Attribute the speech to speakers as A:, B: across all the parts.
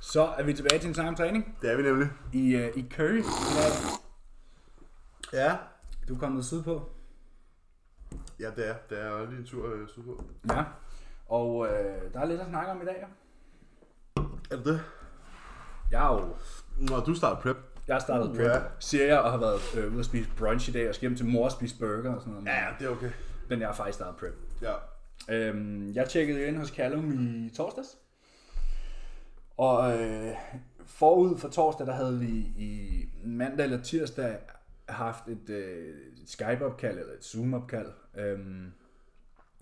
A: Så er vi tilbage til en snak om træning
B: Det er vi nemlig.
A: i, øh, i Curry.
B: Ja.
A: Du er kommet sydpå.
B: Ja, det er. Det er lige en tur øh, sydpå.
A: Ja. Og øh, der er lidt at snakke om i dag. ja.
B: Er det det?
A: Jeg er jo
B: Når du starter prep.
A: Jeg har startet prep,
B: Ja.
A: siger jeg, og har været øh, ude at spise brunch i dag, og skal hjem til mor og spise burger og sådan noget.
B: det er okay.
A: Men jeg har faktisk startet prep.
B: Ja.
A: Øhm, jeg tjekkede ind hos Callum i torsdags. Og øh, forud for torsdag, der havde vi i mandag eller tirsdag haft et øh, Skype-opkald, eller et Zoom-opkald, øhm,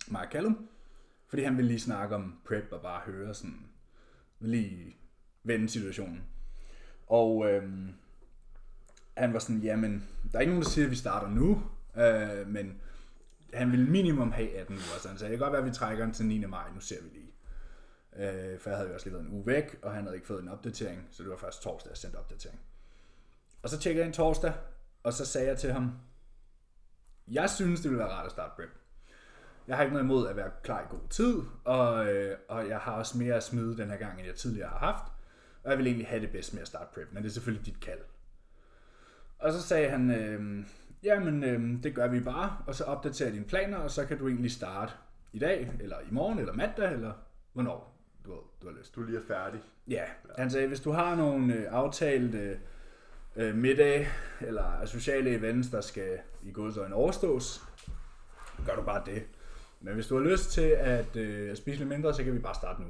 A: Mark Callum. Fordi han ville lige snakke om prep og bare høre sådan, lige vende situationen. Og øhm, han var sådan, jamen, der er ikke nogen, der siger, at vi starter nu, øh, men han ville minimum have 18 uger, så han sagde, det kan godt være, at vi trækker den til 9. maj, nu ser vi lige. Øh, for jeg havde jo også lige været en uge væk, og han havde ikke fået en opdatering, så det var først torsdag, jeg sendte opdatering. Og så tjekkede jeg en torsdag, og så sagde jeg til ham, jeg synes, det ville være rart at starte prep. Jeg har ikke noget imod at være klar i god tid, og, øh, og jeg har også mere at smide den her gang, end jeg tidligere har haft. Og jeg vil egentlig have det bedst med at starte prep, men det er selvfølgelig dit kald. Og så sagde han, øh, jamen øh, det gør vi bare, og så opdaterer jeg dine planer, og så kan du egentlig starte i dag, eller i morgen, eller mandag, eller hvornår du, har- du har lyst.
B: Du lige er færdig.
A: Ja, han sagde, hvis du har nogle øh, aftalte øh, øh, middag eller sociale events, der skal i godsøjne overstås, gør du bare det. Men hvis du har lyst til at øh, spise lidt mindre, så kan vi bare starte nu.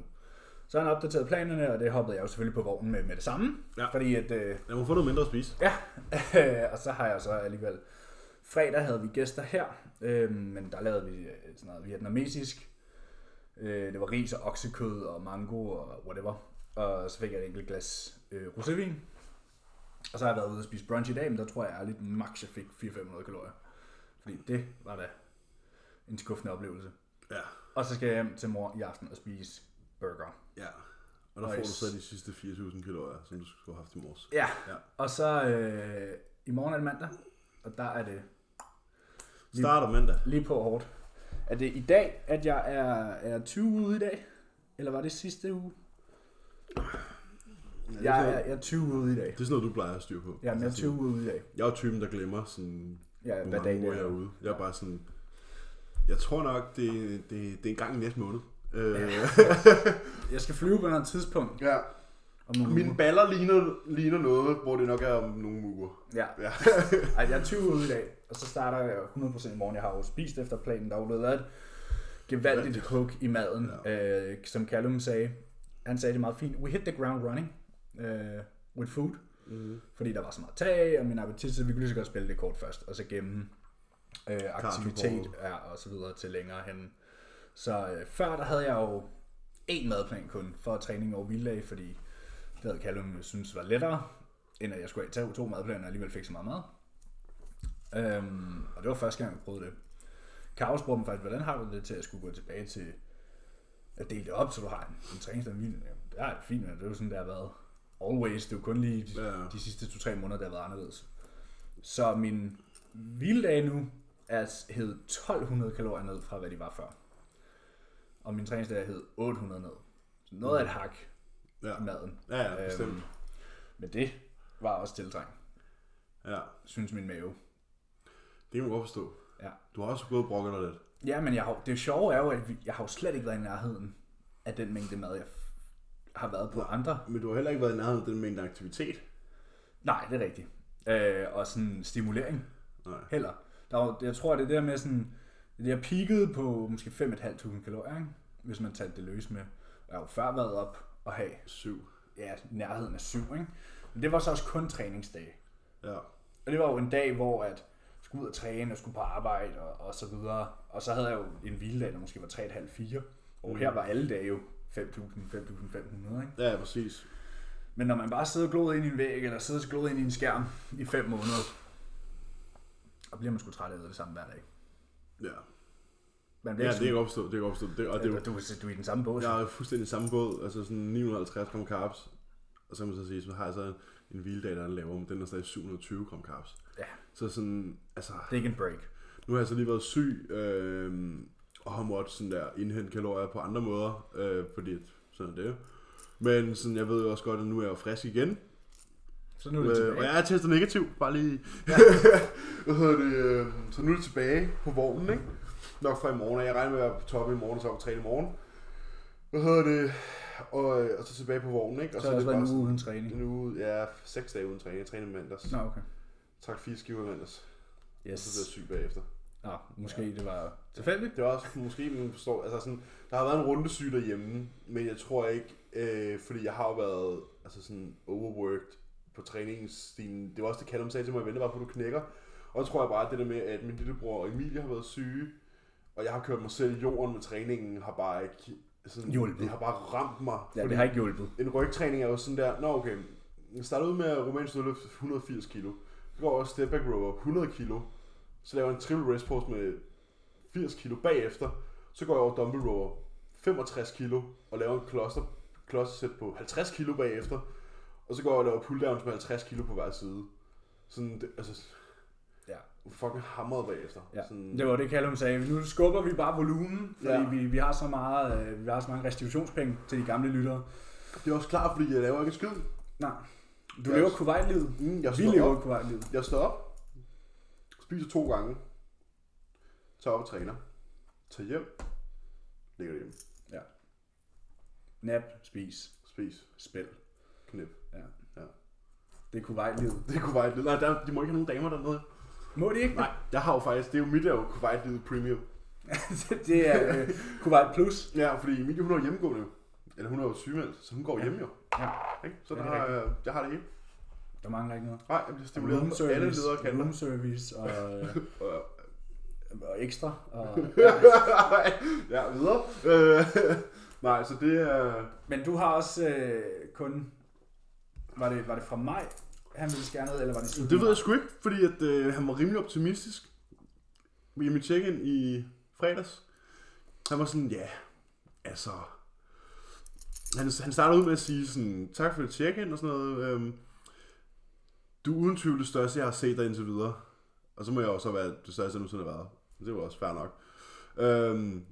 A: Så har han opdateret planerne, og det hoppede jeg jo selvfølgelig på vognen med med det samme.
B: Ja.
A: Fordi at, øh,
B: Jeg må få noget mindre at spise.
A: Ja, og så har jeg så alligevel... Fredag havde vi gæster her, øh, men der lavede vi øh, sådan noget vietnamesisk. Øh, det var ris og oksekød og mango og whatever. Og så fik jeg et enkelt glas øh, rosévin. Og så har jeg været ude og spise brunch i dag, men der tror jeg ærligt max jeg fik 400-500 kalorier. Fordi det var da en skuffende oplevelse.
B: Ja.
A: Og så skal jeg hjem til mor i aften og spise burger.
B: Ja. Og der får
A: Nice.
B: du så de sidste 4.000 kalorier, som du skulle have haft i morges.
A: Ja,
B: Ja.
A: og så øh, i morgen er det mandag, og der er det
B: Starter mandag.
A: Lige på hårdt. Er det i dag, at jeg er, er 20 ude i dag? Eller var det sidste uge?
B: Ja, det,
A: Jeg
B: kan-
A: er, jeg er 20 ude i dag.
B: det er sådan noget, du plejer at styre på. Altså,
A: Ja, men jeg er 20 ude i dag.
B: Jeg er jo typen, der glemmer sådan
A: Ja,
B: hvor
A: hvad dag
B: mange uger
A: det
B: jeg er
A: er.
B: ude. Jeg er bare sådan... Jeg tror nok, det, det, det er en gang i næste måned. Øh,
A: Jeg skal flyve på et eller andet tidspunkt.
B: ja.
A: Om nogle
B: Mine
A: Min...
B: baller ligner, ligner noget, hvor det nok er om nogle uger.
A: Ja.
B: Ja.
A: Ej, jeg er 20 ude i dag, og så starter jeg jo 100% i morgen. Jeg har jo spist efter planen. Der er jo blevet lavet et gevaldigt hug i maden, ja. øh, som Callum sagde. Han sagde det meget fint. We hit the ground running øh, with food.
B: Mm.
A: fordi der var så meget tag, og min appetit, så vi kunne lige så godt spille det kort først, og så gemme øh, aktivitet
B: Cardio-bordet.
A: ja, og så videre til længere hen. Så øh, før, der havde jeg jo én madplan kun for træning over vilddag, fordi det havde Callum synes var lettere, end at jeg skulle tage to madplaner og alligevel fik så meget mad. Øhm, og det var første gang, jeg prøvede det. Karos spurgte mig faktisk, hvordan har du det til at skulle gå tilbage til at dele det op, så du har en, en træningsdag om vilddag? Jamen, Det er fint, men det er jo sådan, det har været always. Det er jo kun lige de,
B: Ja, ja.
A: de sidste 2-3 måneder, der har været anderledes. Så min vilddag nu er hed 1200 kalorier ned fra, hvad de var før. Og min træningsdag hed 800 ned. Så noget af et hak
B: Mm. Ja,
A: i maden.
B: ja, ja bestemt.
A: Øhm, men det var også tiltrængt,
B: Ja,
A: synes min mave.
B: det kan man godt forstå.
A: Ja.
B: Du har også gået og brokket dig lidt.
A: Ja, men jeg har, det sjove er jo, at vi- jeg har jo slet ikke været i nærheden af den mængde mad, jeg f- har været på andre.
B: Men du har heller ikke været i nærheden af den mængde aktivitet.
A: Nej, det er rigtigt. Øh, og sådan stimulering
B: Nej.
A: heller. Der var, jeg tror, det er der med sådan... Jeg peakede på måske 5.500 kalorier, ikke? hvis man talte det løs med. Jeg har jo før været op og have
B: Syv.
A: ja, nærheden af 7, ikke? Men det var så også kun træningsdage.
B: Ja.
A: Og det var jo en dag, hvor at jeg skulle ud og træne og skulle på arbejde og, og så videre. Og så havde jeg jo en hviledag, der måske var 3,5-4. Og
B: Mm.
A: her var alle dage jo 5.000-5.500, ikke?
B: Ja, præcis.
A: Men når man bare sidder og gloder ind i en væg, eller sidder og gloder ind i en skærm i 5 måneder, og bliver man sgu træt af det samme hver dag.
B: Ja.
A: Man
B: Ja,
A: bliver
B: det kan jeg godt forstå. Det kan jeg godt forstå. Det, og det, er jo-
A: du, du, du er i den samme bås.
B: jeg
A: Ja.
B: er fuldstændig i samme båd. Altså sådan 950 gram carbs. Og så kan man så sige, så har jeg så en, en hviledag, der er lavere, men den er stadig 720 gram carbs.
A: ja.
B: Så sådan, altså,
A: Det er ikke en break.
B: Nu har jeg så lige været syg, øhm, øh, og har måttet sådan der indhente kalorier på andre måder, øh, fordi at sådan er det jo. Men sådan, jeg ved jo også godt, at nu er jeg jo frisk igen.
C: Så nu er det
B: Øh, og
C: tilbage.
B: jeg er testet negativ, bare lige. Hvad hedder det? øh, Så nu er det tilbage på vognen, ikke? Nok fra i morgen, og jeg regner med at være på toppen i morgen, og så op og træne i morgen. Hvad hedder det? Og, øh, og så tilbage på vognen, ikke? Og
A: Så har det også været en
B: bare
A: uge uden
B: sådan-
A: træning.
B: en uge, ja, seks dage uden træning. Jeg trænede mandags.
A: Nå, okay.
B: Trak fire skiver i mandags. Og
A: Yes.
B: så blev jeg syg bagefter.
A: Nå, måske det var tilfældigt.
B: Det var også måske, man forstår, altså sådan, der har været en rundesyg derhjemme, men jeg tror ikke, øh, fordi jeg har jo været altså sådan overworked på træningsstilen. Det var også det, Callum sagde til mig, vente bare på, du knækker. Og så tror jeg bare, at det der med, at min lillebror og Emilie har været syge, og jeg har kørt mig selv i jorden med træningen, har bare ikke... Sådan,
A: Hjulpet.
B: Det har bare ramt mig.
A: Ja,
B: fordi
A: det har ikke hjulpet.
B: en rygtræning er jo sådan der, nå okay, jeg starter ud med romansk dødløft 180 kilo, så går over step back rower 100 kilo, så laver jeg en triple rest pose med 80 kilo bagefter, så går jeg over dumbbell rower 65 kilo og laver en cluster, cluster set på 50 kilo bagefter, og så går jeg og laver pull downs med 50 kilo på hver side. Sådan, det, altså,
A: Ja.
B: fucking hammered bagefter.
A: Ja,
B: Sådan,
A: det var det, Callum sagde. Nu skubber vi bare volumen, fordi
B: Ja.
A: ja. vi, vi, har så meget, øh, vi har så mange restitutionspenge til de gamle lyttere.
B: det er også klart, fordi jeg laver ikke en skid.
A: Nej, du
B: Ja,
A: lever
B: så-
A: Kuwait-livet.
B: Mm, jeg
A: Vi
B: står op.
A: lever Kuwait-livet.
B: Jeg står op, spiser to gange, tager op og træner, tager hjem, ligger hjemme,
A: Nap, spis,
B: spis,
A: spil.
B: knip.
A: Det er Kuwait-livet.
B: Det kunne være et Nej, der, de må ikke have nogen damer dernede.
A: Må de ikke?
B: Nej, jeg har jo faktisk, det er jo mit, der er jo Kuwait Lille Premium.
A: det er øh, Kuwait Plus.
B: Ja, fordi Emilie, hun er jo hjemmegående jo. Eller hun er jo sygemeldt, så hun går hjem jo.
A: Ja.
B: Ikke? Så
A: Ja,
B: der,
A: det er
B: har, jeg- jeg har det hele.
A: Der mangler ikke noget.
B: Nej, jeg bliver stimuleret på alle ledere kan.
A: room service og, øh, og ekstra. Og,
B: ja, videre. Øh, nej, så det er...
A: Men du har også øh, kun... Var det, var det fra mig, han ville skære ned, eller var det
B: Men
A: slut?
B: Det ved jeg sgu ikke, fordi at, øh, han var rimelig optimistisk i mit check-in i fredags. Han var sådan, ja, altså... Han, han startede ud med at sige sådan, tak for det check-in og sådan noget. Øhm, du er uden tvivl det største, jeg har set dig indtil videre. Og så må jeg også være det største, jeg nogensinde har været. Det var også fair nok. Øhm,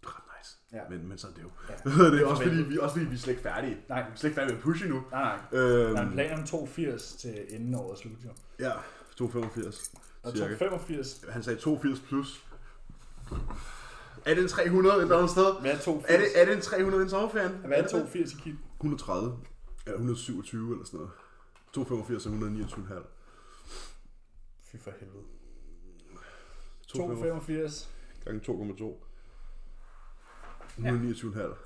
B: det er ret nice.
A: Ja.
B: Men, men så er det jo.
A: Ja.
B: Ja. det er også fordi, vi, også fordi vi er slet ikke færdige.
A: Nej,
B: Vi er slet ikke færdige med push endnu.
A: nej, nej.
B: Øhm,
A: Der er en plan om 82 til inden året slut, jo.
B: Ja, 285.
A: Og
B: cirka.
A: 285.
B: Han sagde 280 plus. Er det en 300 et eller andet sted?
A: Hvad er 82?
B: Er det, er det en 300 i en sommerferien?
A: Hvad er
B: det
A: 82 i kit?
B: 130. Eller 127 eller sådan noget. 285 er 129,5.
A: Fy for helvede.
B: 285
A: 285.
B: gange 2,2.
A: Ja.
B: 129,5.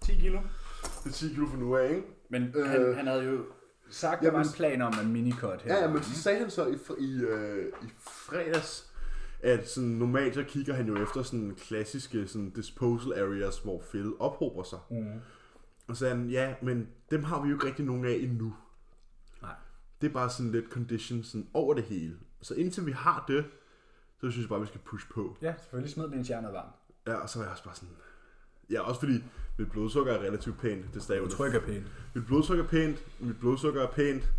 A: 10 kilo.
B: Det er 10 kilo for nu af, ikke?
A: Men
B: Øh,
A: han, han havde jo sagt, der var
B: jamen,
A: en plan om en minicut her.
B: Ja, ja, men så sagde han så i, fr- i, øh, i fredags, at sådan, normalt så kigger han jo efter sådan klassiske sådan disposal areas, hvor fede ophober sig.
A: Mm.
B: Og så sagde han, ja, men dem har vi jo ikke rigtig nogen af endnu.
A: Nej.
B: Det er bare sådan lidt condition sådan over det hele. Så indtil vi har det, så synes jeg bare, vi skal push på.
A: Ja, selvfølgelig smed den stjerne varmt.
B: Ja, og så er jeg også bare sådan... Ja, også fordi mit blodsukker er relativt pænt. Det stager jo
A: ikke er pænt.
B: Mit blodsukker er pænt. Mit blodsukker er pænt.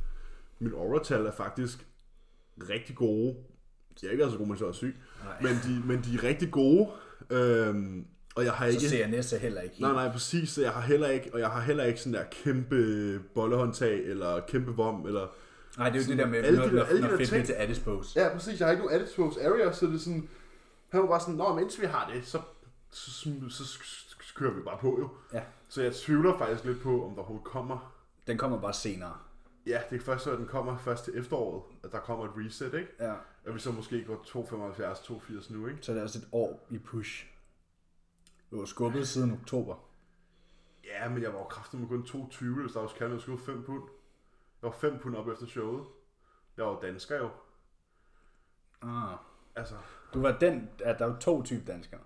B: Mit auratal er faktisk rigtig gode. De er ikke så gode, men så er syg.
A: Nej.
B: Men de, men de er rigtig gode. Øhm, og jeg har ikke...
A: Så ser jeg næste heller ikke.
B: Nej, nej, præcis. Så jeg har heller ikke, og jeg har heller ikke sådan der kæmpe bollehåndtag, eller kæmpe vom, eller...
A: Nej, det er jo det der med,
B: alle
A: når,
B: de der-
A: når,
B: alle de
A: når
B: der
A: fedt
B: ting-
A: bliver til Adispose.
B: Ja, præcis. Jeg har ikke nogen attitudes area, så det er sådan... Han var bare sådan, nå, men indtil vi har det, så, så, så, så, så kører vi bare på jo.
A: Ja.
B: Så jeg tvivler faktisk lidt på, om der overhovedet kommer...
A: Den kommer bare senere.
B: Ja, det er først, at den kommer først til efteråret, at der kommer et reset, ikke?
A: Ja.
B: At vi så måske går 275, 280 nu, ikke?
A: Så er det også et år i push. Du var skubbet siden oktober.
B: Ja, men jeg var jo kraftig med kun 220, hvis der var skaldet, jeg skulle 5 pund. Jeg var 5 pund op efter showet. Jeg var jo dansker jo.
A: Ah.
B: Altså,
A: Du var den, at der var to typer danskere.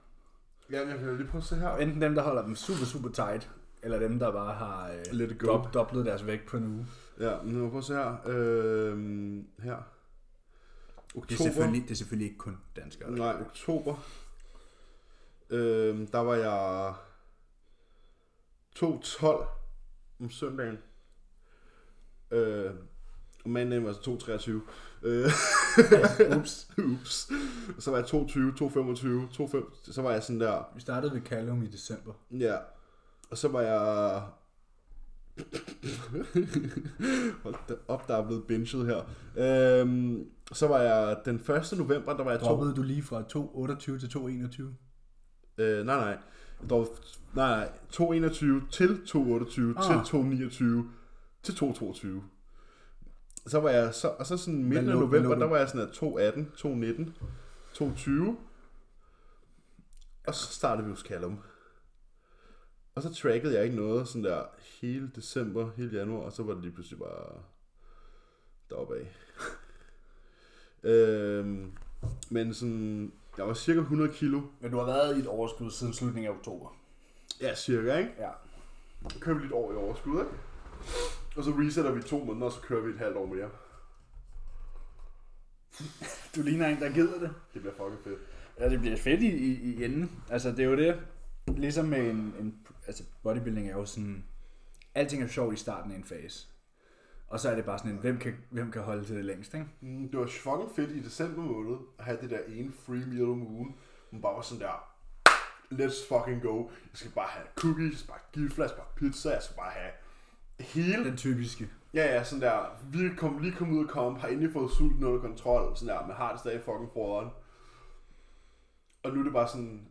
B: ja, men jeg kan lige prøve at se her.
A: Enten dem, der holder dem super, super tight, eller dem, der bare har øh,
B: Let it go.
A: dob- doblet deres vægt på en uge.
B: Ja, men nu prøver at se her. Øhm, her. Oktober.
A: Det er, selvfølgelig, det er selvfølgelig ikke kun danskere. der
B: Nej,
A: gør det.
B: oktober. Øhm, der var jeg 2.12 om søndagen. Øh, og mandagen var så 2.23. Øh,
A: Ups.
B: ups. Og så var jeg 22, 225, 25, så var jeg sådan der,
A: Vi startede ved Callum i december.
B: ja. Og så var jeg Hold da op, der er blevet binget her. Øhm, så var jeg den 1. november, der var jeg to...
C: Droppede du lige fra 2.28 til 2.21?
B: Øh, nej, nej. Jeg droppede, nej, nej. 2.21 til 2.28
C: Ah.
B: til 2.29 til 2.22. Så var jeg så, og så sådan midten
C: Hvad
B: af
C: lå- hvad
B: november,
C: lå
B: der
C: du?
B: var jeg sådan at 2.18, 2.19, 2.20. Og så startede vi hos Callum. Og så trackede jeg ikke noget sådan der hele december, hele januar, og så var det lige pludselig bare deroppe af. øhm, men sådan, jeg var cirka 100 kilo.
A: Men du har været i et overskud siden slutningen af oktober.
B: Ja, cirka, ikke?
A: Ja.
B: kører vi lidt år i overskud, ikke? Og så resetter vi to måneder, og så kører vi et halvt år mere.
A: Du ligner en, der gider det.
B: Det bliver fucking fedt.
A: Ja, det bliver fedt i, i, i enden. Altså, det er jo det. Ligesom med en, en... Altså, bodybuilding er jo sådan... Alting er sjovt i starten af en fase. Og så er det bare sådan en, hvem kan, hvem kan holde til det længst, ikke?
B: Mm, det var fucking fedt i december måned at have det der ene free meal om ugen. Hun bare var sådan der, let's fucking go. Jeg skal bare have cookies, jeg skal bare have gifler, jeg skal bare have pizza, jeg skal bare have hele...
A: Den typiske.
B: Ja, ja, sådan der, vi kom lige kommet ud af kamp, har endelig fået sulten under kontrol, sådan der, men har det stadig fucking broderen. Og nu er det bare sådan,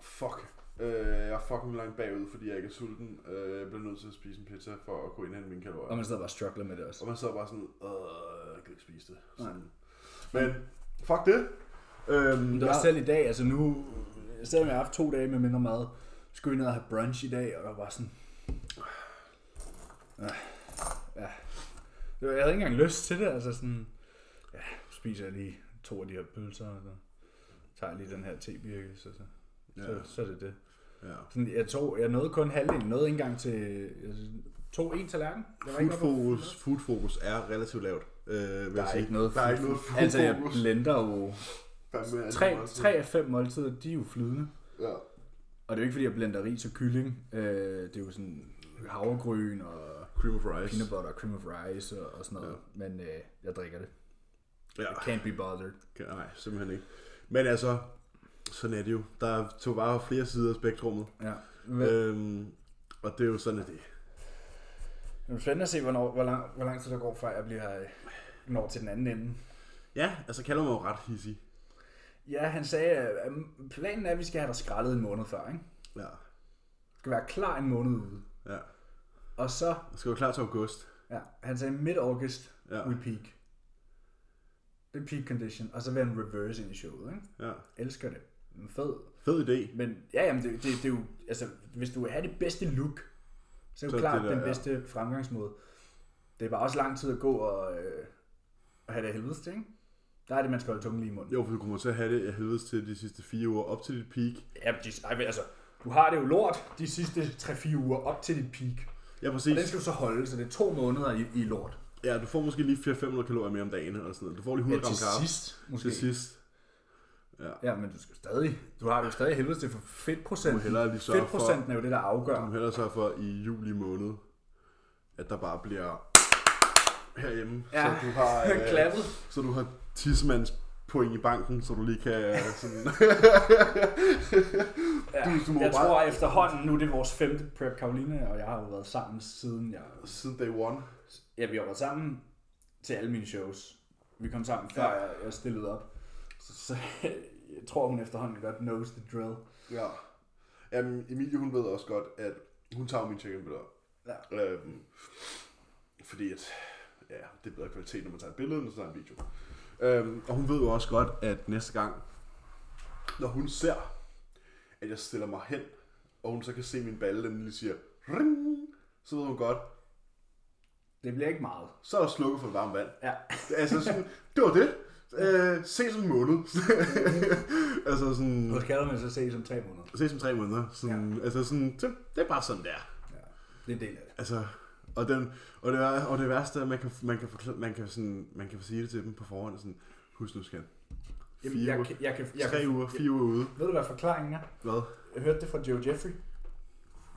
B: fuck, øh, jeg er fucking langt bagud, fordi jeg ikke er sulten. Øh, jeg bliver nødt til at spise en pizza for at kunne indhente mine kalorier.
A: Og man sidder bare og struggler med det også.
B: Og man sidder bare sådan, øh, jeg kan ikke spise det. Sådan. Men, fuck det. Øhm,
A: Men det var selv i dag, altså nu, selvom jeg har haft to dage med mindre mad, skulle jeg ned og have brunch i dag, og der var sådan... Ja, ja. Det var- Jeg havde ikke engang lyst til det, altså sådan... Ja, så spiser jeg lige to af de her pølser, og så tager jeg lige den her tebirke, så, så, ja.
B: Ja.
A: så, så er det det.
B: ja.
A: Sådan, jeg, tog, jeg nåede kun halvdelen, nåede ikke engang til... Jeg tog en tallerken. Jeg var
B: Food
A: ikke oppe-
B: fokus, food fokus er relativt lavt. Øh, vil
A: Der er ikke noget
B: der er ikke noget food
A: Altså, jeg
B: fokus.
A: blender jo...
B: Fandme, er det
A: Tre,
B: meget tid.
A: tre af fem måltider, de er jo flydende.
B: Ja.
A: Og det er jo ikke, fordi jeg blander ris og kylling. Øh, det er jo sådan havregryn og
B: Cream of rice.
A: peanut butter og cream of rice og, og sådan noget. Ja. Men øh, jeg drikker det.
B: Ja.
A: I can't be bothered.
B: Okay, nej, simpelthen ikke. Men altså, sådan er det jo. Der er to bare flere sider af spektrummet.
A: Ja. Øh.
B: Øhm, og det er jo sådan, at det
A: Det er spændende at se, hvornår, hvor, lang, hvor lang tid der går, før jeg bliver øh, når til den anden ende.
B: Ja, altså Callum er jo ret hissig.
A: Ja, han sagde, at øh, planen er, at vi skal have dig skrællet en måned før. Ikke?
B: Ja.
A: Du skal være klar en måned ude.
B: ja.
A: Og så,
B: Jeg skal jo klar til august.
A: ja, han sagde midt-august,
B: Ja.
A: ja. we peak. Det er peak condition. Og så vil han reverse ind i showet. Ikke?
B: Ja.
A: Elsker det. En fed
B: Fed idé.
A: Men ja, jamen, det, det, det er jo, altså, hvis du vil have det bedste look, så er det
B: Så
A: jo
B: er
A: klart
B: det der,
A: den
B: ja.
A: bedste fremgangsmåde. Det er bare også lang tid at gå og, øh, og have det af helvedes til, ikke? Der er det, man skal holde tungen lige i munden.
B: Jo, for du kommer til at have det af helvedes til de sidste fire uger op til dit peak.
A: Ja, men de- ej, men altså, du har det jo lort de sidste 3-4 uger op til dit peak. Og
B: Ja,
A: den
B: præcis.
A: skal du så holde, så det er to måneder i, i lort.
B: Ja, du får måske lige 400-500 kalorier mere om dagen, eller sådan noget. Du får lige 100 gram kaffe.
A: sidst, måske.
B: Til sidst.
A: Ja, men du skal stadig, du har det jo stadig af helvedes til for
B: Du
A: fedtprocenten.
B: må hellere lige sørge for-
A: Fedtprocenten er jo det, der afgør.
B: Du må hellere sørge for i juli måned, at der bare bliver herhjemme.
A: Ja,
B: så du har, øh,
A: klappet.
B: Så du har tismands point i banken, så du lige kan øh, sådan...
A: Ja,
B: Du- du må
A: jeg
B: bare-
A: tror efterhånden, nu er det vores femte prep, Karoline og jeg har jo været sammen siden jeg...
B: Siden day one.
A: Ja, vi har været sammen til alle mine shows. Vi kom sammen før
B: Ja.
A: ja. jeg, jeg stillede op. Så, så jeg tror, hun efterhånden godt knows the drill.
B: Ja. Jamen, Emilie, hun ved også godt, at hun tager jo mine check-in-billeder.
A: Ja.
B: Øhm, fordi at, ja, det er bedre kvalitet, når man tager et billede, end når man tager en video. Øhm, og hun ved jo også godt, at næste gang, når hun ser, at jeg stiller mig hen, og hun så kan se min balle, den lige siger, ring, så ved hun godt,
A: Det bliver ikke meget.
B: så er der slukket for det varme vand.
A: Ja.
B: Altså sådan, det var det. Øh, ses om en måned. altså sådan...
A: Nu skal man så ses om tre måneder.
B: ses om tre måneder. Sådan, ja. Altså sådan, det, det er bare sådan der.
A: Ja. Det er en del af det.
B: Altså, og, den, og, det, er- og det værste er, at man kan, man kan, forkl- man kan, sådan, man kan sige det til dem på forhånd. Sådan, Husk nu, skat.
A: Jamen,
B: Fire
A: jeg,
B: uger.
A: kan- jeg, kan, jeg,
B: Tre
A: kan-
B: uger, fire uger ude.
A: Ved du, hvad forklaringen er?
B: Hvad?
A: Jeg hørte det fra Joe Jeffrey.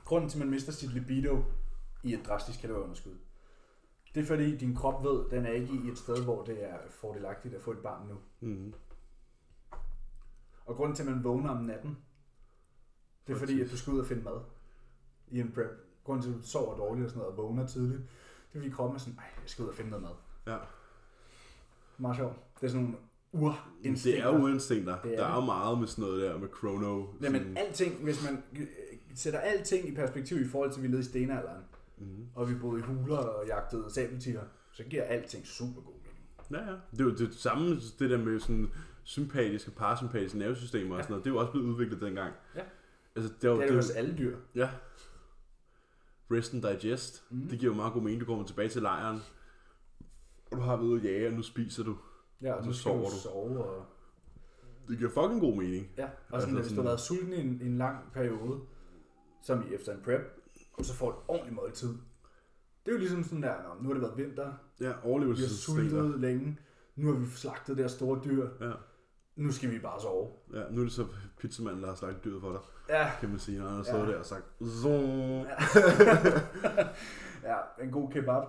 A: Grunden til, at man mister sit libido i et drastisk kalorieunderskud, det er fordi, din krop ved, den er ikke i et sted, hvor det er fordelagtigt at få et barn nu.
B: Mm.
A: Og grunden til, at man vågner om natten, det er fordi, at du skal ud og finde mad i en prep. grunden til, at du sover dårligt og sådan noget, og vågner tidligt, det er fordi kroppen er sådan, nej, jeg skal ud og finde noget mad.
B: Ja.
A: Meget sjovt. Det er sådan nogle
B: Det er
A: urinstinkter.
B: jo instinkter.
A: Det er
B: Der er jo
A: det.
B: meget med sådan noget der med chrono.
A: Jamen, alting, hvis man øh, sætter alting i perspektiv i forhold til, at vi levede i stenalderen,
B: mm.
A: og vi boede i huler og jagtede sabeltiger, så giver alting super god mening.
B: Ja, ja. Det er jo det samme, det der med sådan sympatiske og parasympatiske nervesystemer og sådan noget. Det er jo også blevet udviklet dengang.
A: Ja.
B: Altså, det er jo,
A: Det er
B: det
A: det
B: er
A: hos
B: jo
A: alle dyr.
B: ja. Rest and digest.
A: Mhm.
B: Mm. Det giver jo meget god mening. Du kommer tilbage til lejren, og du har været ude at jage, og nu spiser du.
A: Ja, og
B: Og
A: så
B: så
A: skal du
B: sover du.
A: sove. Og,
B: Det giver fucking god mening.
A: ja, og sådan,
B: Altså
A: at hvis du har
B: sådan-
A: været sulten i en, en lang periode, som i efter en prep, og så får du et ordentligt måltid. Det er jo ligesom sådan der, "Nå, nu har det været vinter,
B: Ja,
A: vi har
B: overlevelsesinstinker.
A: sultet længe, nu har vi slagtet det her store dyr,
B: Ja.
A: nu skal vi bare sove.
B: ja, nu er det så pizzamanden, der har slagt dyret for dig,
A: Ja,
B: kan man sige, når han har stået
A: Ja.
B: der og sagt, Zong.
A: ja en god kebab.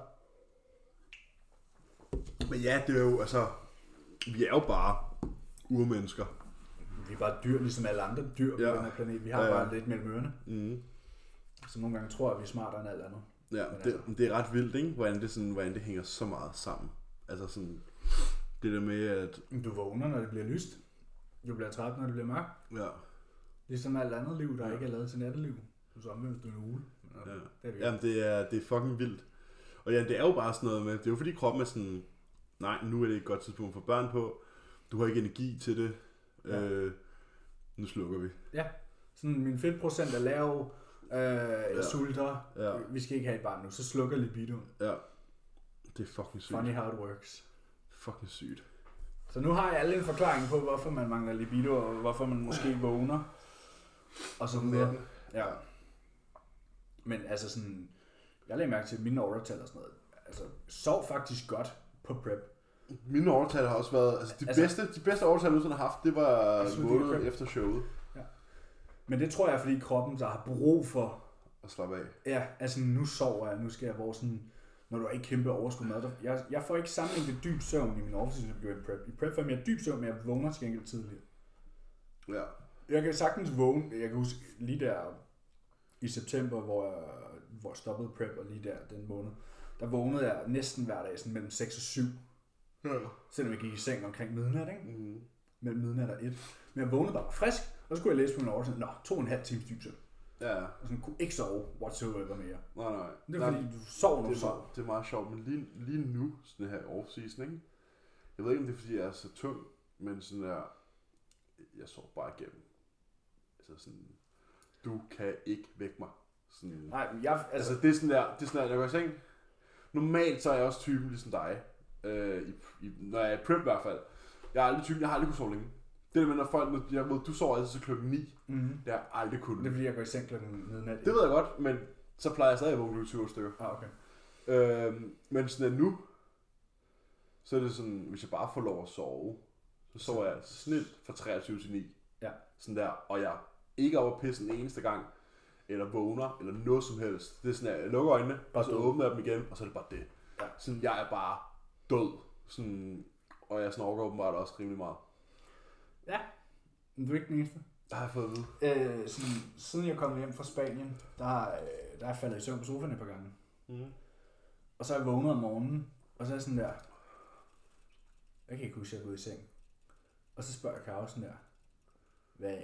B: Men ja, det er jo, altså, vi er jo bare urmennesker.
A: Vi er bare dyr, ligesom alle andre dyr på
B: Ja.
A: den her planet. Vi har
B: Ja, ja.
A: bare lidt mellem ørerne.
B: Mm.
A: Så nogle gange tror jeg, at vi er smartere end alt andet.
B: Ja,
A: Men altså-
B: det, men det er ret vildt, ikke? Hvordan det, sådan, hvordan det hænger så meget sammen. Altså sådan, det der med, at,
A: Du vågner, når det bliver lyst. Du bliver træt, når det bliver mørkt.
B: ja,
A: Ligesom alt andet liv, der
B: Ja.
A: ikke er lavet til natteliv. Så omvendt du en ugle. Men,
B: ja.
A: Det er vi.
B: Jamen, det er, det er fucking vildt. Og ja, det er jo bare sådan noget med, det er jo fordi kroppen er sådan, nej, nu er det ikke et godt tidspunkt for børn på, du har ikke energi til det,
A: Ja.
B: ja. øh, nu slukker vi.
A: Sådan, min fedtprocent er lav. Øh, jeg
B: Ja.
A: sulter.
B: Ja.
A: Vi skal ikke have et barn nu. Så slukker libidoen.
B: Ja, det er fucking sygt.
A: Funny how it works.
B: Fucking sygt.
A: Så nu har jeg alle en forklaring på, hvorfor man mangler libido, og hvorfor man måske vågner. Og så videre. Ja. Men altså sådan, jeg lagde mærke til at mine overtal og sådan noget. Altså, sov faktisk godt på prep.
B: Mine overtal har også været, altså de,
A: Altså-
B: altså, bedste, de bedste overtal, jeg nogensinde har haft, det var
A: Altså,
B: en
A: det er
B: måned
A: fedt.
B: efter showet
A: Men det tror jeg, er, fordi kroppen der har brug for,
B: at slappe af.
A: ja, altså nu sover jeg, nu skal jeg, hvor sådan, når du har ikke kæmpe overskud mad. der- Jeg, jeg får ikke samme mængde dyb søvn i min overskud, som jeg bliver i prep. I prep får jeg mere dyb søvn, men jeg vågner til gengæld tidligere.
B: Ja.
A: Jeg kan sagtens vågne, jeg kan huske lige der i september, hvor jeg, hvor jeg stoppede prep, og lige der den måned, der vågnede jeg næsten hver dag, sådan mellem 6 og 7,
B: ja.
A: selvom jeg gik i seng omkring midnat, ikke?
B: Mm.
A: mellem midnat og et. Men jeg vågnede bare frisk, og så skulle jeg læse på min oversæt, nå, to og en halv times dyb søvn.
B: Ja,
A: Og sådan kunne ikke sove whatsoever mere.
B: nej, nej.
A: Det er
B: nej,
A: fordi, du sover, når
B: det,
A: du
B: er meget,
A: sover.
B: det er meget sjovt, men lige, lige nu, sådan her off-season, ikke? Jeg ved ikke, om det er, fordi jeg er så tung, men sådan der, jeg sover bare igennem. Altså sådan, du kan ikke vække mig. Sådan,
A: Nej, men jeg, altså,
B: Altså, det er sådan der, det er sådan der, jeg går i seng. Normalt så er jeg også typen ligesom dig. Øh, i, i, når jeg er i prep i hvert fald. Jeg er aldrig typen, jeg har aldrig kunnet sove længe. Det der med, når folk, når jeg ved, du sover altid til klokken 9.
A: mm,
B: Det har jeg aldrig kunnet.
A: det er
B: Det,
A: fordi, jeg går i seng klokken midnat.
B: det ved jeg godt, men så plejer jeg stadig at vågne klokken 20 stykker.
A: Ah, okay.
B: Øh, men sådan at nu, så er det sådan, hvis jeg bare får lov at sove, så sover jeg snilt fra 23 til 9.
A: Ja.
B: Sådan der, og jeg er ikke oppe at pisse en eneste gang, eller vågner, eller noget som helst. Det er sådan, at jeg lukker øjnene, og så
A: død.
B: åbner jeg dem igen, og så er det bare det.
A: Ja.
B: Sådan, jeg er bare død. Sådan, og jeg snorker åbenbart også rimelig meget.
A: Ja, men du er ikke den eneste.
B: Det har jeg fået at vide.
A: Øh, sådan, siden jeg kom hjem fra Spanien, der, øh, der er jeg faldet i søvn på sofaen et par gange. Mhm.
B: Mm.
A: Og så er jeg vågnet om morgenen, og så er jeg sådan der, jeg kan ikke huske, at jeg er gået i seng. Og så spørger jeg Karo sådan der, hvad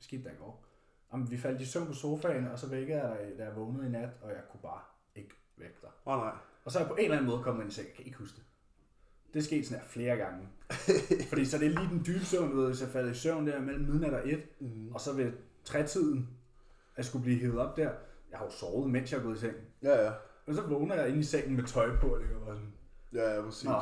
A: skete der i går? Jamen, vi faldt i søvn på sofaen, og så vækkede jeg dig, da jeg vågnede i nat, og jeg kunne bare ikke vække dig.
B: Åh oh, nej.
A: Og så er jeg på en eller anden måde kommet ind i seng. Jeg kan ikke huske det. Det er sket sådan her flere gange. Fordi så det er lige den dybe søvn, du ved, hvis jeg falder i søvn der mellem midnat og et,
B: Mm.
A: og så ved trætiden, at jeg skulle blive hævet op der. Jeg har jo sovet, mens jeg er gået i seng.
B: Ja, ja.
A: Og så vågner jeg inde i sengen med tøj på, og ligger bare sådan.
B: Ja, ja, præcis.
A: Nå.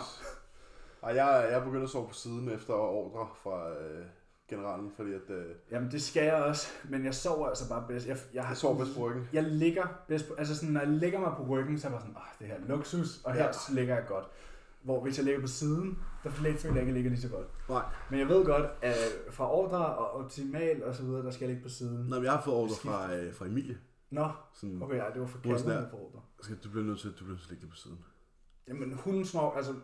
B: Ej, jeg, jeg begyndte at sove på siden efter ordre fra øh, generalen, fordi at, øh,
A: Jamen, det skal jeg også, men jeg sover altså bare bedst. Jeg, jeg, har-
B: jeg sover bedst på ryggen.
A: Jeg ligger bedst på, altså sådan, når jeg ligger mig på ryggen, så er jeg bare sådan, ah, det her er luksus, og her
B: Ja.
A: ligger jeg godt. Hvor hvis jeg ligger på siden, der føler jeg ikke, at jeg ligger lige så godt.
B: Nej,
A: Men jeg ved godt, at fra ordre og optimal og så videre, der skal jeg ligge på siden.
B: Nå, men jeg har fået ordre fra, øh, fra Emilie.
A: Nå,
B: Sådan, okay.
A: okay, ja, det var for
B: Hun er sådan
A: kaldet
B: der.
A: på ordre.
B: skal, du bliver nødt til, du bliver nødt til at ligge det på siden.
A: Jamen, hun snorker, altså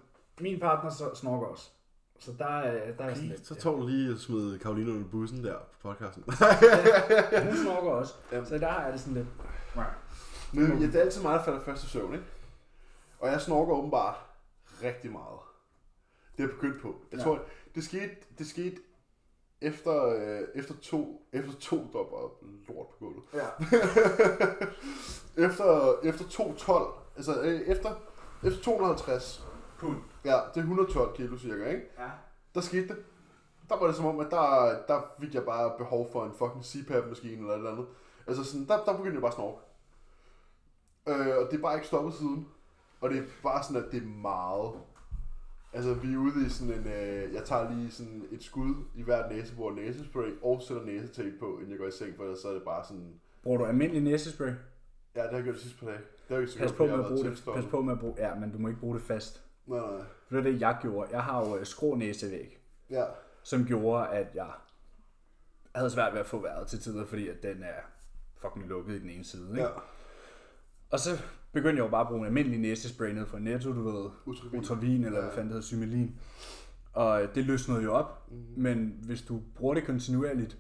A: min partner så- snorker også. Så der, er- der er sådan lidt.
B: Så tog du lige og smed Karoline under bussen der på podcasten.
A: ja. Hun snorker også,
B: Jamen.
A: så der er det sådan lidt.
B: Men ja, det er altid mig, der falder først i søvn, ikke? Og jeg snorker åbenbart rigtig meget. Det er jeg begyndt på. Jeg
A: Ja.
B: ja. tror, det skete, det skete efter, øh, efter to, efter to dopper lort på gulvet.
A: Ja.
B: efter, efter 212, altså øh, efter, efter 250,
A: Pund.
B: ja, det er 112 kilo cirka, ikke?
A: Ja.
B: Der skete det. Der var det som om, at der, der fik jeg bare behov for en fucking CPAP-maskine eller et eller andet. Altså sådan, der, der begyndte jeg bare at snorke. Øh, og det er bare ikke stoppet siden. Og det er bare sådan, at det er meget. Altså, vi er ude i sådan en... Øh, jeg tager lige sådan et skud i hver næsebor næsespray, og sætter næsetape på, inden jeg går i seng, for ellers så er det bare sådan...
A: Bruger du almindelig næsespray?
B: Ja, det har jeg gjort de sidste par dage. Det har jeg ikke så
A: Pas
B: godt,
A: på
B: fordi jeg
A: med
B: har
A: at
B: været
A: bruge det.
B: tilstoppet.
A: Pas på med at bruge... Ja, men du må ikke bruge det fast.
B: Nej, nej.
A: For det er det, jeg gjorde. Jeg har jo øh, skrå næsevæg,
B: Ja.
A: som gjorde, at jeg havde svært ved at få vejret til tider, fordi at den er fucking lukket i den ene side. Ikke?
B: Ja.
A: Ja. Og så begyndte jeg jo bare at bruge en almindelig næsespray nede fra Netto, du ved,
B: Ultravin.
A: Utravin, eller hvad fanden det hedder, Symelin. Og øh, det løsnede jo op,
B: Mhm.
A: men hvis du bruger det kontinuerligt,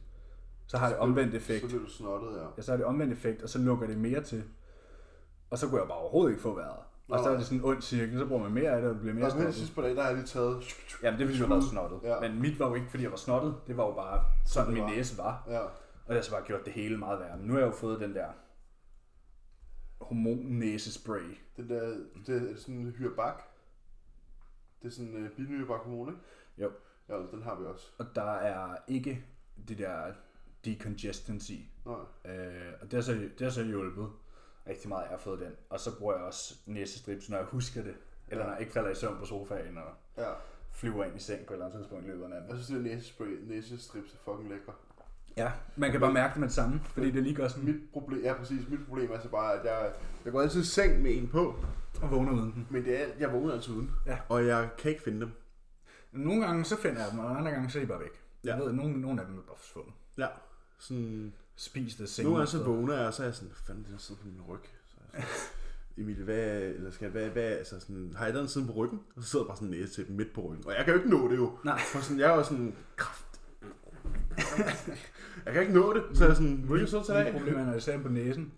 A: så har det omvendt effekt.
B: Så bliver du snottet, ja.
A: Ja, så er det omvendt effekt, og så lukker det mere til. Og så kunne jeg bare overhovedet ikke få vejret. Og så er det sådan en ond cirkel, så bruger man mere af det, og det bliver mere
B: Jeg har de
A: stoppet.
B: sidste par dage, der har jeg lige taget...
A: Jamen det er fordi, du har været snottet. Ja.
B: Ja.
A: Men mit var jo ikke, fordi jeg var snottet. Det var jo bare sådan,
B: det
A: min
B: var.
A: næse var.
B: Ja.
A: Og det har så bare gjort det hele meget værre. Men nu har jeg jo fået den der hormonnæsespray.
B: Den der, det er sådan en hyrbak. Det er sådan en uh, bilnyrbak hormon, ikke?
A: Jo.
B: Ja, den har vi også.
A: Og der er ikke det der decongestancy.
B: Nå,
A: Øh, og det har, så, det har så hjulpet rigtig meget, at jeg har fået den. Og så bruger jeg også næsestrips, når jeg husker det. Eller når jeg ikke falder i søvn på sofaen og
B: ja.
A: flyver ind i seng på et eller andet tidspunkt i løbet af
B: Jeg
A: natten.
B: synes, det er næsespray, næsestrips er fucking lækre.
A: Ja, man kan bare mærke det med det samme, fordi det lige gør sådan,
B: Mit problem, ja præcis, mit problem er så bare, at jeg, jeg går altid i seng med en på,
A: og vågner uden den.
B: men det er, jeg vågner altid uden,
A: Ja.
B: og jeg kan ikke finde dem.
A: Nogle gange så finder jeg dem, og andre gange så er de bare væk. Ja.
B: Ja.
A: Jeg ved, nogle, nogle af dem er bare forsvundet.
B: Ja, sådan,
A: Spis det
B: Nu
A: senere.
B: er jeg så vågner jeg, og så er jeg sådan, hvad fanden er det, der sidder på min ryg? Så er jeg sådan, Emil, hvad, eller skal jeg, hvad, hvad, altså sådan, har jeg den siden på ryggen? Og så sidder jeg bare sådan en næse til dem midt på ryggen. Og jeg kan jo ikke nå det jo.
A: Nej.
B: For sådan, jeg er jo sådan, kraft. jeg kan ikke nå det. Så Mm. er jeg sådan, vil du så tage af?
A: Problemet er, når jeg ser dem på næsen,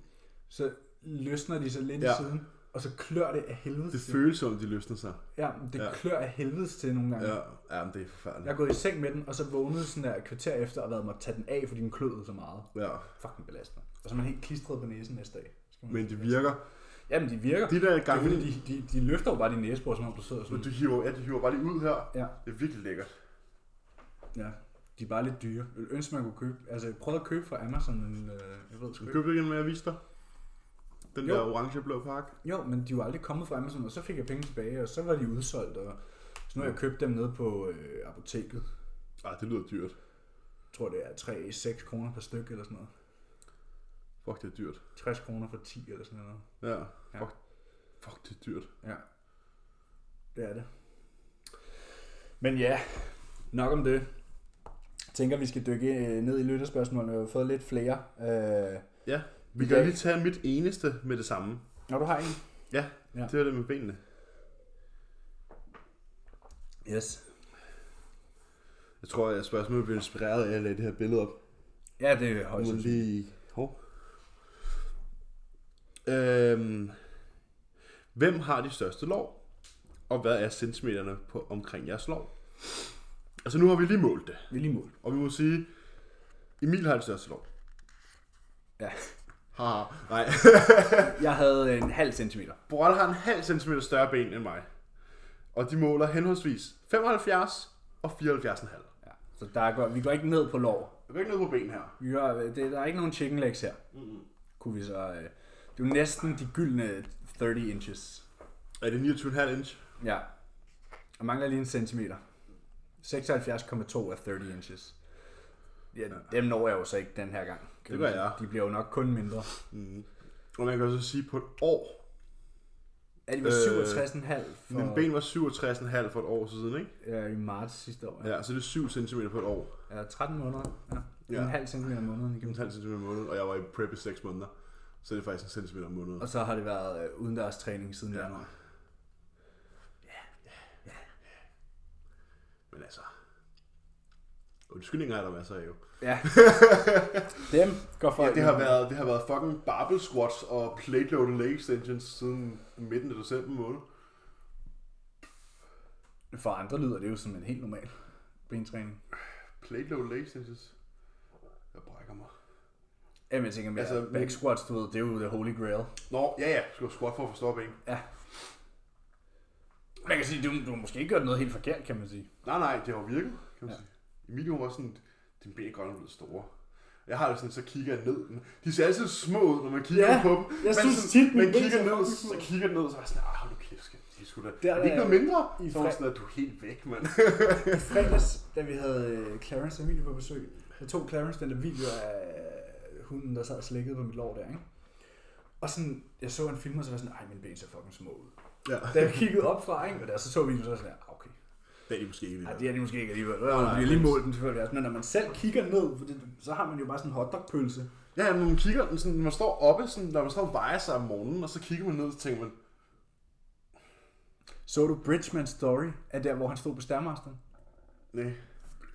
A: så løsner de sig lidt ja.
B: Ja.
A: i siden, og så klør det af helvede
B: Det
A: til.
B: føles som, om de løsner sig.
A: Ja, det
B: Ja.
A: klør af helvede til nogle gange.
B: Ja, ja men det er
A: Jeg er
B: forfærdeligt.
A: gået i seng med den, og så vågnede sådan der et kvarter efter, og været måtte tage den af, fordi den kløede så meget.
B: Ja,
A: Fucking belastende. Og så er man helt klistret på næsen næste dag. Skal man-
B: men det virker.
A: Jamen, de virker.
B: De der
A: det er
B: gange,
A: fordi, de, de, de løfter jo bare dine næsebor, som om du sidder sådan.
B: du hiver, ja, de hiver bare lige ud her.
A: Ja,
B: Det er virkelig lækkert.
A: ja. De er bare lidt dyre. Jeg ønsker, man kunne købe. Altså, jeg prøvede at købe fra Amazon, men øh, jeg ved sgu
B: Du
A: ikke.
B: købte igen, hvad jeg viste dig. Den
A: Jo.
B: der orange-blå pakke.
A: Jo, men de var aldrig kommet fra Amazon, og så fik jeg penge tilbage, og så var de udsolgt, og så nu har jeg købt dem nede på øh, apoteket. Ah,
B: Ej, det lyder dyrt.
A: Jeg tror, det er 3-6 kroner per stykke eller sådan noget.
B: Fuck, det er dyrt.
A: 60 kroner for 10 eller sådan noget.
B: Ja.
A: Ja.
B: Fuck, fuck det er dyrt.
A: Ja. Det er det. Men ja, nok om det. Jeg tænker, vi skal dykke øh, ned i lytterspørgsmålene. Vi har jo fået lidt flere. Øh,
B: Ja. Vi
A: I
B: kan
A: dag-
B: lige tage mit eneste med det samme.
A: når du har en.
B: Ja,
A: Ja.
B: ja. det var det med benene.
A: Yes.
B: Jeg tror, at spørgsmålet blev inspireret af at lade det her billede op.
A: Ja, det er højst
B: Nu
A: sandsynligt.
B: lige... Hov. Øhm, hvem har de største lov? Og hvad er centimeterne på omkring jeres lov? Altså nu har vi lige målt det,
A: Vi er lige mål.
B: og vi må sige, Emil har det største lov.
A: Ja.
B: Haha, nej.
A: Jeg havde en halv centimeter.
B: Borrell har en halv centimeter større ben end mig. Og de måler henholdsvis 75 og 74,5.
A: Ja. Så der går, vi går ikke ned på lov.
B: Jeg vil ikke noget på ben her.
A: Vi gør, øh, det, der er ikke nogen chicken legs her. Mm-hmm. Kunne vi så... Øh, det er jo næsten de gyldne 30 inches.
B: Er det 29,5 inch?
A: Ja. Og mangler lige en centimeter. 76,2 er 30 inches. Ja, dem når jeg jo så ikke den her gang. Kan
B: Det
A: du
B: gør
A: sige.
B: jeg.
A: De bliver jo nok kun mindre.
B: Og man kan også sige, på et år,
A: Er de var
B: Øh,
A: 67,5 for,
B: min ben var 67,5 for et år siden, ikke?
A: ja, i marts sidste år. Ja.
B: Ja, så det er 7 cm på et år.
A: ja 13 måneder. Ja.
B: Ja.
A: En halv centimeter om måneden igennem.
B: 1,5 cm om måneden, og jeg var i prep i 6 måneder. Så det er faktisk en centimeter om måneden.
A: Og så har det været øh, udendørs træning siden ja.
B: Ja.
A: januar.
B: Men altså, Undskyldninger er der masser af jo.
A: Ja. Dem går folk
B: Ja, det har
A: ind.
B: været, det har været fucking barbell squats og plate loaded leg extensions siden midten af december måned.
A: For andre lyder det jo som en helt normal bentræning.
B: Plate loaded leg extensions. Jeg brækker mig.
A: Jamen, jeg tænker mere,
B: Altså,
A: altså, back squats, du ved, det er jo the holy grail.
B: Nå, ja ja, skal squat for at forstå ben.
A: Ja. Man kan sige, du, du har måske ikke gjort noget helt forkert, kan man sige.
B: Nej, nej, det har virket, kan man ja. sige. Emilie hun var sådan, din ben er godt nok blevet store. Jeg har det sådan, så kigger jeg ned. De ser altid små ud, når man kigger
A: Ja,
B: på dem.
A: jeg
B: Men
A: synes
B: sådan,
A: tit, mine
B: man
A: ben
B: kigger
A: ser
B: ned,
A: fucking små
B: så
A: ud.
B: kigger jeg ned, og så er jeg sådan, ah, hold nu kæft, skal de skulle da.
A: Der
B: Er det ikke
A: er-
B: noget mindre?
A: i
B: Så var hun
A: fra-
B: sådan, at du er helt væk, mand.
A: I fredags, da vi havde øh, Clarence og Emilie på besøg, der tog Clarence den der video af øh, hunden, der sad og slikkede på mit lår der, ikke? Og sådan, jeg så en film, og så var jeg sådan, ej, mine ben ser fucking små ud.
B: ja.
A: Da jeg kiggede op fra, ikke? Og der så så videoen, så var jeg sådan, ah, okay.
B: Det er de måske ikke
A: Nej,
B: lige.
A: det er de måske ikke alligevel. Det var
B: Nej,
A: lige målt den selvfølgelig også. Men når man selv kigger ned, fordi, så har man jo bare sådan en hotdogpølse.
B: Ja, når man kigger, den sådan, når man står oppe, sådan, når man står og vejer sig om morgenen, og så kigger man ned, så tænker man,
A: Så du Bridgman's Story af der, hvor han stod på Stærmasteren?
B: nej,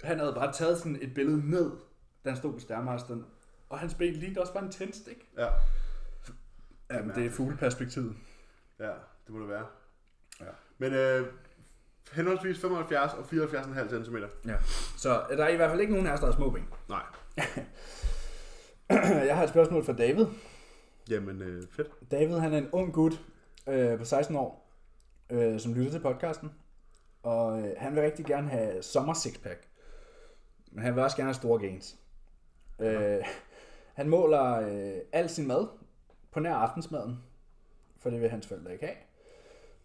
A: Han havde bare taget sådan et billede ned, da han stod på Stærmasteren. Og hans ben lignede også bare en tændstik.
B: ja,
A: Jamen, det er fugleperspektivet.
B: ja, det må det være. Ja. Men øh, henholdsvis 75 og 74,5 cm.
A: Ja. Så der er i hvert fald ikke nogen af os, der har små ben.
B: Nej.
A: Jeg har et spørgsmål fra David.
B: Jamen, øh, fedt.
A: David, han er en ung gut øh, på 16 år, øh, som lytter til podcasten. Og øh, han vil rigtig gerne have sommer sixpack. Men han vil også gerne have store gains. Øh, han måler øh, al sin mad på nær aftensmaden, for det vil hans forældre ikke have.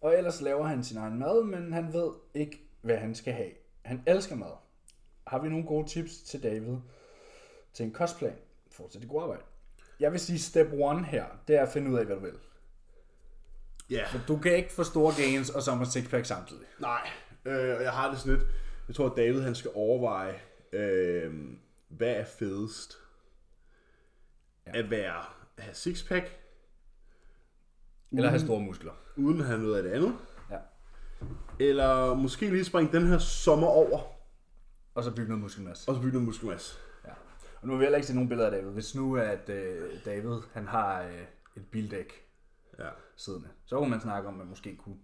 A: Og ellers laver han sin egen mad, men han ved ikke, hvad han skal have. Han elsker mad. Har vi nogle gode tips til David til en kostplan? Fortsæt det gode arbejde. Jeg vil sige, step one her, det er at finde ud af, hvad du vil.
B: Ja.
A: Du kan ikke få store gains og sommer sixpack samtidig.
B: Nej, øh, og jeg har det sådan lidt, jeg tror, at David han skal overveje, øh, hvad er fedest? Ja. At være, have sixpack,
A: Eller
B: Mm.
A: have store muskler.
B: uden at have noget af det andet.
A: Ja.
B: Eller måske lige springe den her sommer over,
A: Og så bygge noget muskelmasse.
B: og så bygge noget muskelmasse.
A: Ja. Og nu vil jeg heller ikke se nogen billeder af David. Hvis nu at øh, David han har øh, et bildæk
B: Ja.
A: siddende, så kunne man snakke om, at man måske kunne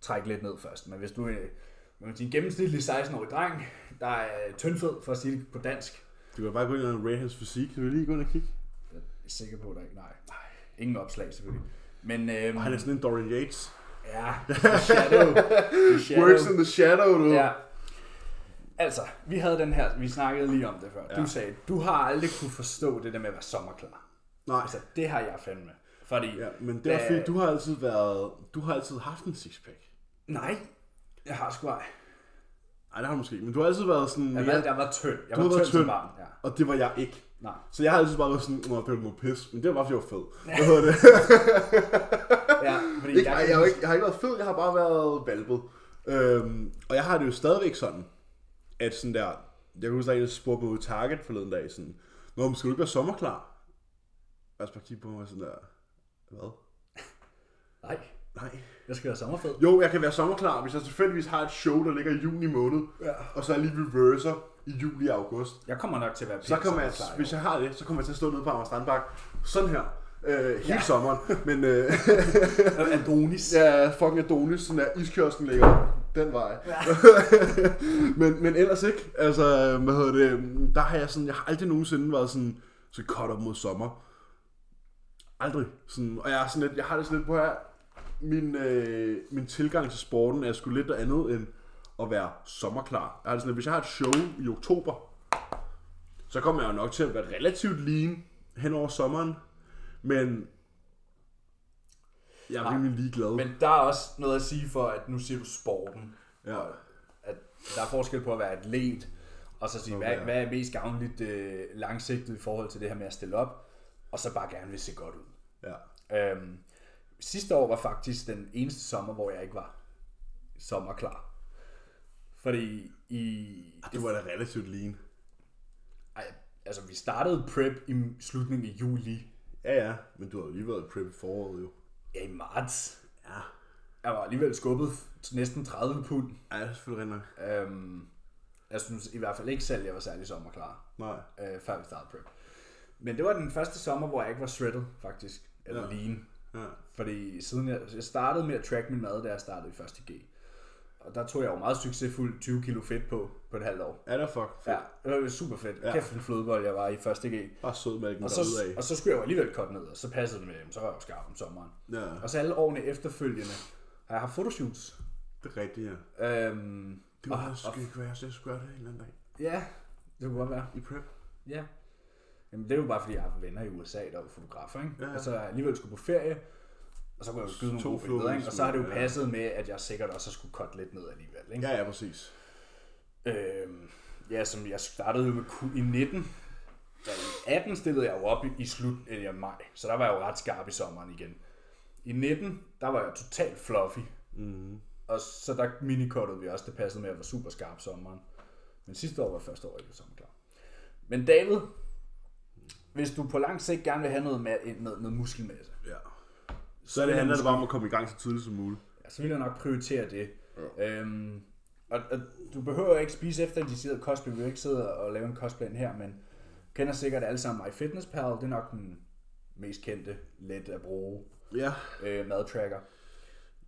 A: trække lidt ned først. Men hvis du øh, man kan sige, en gennemsnitlig 16-årig dreng, der er tyndfed, for at sige det på dansk,
B: Du kan bare gå ind og rate hans fysik. Kan vi lige gå ind og kigge?
A: jeg er sikker på, at der ikke nej. Ingen opslag selvfølgelig. Men øhm,
B: Han er sådan en Dorian Yates.
A: ja, the shadow, the
B: Works
A: shadow.
B: in the shadow, du.
A: Ja. Altså, vi havde den her, vi snakkede lige om det før. Ja.
B: Ja.
A: Du sagde, du har aldrig kunne forstå det der med at være sommerklar.
B: Nej.
A: Altså, det har jeg fandme. Fordi,
B: Ja, men det er også
A: da-
B: fordi, du har altid været... Du har altid haft en sixpack.
A: Øh, Nej, jeg har sgu ej.
B: Nej, det har du måske ikke, men du har altid været sådan...
A: Jeg,
B: mere-
A: var, jeg var tynd. Jeg
B: du har
A: var
B: været
A: tynd, som
B: tynd,
A: barn. Ja.
B: og det var jeg ikke.
A: Nej.
B: Så jeg har altid bare været sådan, "Nå, det var noget pis, men det var bare, fordi jeg var fed. Hvad hedder det?
A: Ja, fordi
B: Ikke, jeg, jeg, har jo ikke, jeg har ikke været fed, jeg har bare været valpet. Øhm, og jeg har det jo stadigvæk sådan, at sådan der... Jeg kan huske, der er en, der spurgte mig ude i Target forleden dag, sådan... Nå, men skal du ikke være sommerklar? Og jeg skal bare kigge på mig sådan der... Hvad?
A: Nej,
B: Nej.
A: jeg skal være sommerfed.
B: Jo, jeg kan være sommerklar, hvis jeg selvfølgelig har et show, der ligger i juni måned,
A: Ja.
B: og så lige reverser i juli og august.
A: Jeg kommer nok til at være pænt
B: Så kommer jeg,
A: sommerklar,
B: hvis
A: jo.
B: jeg har det, så kommer jeg til at stå nede på Amager Strandpark, sådan her, øh, hele
A: Ja.
B: sommeren. Men øh,
A: Adonis. Ja.
B: ja, fucking Adonis, sådan der, iskiosken ligger den vej. Ja. men, men ellers ikke, altså, hvad hedder det, der har jeg sådan, jeg har aldrig nogensinde været sådan, så cut op mod sommer. Aldrig. Sådan, og jeg, er sådan lidt, jeg har det sådan lidt på her. Min, øh, min tilgang til sporten er sgu lidt andet end at være sommerklar. Jeg har det sådan lidt, hvis jeg har et show i oktober, så kommer jeg jo nok til at være relativt lean hen over sommeren. Men jeg er rimelig ligeglad.
A: Men der er også noget at sige for, at nu siger du sporten.
B: ja.
A: at der er forskel på at være atlet, og så sige, hvad,
B: ja.
A: hvad er mest gavnligt øh, langsigtet i forhold til det her med at stille op, og så bare gerne vil se godt ud.
B: ja.
A: Øhm, sidste år var faktisk den eneste sommer, hvor jeg ikke var sommerklar. Fordi i...
B: Det var da relativt lean.
A: Ej, altså, vi startede prep i slutningen af juli.
B: Ja, ja. Men du har jo lige været i prep i foråret jo.
A: Ja, i marts.
B: Ja.
A: Jeg var alligevel skubbet til næsten 30 pund.
B: Ej, det er selvfølgelig rigtig nok.
A: Øhm, Jeg synes i hvert fald ikke selv, jeg var særlig sommerklar,
B: Nej.
A: øh, før vi startede prep. Men det var den første sommer, hvor jeg ikke var shredded, faktisk. Eller
B: Ja.
A: ja. lean.
B: Ja.
A: Fordi siden jeg, jeg startede med at track min mad, da jeg startede i 1. G. Og der tog jeg jo meget succesfuldt 20 kilo fedt på, på et halvt år.
B: Er der fuck?
A: Ja, det var super fedt.
B: Ja.
A: Ja. Kæft en flodbold, jeg var i 1. G.
B: Bare sødmælken
A: Og så,
B: derudad.
A: og så skulle jeg jo alligevel cut ned, og så passede det med, jamen, så var jeg jo skarp om sommeren.
B: Ja,
A: Og så alle årene efterfølgende har jeg haft fotoshoots.
B: det er rigtigt, ja.
A: Øhm,
B: Det var også ikke være, så jeg skulle gøre det en eller anden dag.
A: ja, det kunne godt være.
B: I prep.
A: Ja. Jamen, det er jo bare, fordi jeg har haft venner i USA, der er fotografer, ikke?
B: Ja, ja.
A: Og så har jeg alligevel skulle på ferie, og så kunne jeg jo skyde nogle
B: To
A: gode
B: fluer
A: billeder,
B: med
A: ikke? Og
B: et
A: så har det jo
B: smæk, ja.
A: passet med, at jeg sikkert også skulle cut lidt ned alligevel, ikke?
B: Ja, ja, præcis.
A: Øhm, ja, som jeg startede jo med Q i 19. Da I 18 stillede jeg jo op i, i slutningen af maj, så der var jeg jo ret skarp i sommeren igen. I 19, der var jeg totalt fluffy,
B: Mm.
A: og så der minikottede vi også, det passede med, at jeg var super skarp sommeren. Men sidste år var første år, jeg blev sommerklar. Men David, hvis du på lang sigt gerne vil have noget, med, noget, noget muskelmasse,
B: Ja. Så det handler det bare om at komme i gang så tidligt som muligt.
A: ja, så Altså, vil jeg nok prioritere det. Ja. Øhm, og, og, du behøver ikke spise efter en decideret kostplan. Vi vil ikke sidde og lave en kostplan her, men kender sikkert alle sammen MyFitnessPal. Det er nok den mest kendte, let at bruge
B: Ja.
A: øh, madtracker.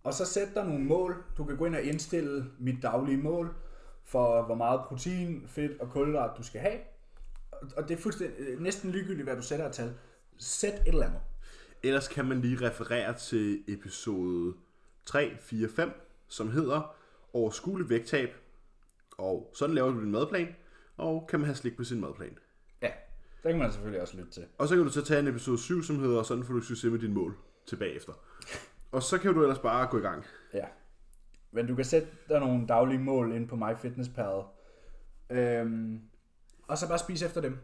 A: Og så sæt dig nogle mål. Du kan gå ind og indstille mit daglige mål for, hvor meget protein, fedt og kulhydrat du skal have. Og- Og det er fuldstændig, øh, næsten ligegyldigt, hvad du sætter af tal. Sæt et eller andet.
B: Ellers kan man lige referere til episode 3, 4, 5, som hedder Overskuelig vægttab. Og sådan laver du din madplan, og kan man have slik på sin madplan.
A: Ja, det kan man selvfølgelig også lytte til.
B: Og så kan du så tage en episode 7, som hedder Sådan får du succes med dine mål tilbage efter. Og så kan du ellers bare gå i gang.
A: Ja. Men du kan sætte dig nogle daglige mål ind på MyFitnessPal. Øhm, og så bare spise efter dem.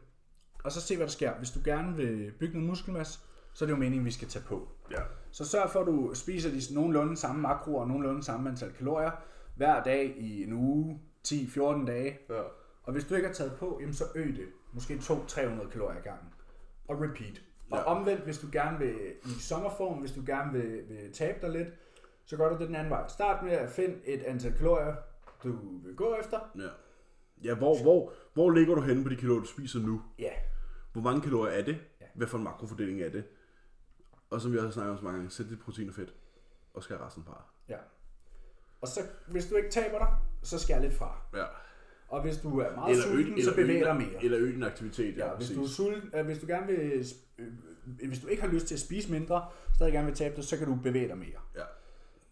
A: Og så se, hvad der sker. Hvis du gerne vil bygge noget muskelmasse, så er det jo meningen, vi skal tage på.
B: Ja.
A: Så sørg for, at du spiser de nogenlunde samme makroer og nogenlunde samme antal kalorier hver dag i en uge, 10-14 dage.
B: ja.
A: Og hvis du ikke har taget på, jamen så øg det. Måske 200-300 kalorier ad gangen. Og repeat. Og
B: Ja.
A: omvendt, hvis du gerne vil i sommerform, hvis du gerne vil, vil tabe dig lidt, så gør du det den anden vej. Start med at finde et antal kalorier, du vil gå efter.
B: Ja, ja hvor, hvor, hvor ligger du henne på de kalorier, du spiser nu?
A: Ja,
B: Hvor mange kalorier er det?
A: Ja.
B: Hvad for en makrofordeling er det? Og som vi også har snakket om så mange gange, sæt dit protein og fedt, og skær resten par.
A: ja. Og så, hvis du ikke taber dig, så skær lidt fra.
B: Ja.
A: Og hvis du er meget sulten, så bevæg dig mere.
B: Eller øg din aktivitet, ja,
A: Ja, hvis
B: præcis.
A: du, er sulten, øh, hvis du gerne vil, sp- øh, øh, hvis du ikke har lyst til at spise mindre, stadig gerne vil tabe det, så kan du bevæge dig mere.
B: Ja.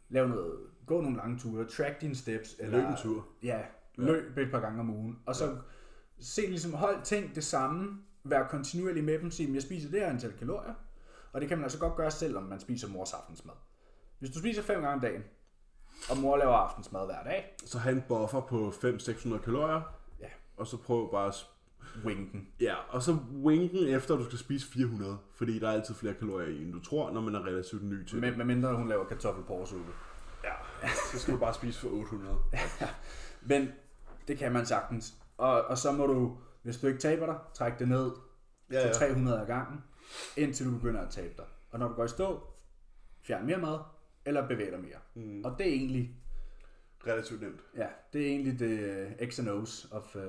A: Lav noget, gå nogle lange ture, track dine steps. Eller,
B: Løb en tur.
A: Ja, løb et par gange om ugen. Og så se ligesom, hold ting det samme, vær kontinuerlig med dem, sig, "Men jeg spiser det her antal kalorier. Og det kan man altså godt gøre, selvom man spiser mors aftensmad. Hvis du spiser fem gange om dagen, og mor laver aftensmad hver dag,
B: Så have en buffer på 500-600 kalorier,
A: ja,
B: og så prøv bare at... sp-
A: wing den.
B: Ja, og så winken efter, at du skal spise 400, fordi der er altid flere kalorier i, end du tror, når man er relativt ny til det.
A: Med, med mindre hun laver kartoffelporsuppe.
B: Ja, så skal du bare spise for 800.
A: Men det kan man sagtens. Og, og så må du, hvis du ikke taber dig, trække det ned
B: Ja,
A: ja,
B: ja.
A: til 300 ad gangen, indtil du begynder at tabe dig. Og når du går i stå, fjern mere mad, eller bevæg dig mere. Mm. Og det er egentlig,
B: Relativt nemt.
A: ja, det er egentlig det øh, X and O's of uh,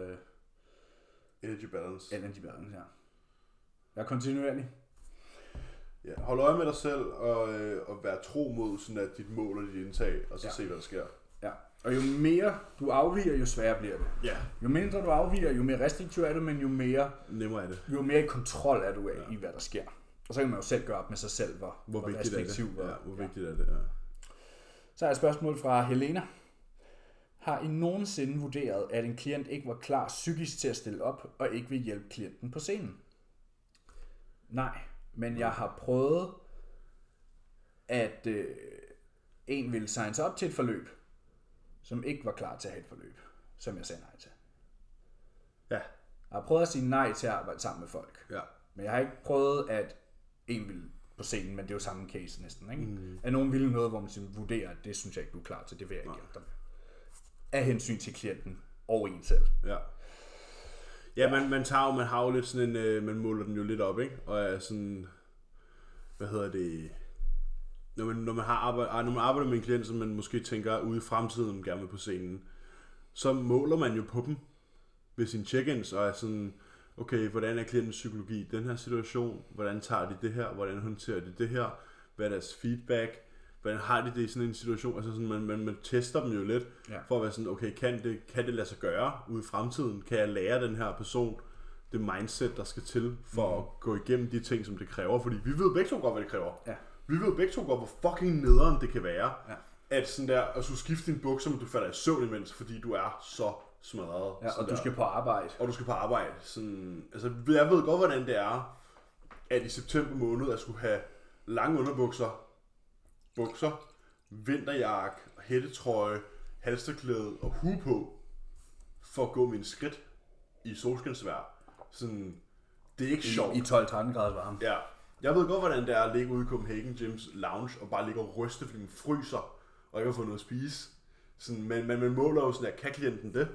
B: Energy balance.
A: energy balance her. Vær kontinuerlig.
B: Ja, hold øje med dig selv og, øh, og vær tro mod sådan at dit mål og dit indtag, og så ja.
A: Ja.
B: se, hvad der sker.
A: Ja. Og jo mere du afviger, jo sværere bliver det.
B: Ja.
A: Jo mindre du afviger, jo mere restriktiv er du, men jo mere,
B: Nemmere er det.
A: jo mere i kontrol er du af, ja. i hvad der sker. Og så kan man jo selv gøre op med sig selv, hvor,
B: Hvor, hvor vigtigt er
A: restriktiv
B: det?
A: og-
B: Ja, hvor vigtigt er det? Ja.
A: Så er et spørgsmål fra Helena. Har I nogensinde vurderet, at en klient ikke var klar psykisk til at stille op, og ikke vil hjælpe klienten på scenen? Nej, men jeg har prøvet, at øh, en ville signe sig op til et forløb, som ikke var klar til at have et forløb, som jeg sagde nej til.
B: Ja.
A: Jeg har prøvet at sige nej til at arbejde sammen med folk.
B: ja.
A: Men jeg har ikke prøvet, at en ville på scenen, men det er jo samme case næsten, ikke? Mm. At nogen ville noget, hvor man sådan vurderer, at det synes jeg ikke, du er klar til, det vil jeg ikke hjælpe dig med. Af hensyn til klienten og en selv.
B: Ja. Ja, man, man tager jo, man har jo lidt sådan en, øh, man måler den jo lidt op, ikke? Og er sådan, hvad hedder det, når man, når man, har arbejde, ah, når man arbejder med en klient, som man måske tænker ude i fremtiden gerne vil på scenen, så måler man jo på dem, ved sine check-ins og er sådan, okay, hvordan er klientens psykologi i den her situation? Hvordan tager de det her? Hvordan håndterer de det her? Hvad er deres feedback? Hvordan har de det i sådan en situation? Altså sådan, man, man, man tester dem jo lidt
A: Ja.
B: for at være sådan, okay, kan det, kan det lade sig gøre ude i fremtiden? Kan jeg lære den her person det mindset, der skal til for mm. at gå igennem de ting, som det kræver? Fordi vi ved begge to godt, hvad det kræver.
A: Ja.
B: Vi ved begge to godt, hvor fucking nederen det kan være,
A: Ja.
B: at sådan der, at skulle skifte din bukser, men du falder i søvn imens, fordi du er så smadret.
A: Ja,
B: Sådan
A: og du
B: der.
A: skal på arbejde.
B: og du skal på arbejde. Sådan, altså, jeg ved godt, hvordan det er, at i september måned, at skulle have lange underbukser, bukser, vinterjakke, hættetrøje, halsterklæde og hue på, for at gå mine skridt i solskinsvejr. Sådan, det er ikke sjovt.
A: I 12-13 grader varme.
B: Ja. Jeg ved godt, hvordan det er at ligge ude i Copenhagen Gyms lounge og bare ligge og ryste, fordi man fryser og ikke har fået noget at spise. Sådan, men, men man måler jo sådan, at kan klienten det?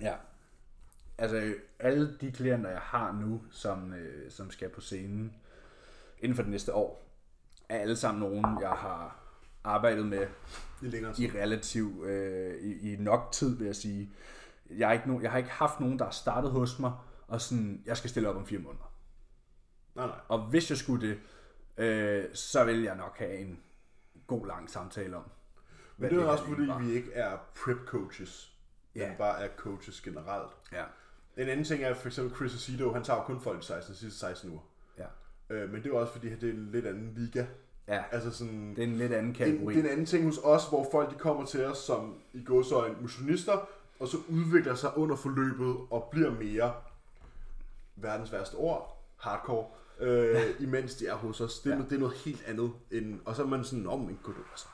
A: Ja. Altså, alle de klienter, jeg har nu, som, øh, som skal på scenen inden for det næste år, er alle sammen nogen, jeg har arbejdet med
B: I længere tid.
A: i relativ, øh, i, i nok tid, vil jeg sige. Jeg, er ikke no, jeg har ikke haft nogen, der har startet hos mig, og sådan, jeg skal stille op om fire måneder.
B: Nej, nej.
A: Og hvis jeg skulle det, øh, så ville jeg nok have en god lang samtale om.
B: Men det er
A: det
B: også
A: her
B: fordi,
A: egentlig
B: vi ikke er prep coaches. Ja.
A: Ja.
B: Men bare er coaches generelt.
A: Ja.
B: En anden ting er for eksempel Chris Aceto, han tager jo kun folk i 16, sidste 16 uger.
A: Ja.
B: Øh, men det er jo også fordi, det er en lidt anden liga.
A: ja.
B: Altså sådan,
A: Det er en lidt anden
B: en,
A: kategori.
B: det er en anden ting hos os, hvor folk de kommer til os som i gåsøjne motionister, og så udvikler sig under forløbet og bliver mere verdens værste ord, hardcore, øh, imens de er hos os. Det, ja. det er noget helt andet. End, og så er man sådan, om, men kunne du, altså,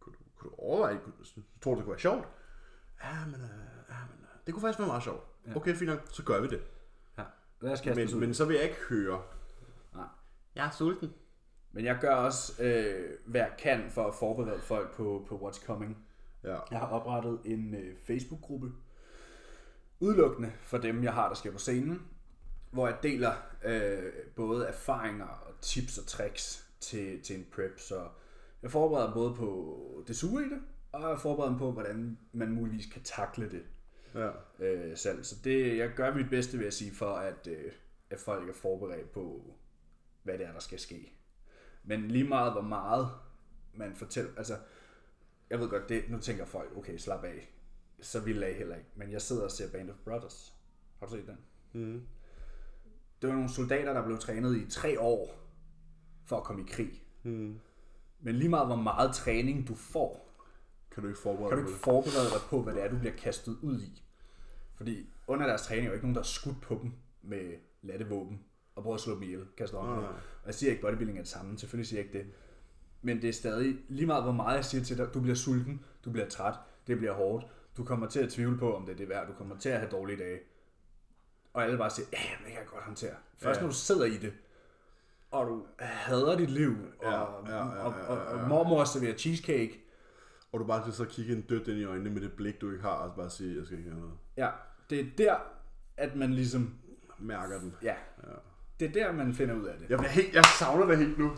B: kunne du, kunne du overveje, kunne, du- tror du, det kunne være sjovt? Ja, men, øh, ja, men øh, det kunne faktisk være meget sjovt. Ja. Okay, fint nok, så gør vi det.
A: Ja. Lad os kaste os ud.
B: Men, men så vil jeg ikke høre,
A: Nej.
B: jeg er sulten.
A: Men jeg gør også, øh, hvad jeg kan for at forberede folk på, på what's coming.
B: Ja.
A: Jeg har oprettet en øh, Facebook-gruppe, udelukkende for dem, jeg har, der skal på scenen, hvor jeg deler øh, både erfaringer og tips og tricks til, til en prep. Så jeg forbereder dem både på det sure i det, og jeg forbereder dem på, hvordan man muligvis kan takle det
B: ja.
A: øh, selv. Så det, jeg gør mit bedste, vil jeg sige, for at, øh, at folk er forberedt på, hvad det er, der skal ske. Men lige meget, hvor meget man fortæller, altså, jeg ved godt, det, nu tænker folk, okay, slap af, så vil jeg heller ikke. Men jeg sidder og ser Band of Brothers. Har du set den?
B: Mm.
A: Det var nogle soldater, der blev trænet i tre år for at komme i krig.
B: Mm.
A: Men lige meget, hvor meget træning du får,
B: Kan du ikke forberede
A: kan du
B: dig
A: ikke
B: på det?
A: forberede dig på, hvad det er, du bliver kastet ud i. Fordi under deres træning er jo ikke nogen, der er skudt på dem med latte våben og prøver at slå dem ihjel, kaster om
B: nej.
A: Og jeg siger ikke, bodybuilding er det samme, selvfølgelig siger jeg ikke det. Men det er stadig lige meget, hvor meget jeg siger til dig, du bliver sulten, du bliver træt, det bliver hårdt, du kommer til at tvivle på, om det er det værd, du kommer til at have dårlige dage. Og alle bare siger, ja, men det kan jeg godt håndtere. Først
B: Ja.
A: ja. når du sidder i det, og du hader dit liv, og, ja, ja, ja, ja, ja. og, og, og mormor serverer cheesecake,
B: Og du bare skal så kigge en dødt ind i øjnene med det blik, du ikke har, og bare sige, jeg skal ikke have noget.
A: Ja, det er der, at man ligesom,
B: Mærker den.
A: ja, det er der, man finder ud af det.
B: Jeg, bliver helt, jeg savner det helt nu.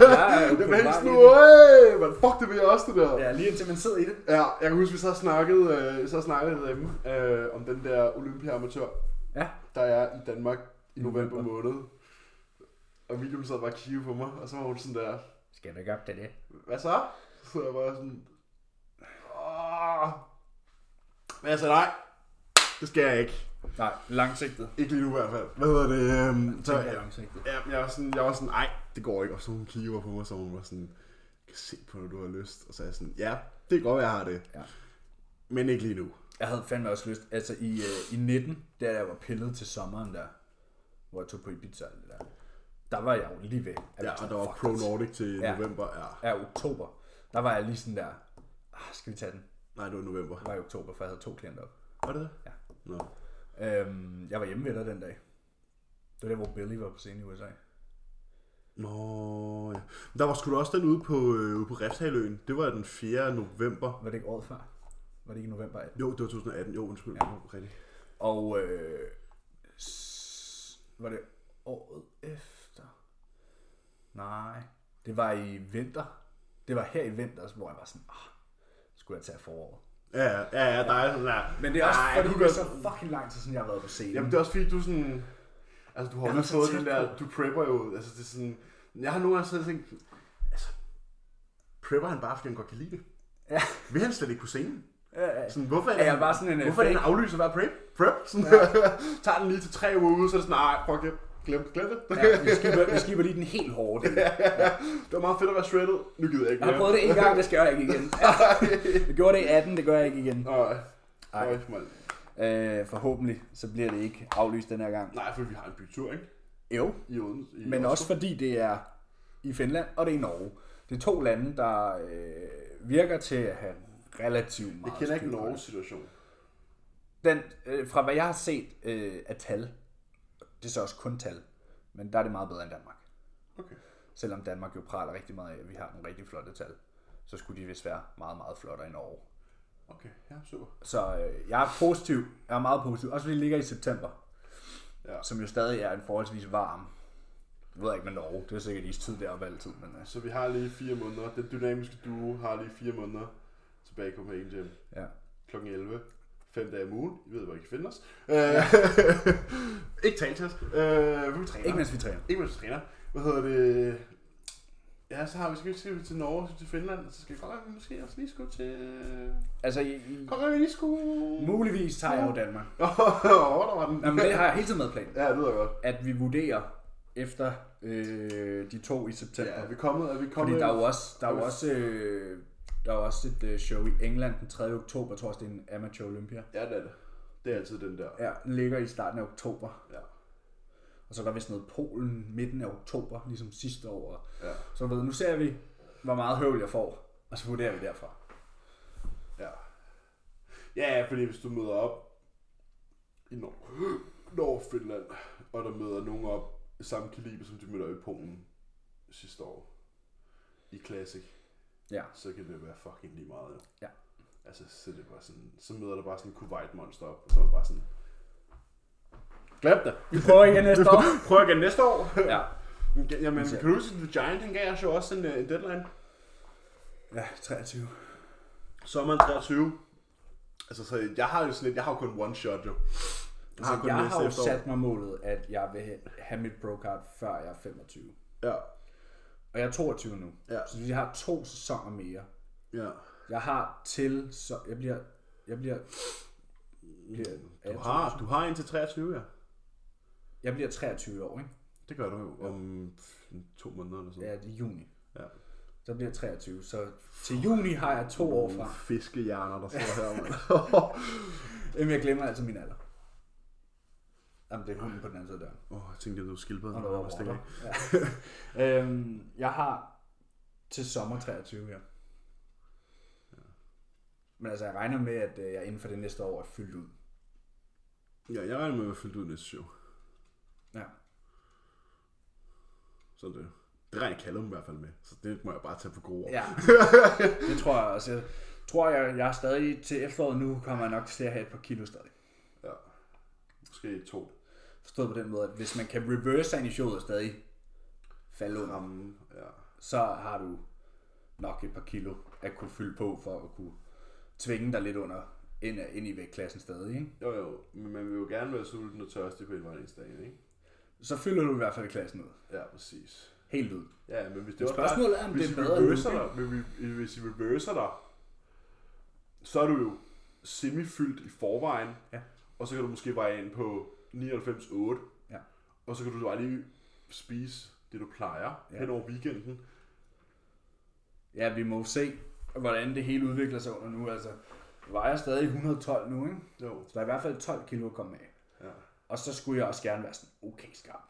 A: Jeg, er jo
B: jeg
A: på
B: bliver helt
A: vej
B: sådan,
A: ind i-
B: "Øj, men fuck, det vil jeg også, det der.
A: Ja, lige indtil man sidder i det.
B: Ja, jeg kan huske, vi så snakkede, øh, så snakkede derhjemme øh, om den der Olympia-amatør,
A: Ja,
B: der er i Danmark i
A: november.
B: november måned. Og William sad bare og kiggede på mig, og så var hun sådan der,
A: skal du ikke op til det?
B: hvad så? Så jeg bare sådan, Åh. Men jeg sagde, nej, det skal jeg ikke.
A: Nej, langsigtet.
B: Ikke lige nu i hvert fald. Hvad hedder det? Øhm, så,
A: Tænker jeg
B: ja,
A: langsigtet.
B: Ja, men jeg var sådan, jeg var sådan, nej, det går ikke. Og så hun kigger på mig, så hun var sådan, jeg kan se på, når du har lyst. Og så er jeg sådan, ja, det går, jeg har det.
A: Ja.
B: Men ikke lige nu.
A: Jeg havde fandme også lyst, altså i, øh, i 19, der jeg var pillet til sommeren der, hvor jeg tog på Ibiza og alt det der, der var jeg jo lige ved. at
B: Ja,
A: jeg
B: og
A: tænkte,
B: der var
A: fuck, altså.
B: Pro Nordic til
A: Ja.
B: november. Ja.
A: Ja, oktober. Der var jeg lige sådan der, ah, skal vi tage den?
B: Nej, det var november.
A: Det var i oktober, for jeg havde to klienter op.
B: Var det det?
A: Ja.
B: Nå.
A: Øhm, jeg var hjemme ved dig den dag. Det var der, hvor Billy var på scenen i USA.
B: Nå, ja. Men Der var sgu da også den ude på, øh, ude på Refshaløen. Det var den 4. november.
A: Var det ikke året før? Var det ikke i november 18?
B: Jo, det var 2018. Jo, undskyld. Ja. Rigtigt.
A: Og øh, s- var det året efter? Nej, det var i vinter. Det var her i vinter, hvor jeg var sådan, ah, skulle jeg tage foråret?
B: Ja, ja, ja, der er sådan der.
A: Men det er også
B: Ej,
A: Ej, fordi,
B: du
A: det er
B: gør-
A: så fucking lang tid, siden jeg har været på scenen.
B: Jamen, det er også fordi, du er sådan... Altså, du har
A: Jeg
B: jo
A: er
B: lige
A: så
B: fået
A: tæt
B: den der... Du prepper jo... Altså, det er sådan... Jeg har nogle gange sådan tænkt... Altså, prepper han bare, fordi han godt kan lide det?
A: Ja.
B: Vil han slet ikke kunne singen?
A: Ja, ja.
B: Sådan, hvorfor er,
A: Er
B: det-
A: jeg bare sådan en, øh,
B: hvorfor er det,
A: fake-
B: han aflyser hver prep? Prep? Sådan, ja. tager den lige til tre uger ude, så er det sådan, nej, fuck det. Glem, glem det.
A: Ja, vi, skipper, vi skipper lige den helt hårde del.
B: Det var meget fedt at være shredded. Nu gider jeg ikke
A: Jeg har prøvet det en gang, det skal jeg ikke igen. Jeg gjorde det i 18, det gør jeg ikke igen.
B: Nej.
A: Ej.
B: Nej, mand.
A: Øh, forhåbentlig, så bliver det ikke aflyst den her gang.
B: Nej, for vi har en bytur, ikke?
A: Jo,
B: I Odense. I
A: men
B: Oslo.
A: også fordi det er i Finland, og det er i Norge. Det er to lande, der øh, virker til at have relativt meget
B: Jeg kender ikke
A: styr på det.
B: Norges situation.
A: Den, øh, fra hvad jeg har set øh, af tal, det er så også kun tal, men der er det meget bedre end Danmark.
B: Okay.
A: Selvom Danmark jo praler rigtig meget af, at vi har nogle rigtig flotte tal, så skulle de vist være meget, meget flottere i Norge.
B: Okay, ja, super.
A: Så øh, jeg er positiv. Jeg er meget positiv. Også fordi det ligger i september.
B: Ja.
A: Som jo stadig er en forholdsvis varm. Jeg ved ikke med Norge. Det er sikkert istid deroppe altid. Men, øh,
B: Så vi har lige fire måneder. Den dynamiske duo har lige fire måneder tilbage i Copenhagen Gym.
A: ja.
B: Kl. 11. Fem dage om ugen. I ved, hvor I kan finde os. Øh, ikke tale til os. Øh, vi træner.
A: Ikke mens vi træner.
B: ikke mens vi træner. Hvad hedder det? Ja, så har vi, skal vi skal vi til Norge, så til Finland, og så skal vi godt nok måske også lige skulle til...
A: Altså, i, i,
B: Godt nok, vi lige skulle...
A: muligvis tager jeg jo Danmark.
B: Åh, der var den.
A: Jamen, det har jeg hele tiden med planen.
B: Ja, det lyder godt.
A: At vi vurderer efter øh, de to i september.
B: Ja, er vi kommet? Er vi kommet?
A: Fordi der er jo også, der er jo også, øh, der er jo også et øh, show i England den 3. oktober. Jeg tror også, det er en amateur Olympia.
B: Ja, det er det. Det er altid den der.
A: Ja, den ligger i starten af oktober.
B: Ja.
A: Og så er der vist noget Polen midten af oktober, ligesom sidste år. Og
B: Ja.
A: Så ved, nu ser vi, hvor meget høvl jeg får, og så vurderer vi derfra.
B: Ja. Ja, ja, fordi hvis du møder op i Nord- Norge, Finland, og der møder nogen op i samme kaliber, som de mødte op i Polen sidste år i Classic,
A: Ja.
B: så kan det være fucking lige meget, jo.
A: Ja.
B: Altså, så, er det bare sådan, så møder der bare sådan en Kuwait-monster op, og så er det bare sådan, glem det.
A: Vi prøver igen næste år.
B: Prøv igen næste år.
A: Ja.
B: Jamen, kan du huske, at The Giant, han gav os jo også en, øh, en deadline.
A: Ja, 23.
B: Sommeren 23. Altså, så jeg har jo sådan lidt, jeg har jo kun one shot, jo. Jeg
A: Så
B: kun
A: Ah, jeg
B: næste
A: har jo
B: efterår.
A: sat mig målet, at jeg vil have mit brocard, før jeg er 25.
B: Ja,
A: Og jeg er 22 nu.
B: Ja.
A: Så vi har to sæsoner mere.
B: ja.
A: Jeg har til, så jeg bliver, jeg bliver, bliver
B: Du har, du har indtil 23, ja.
A: jeg bliver 23 år, ikke?
B: Det gør du jo om to måneder eller sådan.
A: Ja, det er juni.
B: Ja.
A: Så bliver jeg 23. Så til juni har jeg to år fra.
B: Fiskehjerner, der står her, mand.
A: Jamen, jeg glemmer altså min alder. Jamen, det er hunden på den anden side der.
B: Åh, jeg tænkte, at du var skildpadden.
A: Og der var
B: Anders, det
A: rotter.
B: kan jeg
A: Ja. øhm, jeg har til sommer 23 her. Men altså, jeg regner med, at øh, jeg inden for det næste år er fyldt ud.
B: ikke. Ja, jeg regner med at være fyldt ud næste show.
A: Ja.
B: Sådan det. Det regner Callum i hvert fald med, så det må jeg bare tage på gode ord.
A: ja. Det tror jeg også. Jeg tror, jeg, jeg er stadig til efteråret nu, kommer jeg nok til at have et par kilo stadig.
B: ja. Måske to.
A: Forstået på den måde, at hvis man kan reverse sig ind i showet og stadig falde under,
B: Ramme, ja.
A: så har du nok et par kilo at kunne fylde på for at kunne tvinge dig lidt under ind, ind i vægtklassen stadig. Ikke?
B: Jo, jo, men man vil jo gerne være sulten og tørstig på indvandringsdagen, ikke?
A: Så fylder du i hvert fald klassen ud.
B: Ja, præcis.
A: Helt ud.
B: Ja, men hvis det var
A: spørgsmålet er, om
B: hvis
A: det er
B: I
A: bedre
B: reverser
A: nu,
B: dig, men vi- hvis I reverser dig, så er du jo semifyldt i forvejen,
A: Ja.
B: og så kan du måske veje ind på 99,8,
A: Ja.
B: og så kan du bare lige spise det, du plejer
A: Ja.
B: ja. hen over weekenden.
A: Ja, vi må jo se, hvordan det hele udvikler sig under nu. Altså, vejer stadig 112 nu, ikke?
B: Jo.
A: Så der er i hvert fald 12 kilo at komme af.
B: Ja.
A: Og så skulle jeg også gerne være sådan okay skarp.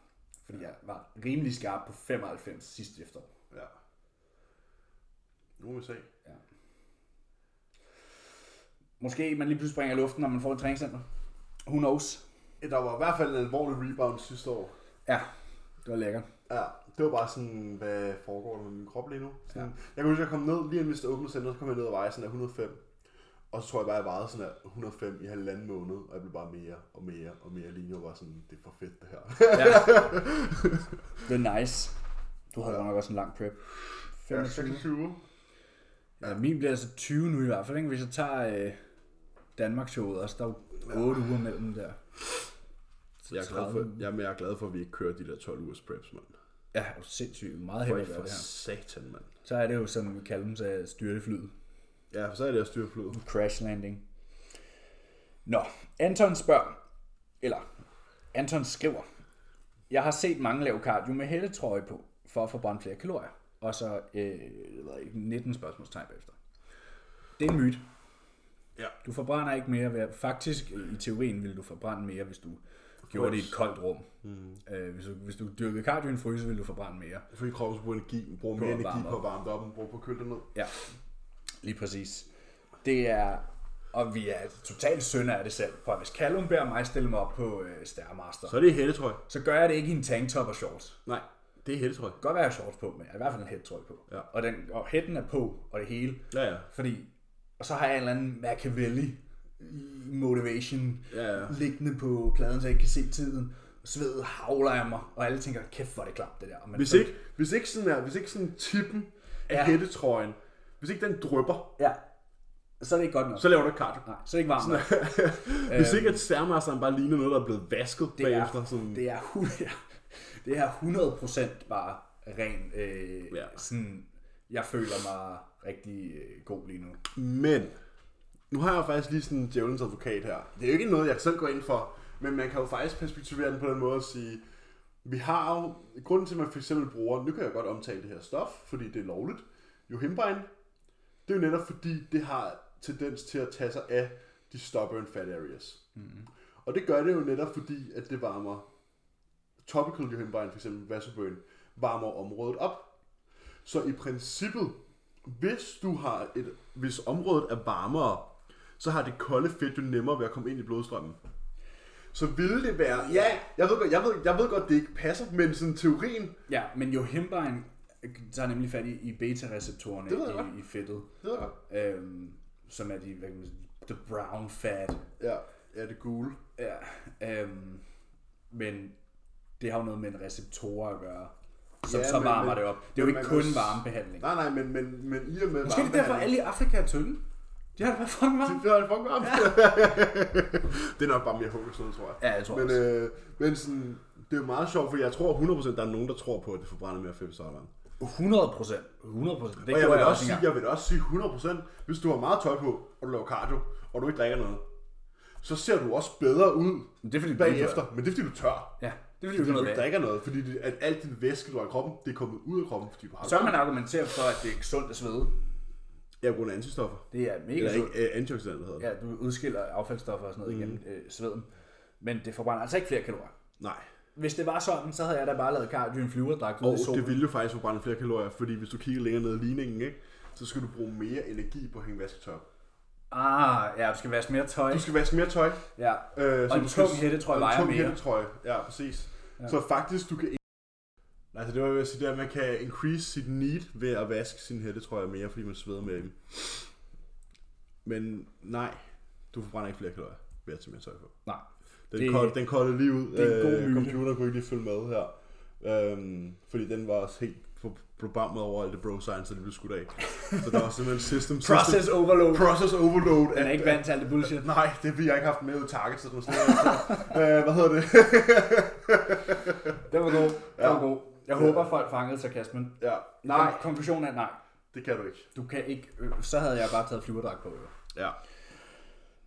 A: Fordi jeg var rimelig skarp på 95 sidste efterår.
B: ja. Nu må vi se.
A: Måske man lige pludselig springer i luften, når man får et træningscenter. Who knows?
B: Ja, Der var i hvert fald en alvorlig rebound sidste år.
A: Ja, det var lækkert.
B: Ja, det var bare sådan, hvad foregår der med min krop lige nu? Sådan, ja. Jeg kunne huske, at jeg kom ned, lige inden vi åbne center, så kom jeg ned og vejede sådan af 105. Og så tror jeg bare, at jeg vejede sådan af 105 i halvanden måned, og jeg blev bare mere og mere og mere lige nu, var sådan, det er for fedt det her.
A: Ja. det er nice. Du havde godt nok også en lang prep. 25.
B: 26.
A: altså Ja, min bliver altså 20 nu i hvert fald, ikke? Hvis jeg tager øh, Danmark-showet også. Der er jo 8 uger mellem der.
B: Så Ah. jeg er, glad for, jamen, jeg er glad for, at vi ikke kører de der 12 ugers preps, mand.
A: Ja, er du sindssygt meget
B: For,
A: hellere
B: for
A: for det her.
B: satan, mand.
A: Så er det jo, som Callum sagde, styrteflyet.
B: Ja, for så er det at styre flyet.
A: Crash landing. Nå, Anton spørger, eller Anton skriver, jeg har set mange lave cardio med hættetrøje på, for at forbrænde flere kalorier. Og så øh, jeg ved ikke, 19 spørgsmålstegn bagefter. Det er en myte.
B: Ja.
A: Du forbrænder ikke mere. Ved, faktisk, øh, i teorien, ville du forbrænde mere, hvis du gjorde det i et koldt rum. Mm. Øh, hvis, du, hvis du dyrkede cardio i en fryser, ville du forbrænde mere.
B: Fordi kroppen bruger energi, bruger
A: at
B: mere energi
A: varme
B: på at varme det op, end bruger på at køle det ned.
A: Ja, lige præcis. Det er, og vi er totalt sønder af det selv, for hvis Callum beder mig stille mig op på øh, Stairmaster,
B: Så er det hættetrøj.
A: så gør jeg det ikke i en tanktop og shorts. Det
B: Nej, det er hættetrøj.
A: kan godt være, jeg har shorts på, men jeg har i hvert fald en hættrøj på.
B: Ja.
A: Og, den, og hætten er på, og det hele.
B: Ja, ja.
A: Fordi, og så har jeg en eller anden Machiavelli i motivation
B: Ja, ja.
A: liggende på pladen, så jeg ikke kan se tiden. Svedet havler af mig, og alle tænker, kæft hvor er det klamt det der. Men
B: Hvis
A: så-
B: ikke, hvis ikke sådan her, hvis ikke sådan tippen af
A: Ja.
B: ja. hættetrøjen, hvis ikke den drøber,
A: Ja, så er det ikke godt nok.
B: så laver du ikke cardio.
A: Nej, så er det ikke varmt nok.
B: Hvis ikke at særmasteren bare ligner noget, der er blevet vasket
A: det
B: bagefter.
A: er,
B: sådan,
A: det er, hu- det er 100% bare ren, øh, ja.
B: Ja.
A: sådan, jeg føler mig rigtig øh, god lige nu.
B: Men, nu har jeg jo faktisk lige sådan en djævelens advokat her. Det er jo ikke noget, jeg selv går ind for, men man kan jo faktisk perspektivere den på den måde at sige, vi har jo, grunden til, at man for eksempel bruger, nu kan jeg godt omtale det her stof, fordi det er lovligt, jo hembrand, det er jo netop fordi, det har tendens til at tage sig af de stubborn fat areas. Mm-hmm. Og det gør det jo netop fordi, at det varmer topical johimbine, for eksempel vasoburn, varmer området op. Så i princippet, hvis du har et, hvis området er varmere, så har det kolde fedt jo nemmere ved at komme ind i blodstrømmen. Så ville det være, ja, jeg ved, godt- jeg ved, jeg ved godt, det ikke passer, men sådan teorien,
A: Ja, men jo hembein tager nemlig fat i, i beta-receptorerne
B: Det ved jeg godt.
A: i, i fedtet,
B: det ved jeg godt.
A: øhm, som er de, hvad kan man sige, the brown fat.
B: ja, ja, det gule.
A: Ja, øhm, men det har jo noget med en receptor at gøre, som
B: Ja,
A: så
B: men-
A: varmer
B: men-
A: det op. Det er jo
B: men
A: ikke
B: man
A: kun
B: kan s-
A: varmebehandling.
B: Nej, nej, men, men, men i og med
A: Måske er det derfor, alle i Afrika er tynde. De har det bare fucking varmt.
B: Det er det fucking varmt. det er nok bare mere hungersnød, tror jeg.
A: Ja, jeg tror
B: men,
A: også.
B: øh, men sådan, det er jo meget sjovt, for jeg tror 100% der er nogen, der tror på, at det forbrænder mere fedt sommeren.
A: 100 procent. 100 procent. Det
B: Og jeg
A: gjorde
B: vil,
A: jeg
B: også
A: også
B: sige,
A: engang.
B: jeg vil også sige 100%, hvis du har meget tøj på, og du laver cardio, og du ikke drikker noget, så ser du også bedre ud
A: Men det er fordi, du
B: bagefter. Men det er fordi, du tør.
A: Ja, det er fordi,
B: Fordi
A: du
B: du
A: noget
B: ikke
A: vand.
B: drikker noget, fordi det- at alt din væske, du har i kroppen, det er kommet ud af kroppen, fordi du har
A: Så kan man argumentere for, at det er ikke sundt at svede.
B: Jeg bruger antistoffer.
A: Det er mega
B: Eller
A: sundt.
B: ikke øh, antioxidanter, hedder det.
A: Ja, du udskiller affaldsstoffer og sådan noget mm. igennem øh, sveden. Men det forbrænder altså ikke flere kalorier.
B: Nej.
A: Hvis det var sådan, så havde jeg da bare lavet cardio i en flyverdragt ud
B: Og
A: i solen.
B: det ville jo faktisk forbrænde flere kalorier, fordi hvis du kigger længere ned i ligningen, ikke, så skal du bruge mere energi på at hænge vasketøj. op.
A: Ah, ja, du skal vaske mere tøj.
B: Du skal vaske mere tøj.
A: Ja.
B: Øh,
A: Og en
B: du skal-
A: tung hættetrøje
B: og en
A: vejer
B: tung
A: mere.
B: hættetrøje, ja, præcis. Ja. Så faktisk, du kan... Nej, så det var jo at sige, det er, at man kan increase sit need ved at vaske sin hættetrøje mere, fordi man sveder med dem. Men nej, du forbrænder ikke flere kalorier ved at tage mere tøj på.
A: Nej.
B: Den,
A: Det-
B: det, kolde, den kolde lige ud.
A: det er en god myte.
B: Computer kunne ikke lige følge med her. Øhm, fordi den var også helt programmet over alt det bro science, der blev skudt af. Så der var simpelthen system...
A: Process overload.
B: System, process overload.
A: Den er ikke vant til alt det bullshit.
B: Nej, det vi har ikke haft med ud target, så det var sådan noget. øh, hvad hedder det?
A: Den var god. Den var god. Jeg håber, folk fangede sarkasmen.
B: ja. Nej,
A: Kon- Konklusionen er nej.
B: det kan du ikke.
A: Du kan ikke... Øh, så havde jeg bare taget flyverdragt på. Jo.
B: Ja.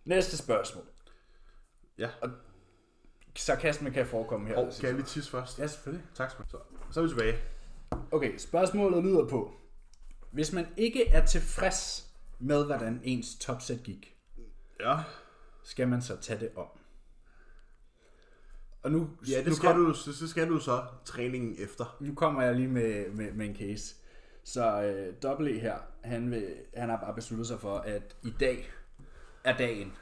A: Næste spørgsmål.
B: Ja.
A: Sarkasme kan forekomme her.
B: Og
A: sidst.
B: kan jeg lige tisse først?
A: Ja, selvfølgelig.
B: Tak skal du have. Så, så er vi tilbage.
A: Okay, spørgsmålet lyder på, hvis man ikke er tilfreds med, hvordan ens topset gik,
B: Ja.
A: skal man så tage det om? Og nu,
B: Ja,
A: nu,
B: det skal,
A: kom-
B: du, så, så skal du så træningen efter.
A: nu kommer jeg lige med, med, med en case. Så øh, Double E her, han, vil, han har bare besluttet sig for, at i dag er dagen.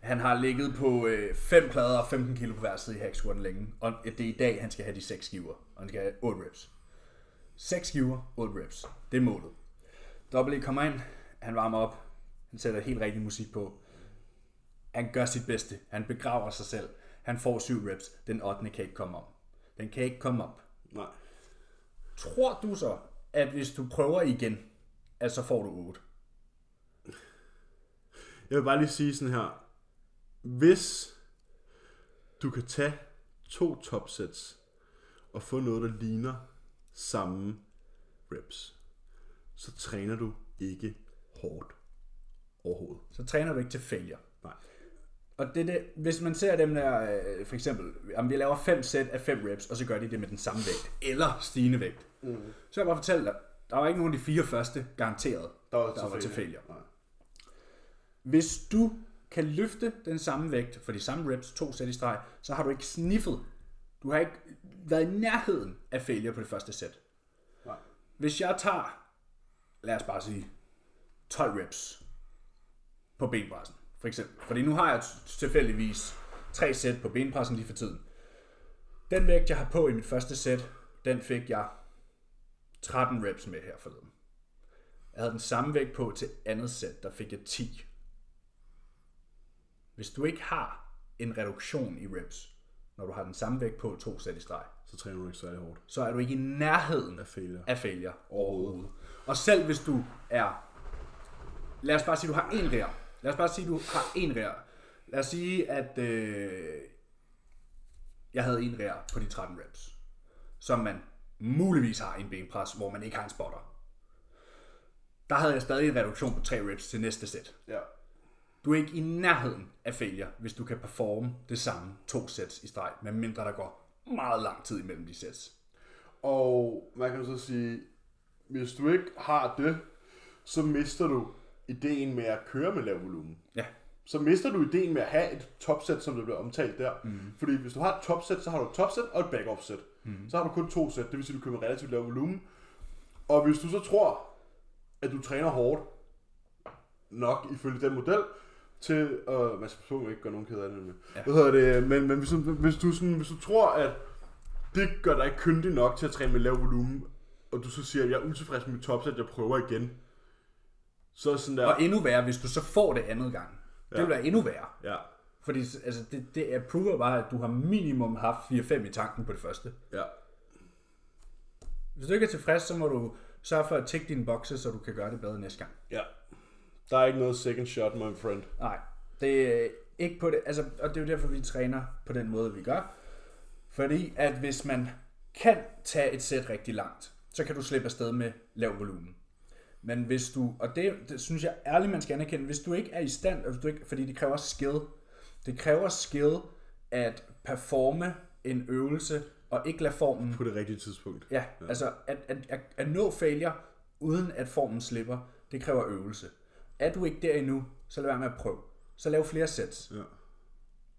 A: Han har ligget på 5 plader og 15 kilo på hver side i hacksquatten længe. Og det er i dag, han skal have de 6 skiver. Og han skal have 8 reps. 6 skiver, 8 reps. Det er målet. Double E kommer ind, han varmer op, han sætter helt rigtig musik på. Han gør sit bedste, han begraver sig selv. Han får 7 reps, den 8. kan ikke komme om. Den kan ikke komme op.
B: Nej.
A: Tror du så, at hvis du prøver igen, at så får du 8?
B: Jeg vil bare lige sige sådan her. Hvis du kan tage to topsets og få noget, der ligner samme reps, så træner du ikke hårdt overhovedet.
A: Så træner du ikke til failure.
B: Nej.
A: Og det, er det, hvis man ser dem der, øh, for eksempel, om vi laver fem sæt af fem reps, og så gør de det med den samme vægt, eller stigende vægt, mm. så kan jeg bare fortælle dig, der var ikke nogen af de fire første, garanteret, der var, der var til failure.
B: Nej.
A: Hvis du kan løfte den samme vægt for de samme reps, to sæt i streg, så har du ikke sniffet. Du har ikke været i nærheden af failure på det første sæt.
B: Nej.
A: Hvis jeg tager, lad os bare sige, 12 reps på benpressen, for eksempel. Fordi nu har jeg t- tilfældigvis tre sæt på benpressen lige for tiden. Den vægt, jeg har på i mit første sæt, den fik jeg 13 reps med her forleden. Jeg havde den samme vægt på til andet sæt, der fik jeg 10. Hvis du ikke har en reduktion i reps, når du har den samme vægt på to sæt i streg,
B: Så træner du ikke særlig hårdt.
A: så er du ikke i nærheden
B: Af failure.
A: af failure overhovedet. Og selv hvis du er... Lad os bare sige, du har en rær. Lad os bare sige, du har en rær. Lad os sige, at øh, jeg havde en rær på de 13 reps, som man muligvis har i en benpres, hvor man ikke har en spotter. Der havde jeg stadig en reduktion på 3 reps til næste sæt.
B: Ja.
A: Du er ikke i nærheden af failure, hvis du kan performe det samme to sæt i streg, medmindre der går meget lang tid imellem de sæt.
B: Og man kan så sige, hvis du ikke har det, så mister du ideen med at køre med lav volumen.
A: Ja,
B: så mister du ideen med at have et topsæt, som det bliver omtalt der. Mm. Fordi hvis du har et topsæt, så har du et topsæt og et backoff sæt. Mm. Så har du kun to sæt, det vil sige, at du køber relativt lav volumen. Og hvis du så tror, at du træner hårdt nok ifølge den model, til, og man skal passe på, at man ikke gør nogen ked af det. Men, ja. hvad hedder det, men, men hvis, du- hvis, du sådan, hvis du tror, at det gør dig ikke kyndig nok til at træne med lav volumen, og du så siger, at jeg er utilfreds med mit topsæt, jeg prøver igen. Så er sådan der,
A: Og endnu værre, hvis du så får det andet gang. Det ja. vil være endnu værre.
B: ja,
A: Fordi altså, det, det er prover bare, at du har minimum haft 4-5 i tanken på det første.
B: ja,
A: Hvis du ikke er tilfreds, så må du sørge for at tække dine bokse, så du kan gøre det bedre næste gang.
B: Ja. Der er ikke noget second shot, my friend.
A: Nej, det er ikke på det. Altså, og det er jo derfor, vi træner på den måde, vi gør. Fordi at hvis man kan tage et sæt rigtig langt, så kan du slippe afsted med lav volumen. Men hvis du, og det, det synes jeg ærligt, man skal anerkende, hvis du ikke er i stand, og hvis du ikke, fordi det kræver skill, det kræver skill at performe en øvelse og ikke lade formen
B: På det rigtige tidspunkt.
A: Ja, ja. altså at, at, at, at nå failure, uden at formen slipper, det kræver øvelse. Er du ikke der endnu, så lad være med at prøve. Så lav flere sæt.
B: Ja.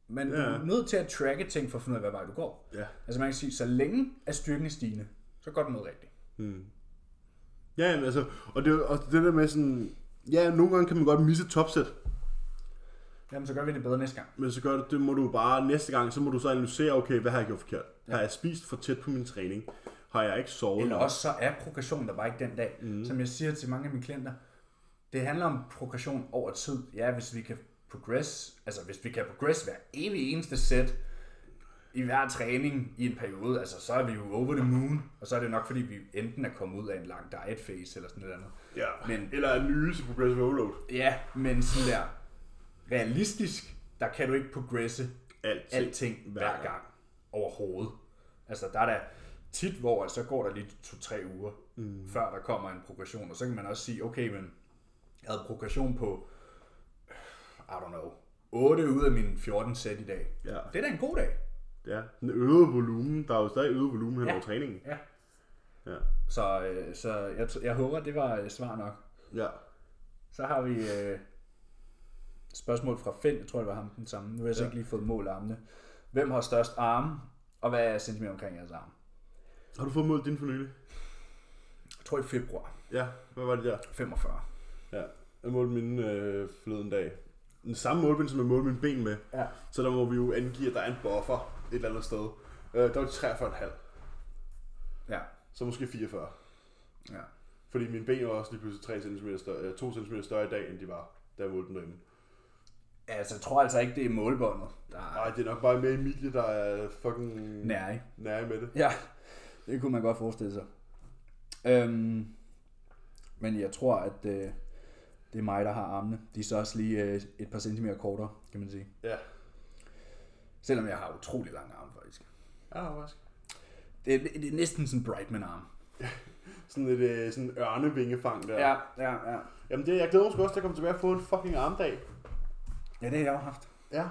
A: Men ja. du er nødt til at tracke ting for at finde ud af, hvad vej du går.
B: Ja.
A: Altså man kan sige, så længe er styrken stigende, så går den noget rigtigt.
B: Ja, men altså, og det, og det der med sådan, ja, nogle gange kan man godt misse et topsæt,
A: Jamen så gør vi det bedre næste gang.
B: men så gør det, det må du bare næste gang, så må du så analysere, okay, hvad har jeg gjort forkert? Ja. Har jeg spist for tæt på min træning? Har jeg ikke sovet?
A: Eller
B: nok?
A: også så er progression der bare ikke den dag. Mm. Som jeg siger til mange af mine klienter, det handler om progression over tid. Ja, hvis vi kan progress, altså hvis vi kan progress hver evig eneste sæt i hver træning i en periode, altså så er vi jo over the moon, og så er det nok fordi vi enten er kommet ud af en lang diet phase eller sådan noget andet.
B: Ja,
A: Men-
B: men... eller en nyse på progressive overload.
A: Ja, men sådan der realistisk, der kan du ikke progresse
B: Alt.
A: alting hver gang, gang overhovedet. Altså der er da tit, hvor at så går der lige to-tre uger, mm. før der kommer en progression, og så kan man også sige, okay, men jeg havde progression på, I don't know, 8 ud af mine 14 sæt i dag.
B: Ja.
A: Det er da en god dag.
B: Ja, den øgede volumen. Der er jo stadig øget volumen hen
A: Ja.
B: over træningen.
A: Ja.
B: Ja.
A: Så, øh, så jeg, t- jeg håber, det var øh, svar nok.
B: Ja.
A: Så har vi øh, spørgsmål fra Finn, jeg tror det var ham den samme. Nu har jeg så ikke lige fået mål af armene. Hvem har størst arme, og hvad er centimeter omkring jeres arme?
B: Har du fået målt din for nylig?
A: Jeg tror i februar.
B: Ja, hvad var det der?
A: 45.
B: Ja, jeg målte mine øh, forleden dag. Den samme målbind, som jeg målte mine ben med.
A: Ja.
B: Så der må vi jo angive, at der er en buffer et eller andet sted. Øh, der var de 43,5,
A: Ja.
B: så måske 44.
A: ja.
B: Fordi mine ben var også lige pludselig 3 cm større, øh, 2 cm større i dag, end de var, da jeg målte dem derhjemme.
A: Altså, jeg tror altså ikke, det er målbåndet, der er
B: Nej, det er nok bare med Emilie, der er fucking
A: nær, ikke?
B: nære med det.
A: Ja, det kunne man godt forestille sig. Øhm, men jeg tror, at øh, Det er mig, der har armene. De er så også lige øh, et par centimeter kortere, kan man sige.
B: Ja.
A: Selvom jeg har utrolig lange arme, faktisk.
B: Ja, faktisk.
A: Det er, det er næsten sådan en Brightman-arm.
B: Sådan et øh, sådan en ørnevingefang der.
A: ja, ja.
B: Jamen det, jeg glæder mig sgu også til at komme tilbage og få en fucking armdag.
A: Ja, det har jeg jo haft.
B: Ja.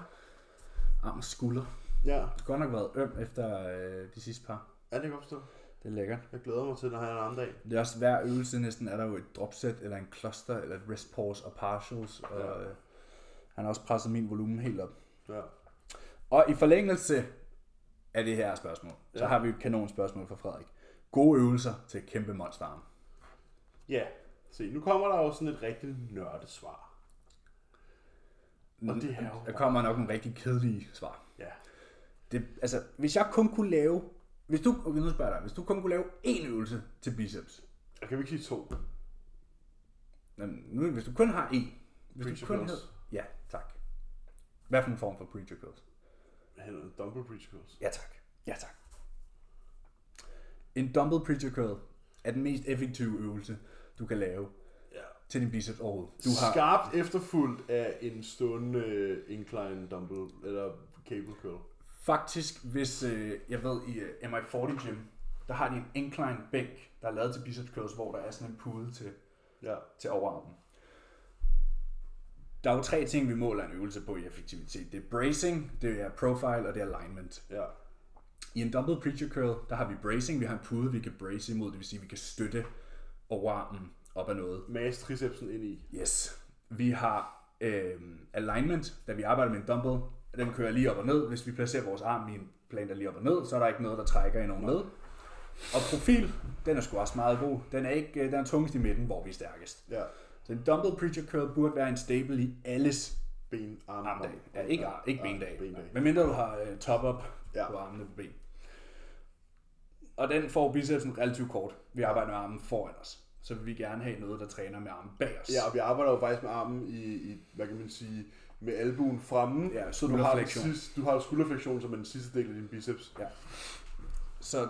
A: Arm og skulder.
B: Ja.
A: Det har godt nok været øm efter øh, de sidste par.
B: Ja, det kan jeg godt forstå.
A: Det er lækkert.
B: Jeg glæder mig til, når jeg har en armdag.
A: Det er også hver øvelse næsten, er der jo et dropset, eller en cluster, eller et rest pause og partials. Og,
B: Ja.
A: øh, han har også presset min volumen helt op.
B: Ja.
A: Og i forlængelse af det her spørgsmål, ja. så
B: Ja.
A: har vi et kanon spørgsmål fra Frederik. Gode øvelser til kæmpe monsterarm.
B: Ja. Se, nu kommer der jo sådan et rigtigt nørdesvar. Og det er jo...
A: Der kommer nok nogle rigtig kedelige svar.
B: Ja.
A: Det, altså, hvis jeg kun kunne lave... Hvis du, okay, nu spørger jeg dig. Hvis du kun kunne lave én øvelse til biceps.
B: Jeg kan vi ikke sige to.
A: Jamen, nu, hvis du kun har én. Hvis
B: Preacher
A: du kun
B: curls.
A: havde- Ja, tak. Hvad for en form for preacher curls?
B: Hvad hedder det? Dumbbell Breach Curls.
A: Ja tak. Ja tak. En dumbbell preacher curl er den mest effektive øvelse, du kan lave
B: Ja.
A: til din biceps overhovedet.
B: Du
A: Du
B: har...
A: har,
B: Skarpt efterfuldt af en stående uh, incline dumbbell, eller cable curl.
A: faktisk, hvis øh, jeg ved, i øh, MI40 gym, der har de en incline bænk, der er lavet til biceps curls, hvor der er sådan en pude til,
B: Ja.
A: til overarmen. Der er jo tre ting, vi måler en øvelse på i effektivitet. Det er bracing, det er profile, og det er alignment.
B: Ja.
A: I en dumbbell preacher curl, der har vi bracing, vi har en pude, vi kan brace imod, det vil sige, vi kan støtte overarmen op ad noget.
B: Mas tricepsen ind i.
A: Yes. Vi har øh, alignment, da vi arbejder med en dumbbell. Den kører lige op og ned. Hvis vi placerer vores arm i en plan, der lige op og ned, så er der ikke noget, der trækker i nogen med. Og profil, den er sgu også meget god. Den er, ikke, øh, den er tungest i midten, hvor vi er stærkest.
B: Ja.
A: Så en dumbbell preacher curl burde være en staple i alles
B: Ben, arm,
A: armdag. Ja, ikke, ar- ikke bendag.
B: bendag.
A: Men mindre du har øh, top-up
B: Ja.
A: på armene på ben. Og den får bicepsen relativt kort. Vi arbejder med armen foran os. Så vil vi gerne have noget, der træner med armen bag os.
B: Ja, og vi arbejder jo faktisk med armen i, i hvad kan man sige, med albuen fremme.
A: Ja,
B: så du har, den
A: skulderflektion.
B: sidste, du har skulderflektion som er den sidste del af din biceps.
A: Ja. Så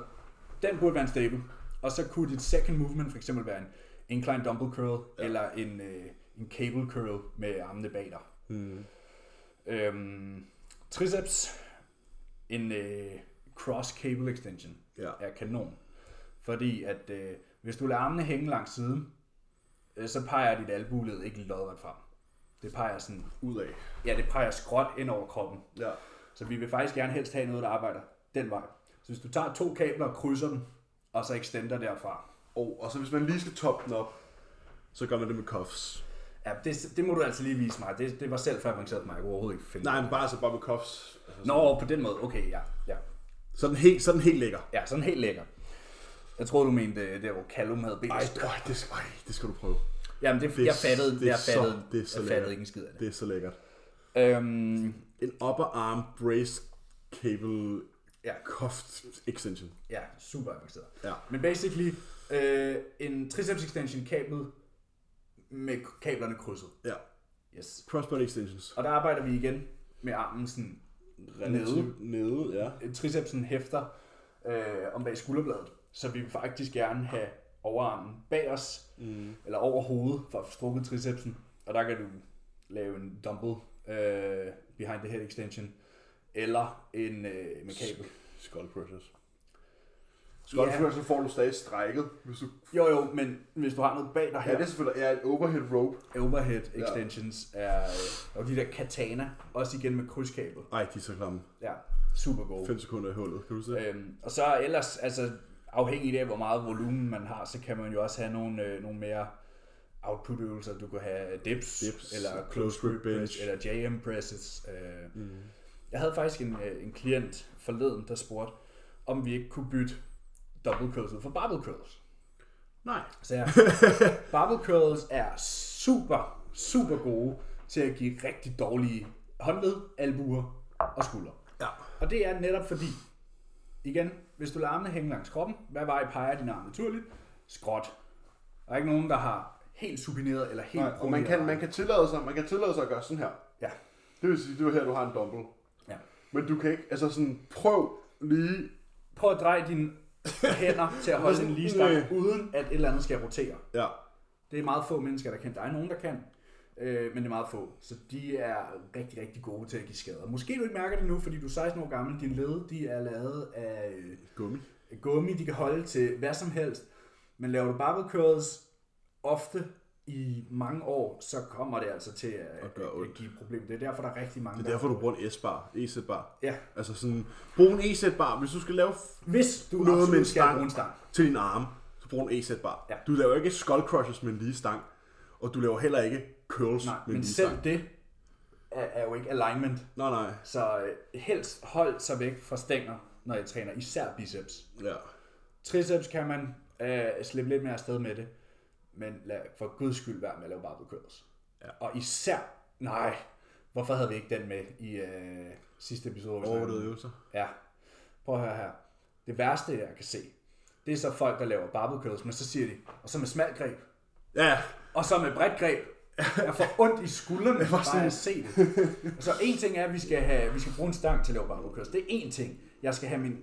A: den burde være en staple. Og så kunne dit second movement for eksempel være en incline dumbbell curl, ja. eller en, øh, en cable curl med armene bag dig.
B: Hmm.
A: Øhm, triceps, en øh, cross cable extension
B: Ja.
A: er kanon. Fordi at øh, hvis du lader armene hænge langs siden, øh, så peger dit albuled ikke lodret frem. Det peger sådan,
B: Ud af.
A: ja, det peger skråt ind over kroppen.
B: Ja.
A: Så vi vil faktisk gerne helst have noget, der arbejder den vej. Så hvis du tager to kabler og krydser dem, og så extender derfra.
B: Og, og så hvis man lige skal toppe den op, så gør man det med cuffs.
A: Ja, det, det må du altså lige vise mig. Det, det var selv fabrikeret mig. Jeg kunne overhovedet ikke finde
B: Nej,
A: det.
B: men bare, altså bare med cuffs. Altså,
A: Nå, på den måde. Okay, ja. Ja,
B: Sådan helt, sådan helt lækker.
A: ja sådan helt lækker. Jeg troede, du mente øh, der, hvor Callum havde bedt.
B: Ej, øj, det, øj, det skal du prøve.
A: Jamen, det,
B: det er
A: det, jeg fattede,
B: s- det er
A: jeg fattede,
B: så- det er så
A: jeg
B: lækkert.
A: fattede ikke en skid af det.
B: Det er så lækkert.
A: Øhm,
B: En upper arm brace cable
A: Ja.
B: cuff extension.
A: ja, super avanceret.
B: Ja.
A: Men basically, øh, en triceps extension kablet med kablerne krydset.
B: Ja.
A: Yes.
B: Crossbody extensions.
A: Og der arbejder vi igen med armen sådan nede.
B: Relativt nede, ja.
A: Tricepsen hæfter øh, om bag skulderbladet. Så vi vil faktisk gerne have overarmen bag os, mm. eller over hovedet, for at få strukket tricepsen. Og der kan du lave en dumbbell øh, behind the head extension, eller en øh, med kabel.
B: Skull crushers. Skull
A: Ja.
B: yeah. crushers får du stadig strækket, hvis du...
A: Jo jo, men hvis du har noget bag dig
B: Ja,
A: her,
B: det er selvfølgelig ja, et overhead rope.
A: overhead extensions er, øh, og de der katana, også igen med krydskabel.
B: Ej, de er så klamme.
A: Ja, super gode.
B: 5 sekunder i hullet, kan du se?
A: Øhm, og så ellers, altså afhængig af, hvor meget volumen man har, så kan man jo også have nogle, øh, nogle mere output-øvelser. Du kan have dips,
B: Dips,
A: eller
B: close
A: close
B: grip
A: grip press,
B: bench.
A: eller JM presses. Øh. Mm. Jeg havde faktisk en, øh, en klient forleden, der spurgte, om vi ikke kunne bytte double curls ud for barbell curls.
B: Nej.
A: Så jeg, barbell curls er super, super gode til at give rigtig dårlige håndled, albuer og skuldre.
B: Ja.
A: Og det er netop fordi, igen, hvis du lader armene hænge langs kroppen, hvad vej peger din arm naturligt? Skråt. Der er ikke nogen, der har helt supineret eller helt
B: Nej, oh og man
A: proneret
B: kan,
A: arm.
B: man, kan tillade sig, man kan tillade sig at gøre sådan her.
A: Ja.
B: Det vil sige, det er her, du har en dumbbell.
A: ja.
B: Men du kan ikke, altså sådan, prøv lige...
A: Prøv at dreje dine hænder til at holde en lige stang,
B: Nej.
A: uden at et eller andet skal rotere.
B: Ja.
A: Det er meget få mennesker, der kan. Der er nogen, der kan. øh, men det er meget få. Så de er rigtig, rigtig gode til at give skader. Måske du ikke mærker det nu, fordi du er 16 år gammel. Dine led de er lavet af øh,
B: Gummi.
A: gummi, de kan holde til hvad som helst. Men laver du barbell curls ofte i mange år, så kommer det altså til at,
B: At gøre
A: at,
B: ondt.
A: at give problemer. Det er derfor, der er rigtig mange,
B: Det er
A: der-
B: derfor, du bruger en S-bar, E-sæt-bar.
A: Ja,
B: Altså sådan, brug en E-sæt-bar. Hvis du skal lave f-
A: hvis du
B: Noget med
A: absolut
B: en
A: skal
B: stang.
A: bruge en stang.
B: til din arme, så brug en E-sæt-bar.
A: Ja.
B: Du laver ikke skull crushes med en lige stang, og du laver heller ikke curls
A: Nej,
B: med en
A: men
B: lige
A: selv
B: stang.
A: det er, er jo ikke alignment.
B: Nej, nej.
A: Så øh, helst hold sig væk fra stænger, når jeg træner, især biceps.
B: Ja.
A: Triceps kan man øh, slippe lidt mere afsted med det, men lad for guds skyld være med at lave barbell curls.
B: Ja.
A: Og især, nej, hvorfor havde vi ikke den med i øh, sidste episode? hvor vi snakkede om
B: Overvurderet øvelser.
A: Ja. Prøv at høre her. Det værste, jeg kan se, det er så folk, der laver barbell curls, men så siger de, og så med smalt greb,
B: Ja,
A: og så med bredt greb. Jeg får ondt i skuldrene bare
B: sådan-
A: sådan... at se det. Så en ting er, at vi skal, have, vi skal bruge en stang til at lave barbell curls. Det er en ting. Jeg skal have min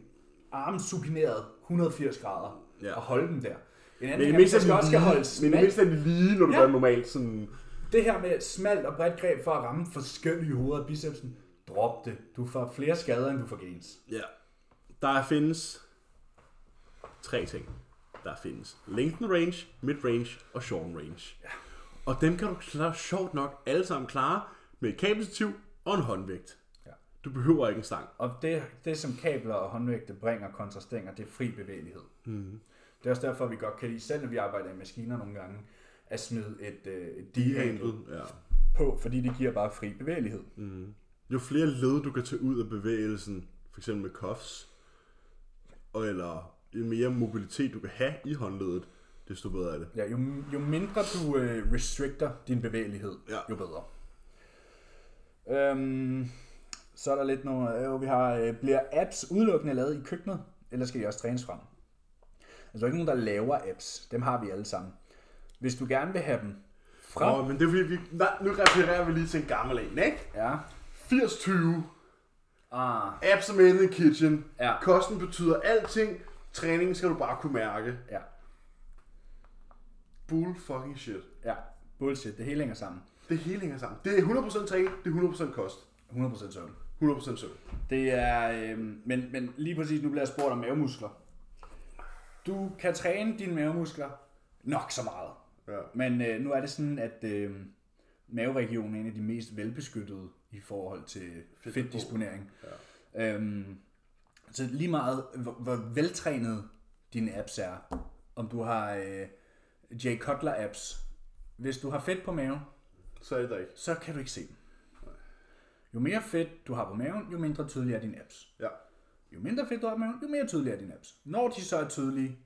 A: arme supineret 180 grader
B: Ja.
A: ja. og holde dem der. En anden
B: men i
A: ting er,
B: det
A: at
B: mindste
A: jeg
B: er
A: skal
B: de
A: også skal holde
B: lige, men i det
A: smalt.
B: mindste er de lige, når du
A: Ja.
B: gør det normalt. Sådan,
A: Det her med smalt og bredt greb for at ramme forskellige hoveder af bicepsen, drop det. Du får flere skader, end du får gains.
B: Ja. Der findes tre ting. Der findes lengthen range, mid range og short range. Ja. Og dem kan du klare, sjovt nok alle sammen klare med et kabelstativ og en håndvægt.
A: Ja.
B: Du behøver ikke en stang.
A: Og det, det som kabler og håndvægte bringer kontra stænger, det er fri bevægelighed. Mm. Det er også derfor, vi godt kan lide, selv når vi arbejder i maskiner nogle gange, at smide et, øh, et D-handle
B: Ja.
A: på, fordi det giver bare fri bevægelighed. Mm.
B: Jo flere led du kan tage ud af bevægelsen, f.eks. med cuffs, og eller jo mere mobilitet du kan have i håndledet, desto bedre er det.
A: Ja, jo, jo mindre du øh, restrikter din bevægelighed,
B: Ja.
A: jo bedre. Øhm, så er der lidt nogle, øh, vi har, øh, bliver apps udelukkende lavet i køkkenet, eller skal de også trænes frem? Altså, der er ikke nogen, der laver apps. Dem har vi alle sammen. Hvis du gerne vil have dem frem,
B: Nå, men det er fordi, vi, nej, nu refererer vi lige til en gammel en, ikke?
A: Ja.
B: 80-20.
A: Ah,
B: Apps are made in the kitchen.
A: Ja.
B: Kosten betyder alting. Træningen skal du bare kunne mærke.
A: ja.
B: Bull fucking shit.
A: Ja. Bullshit. Det hele hænger sammen.
B: Det hele hænger sammen. Det er 100% træning, det er 100% kost.
A: 100% søvn.
B: 100% søvn.
A: Det er... Øh, men, men lige præcis nu bliver jeg spurgt om mavemuskler. Du kan træne dine mavemuskler nok så meget.
B: Ja.
A: Men øh, nu er det sådan, at øh, maveregionen er en af de mest velbeskyttede i forhold til fedtdisponering. Ja. Øhm, så lige meget, hvor, hvor veltrænet dine apps er. Om du har øh, Jay Cutler apps. Hvis du har fedt på maven,
B: Så er det der ikke.
A: så kan du ikke se dem. Jo mere fedt du har på maven, jo mindre tydelige er dine apps.
B: Ja.
A: Jo mindre fedt du har på maven, jo mere tydelige er dine apps. Når de så er tydelige,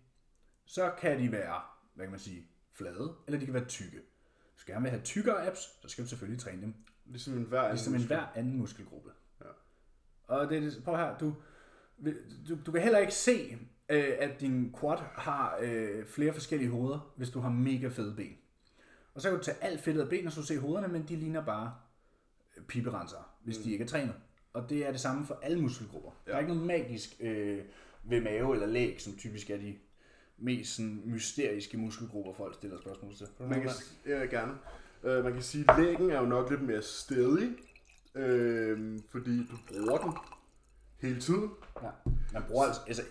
A: så kan de være, hvad kan man sige, flade, eller de kan være tykke. Hvis du gerne vil have tykkere apps, så skal du selvfølgelig træne dem,
B: Ligesom en hver anden
A: ligesom en
B: muskel.
A: hver anden muskelgruppe.
B: Ja.
A: Og det er det, prøv her, du, vil- du, du kan heller ikke se, øh, at din quad har øh, flere forskellige hoveder, hvis du har mega fede ben. Og så kan du tage alt fedtet af ben, og så se hovederne, men de ligner bare øh, piberensere, hvis mm. de ikke er trænet. Og det er det samme for alle muskelgrupper. Ja. Der er ikke noget magisk øh, ved mave eller læg, som typisk er de mest sådan, mysteriske muskelgrupper, folk stiller spørgsmål til.
B: Man kan, ja, gerne. Øh, man kan sige, at lægen er jo nok lidt mere stedig, øh, fordi du bruger den hele tiden.
A: Ja. Man bruger altså, altså,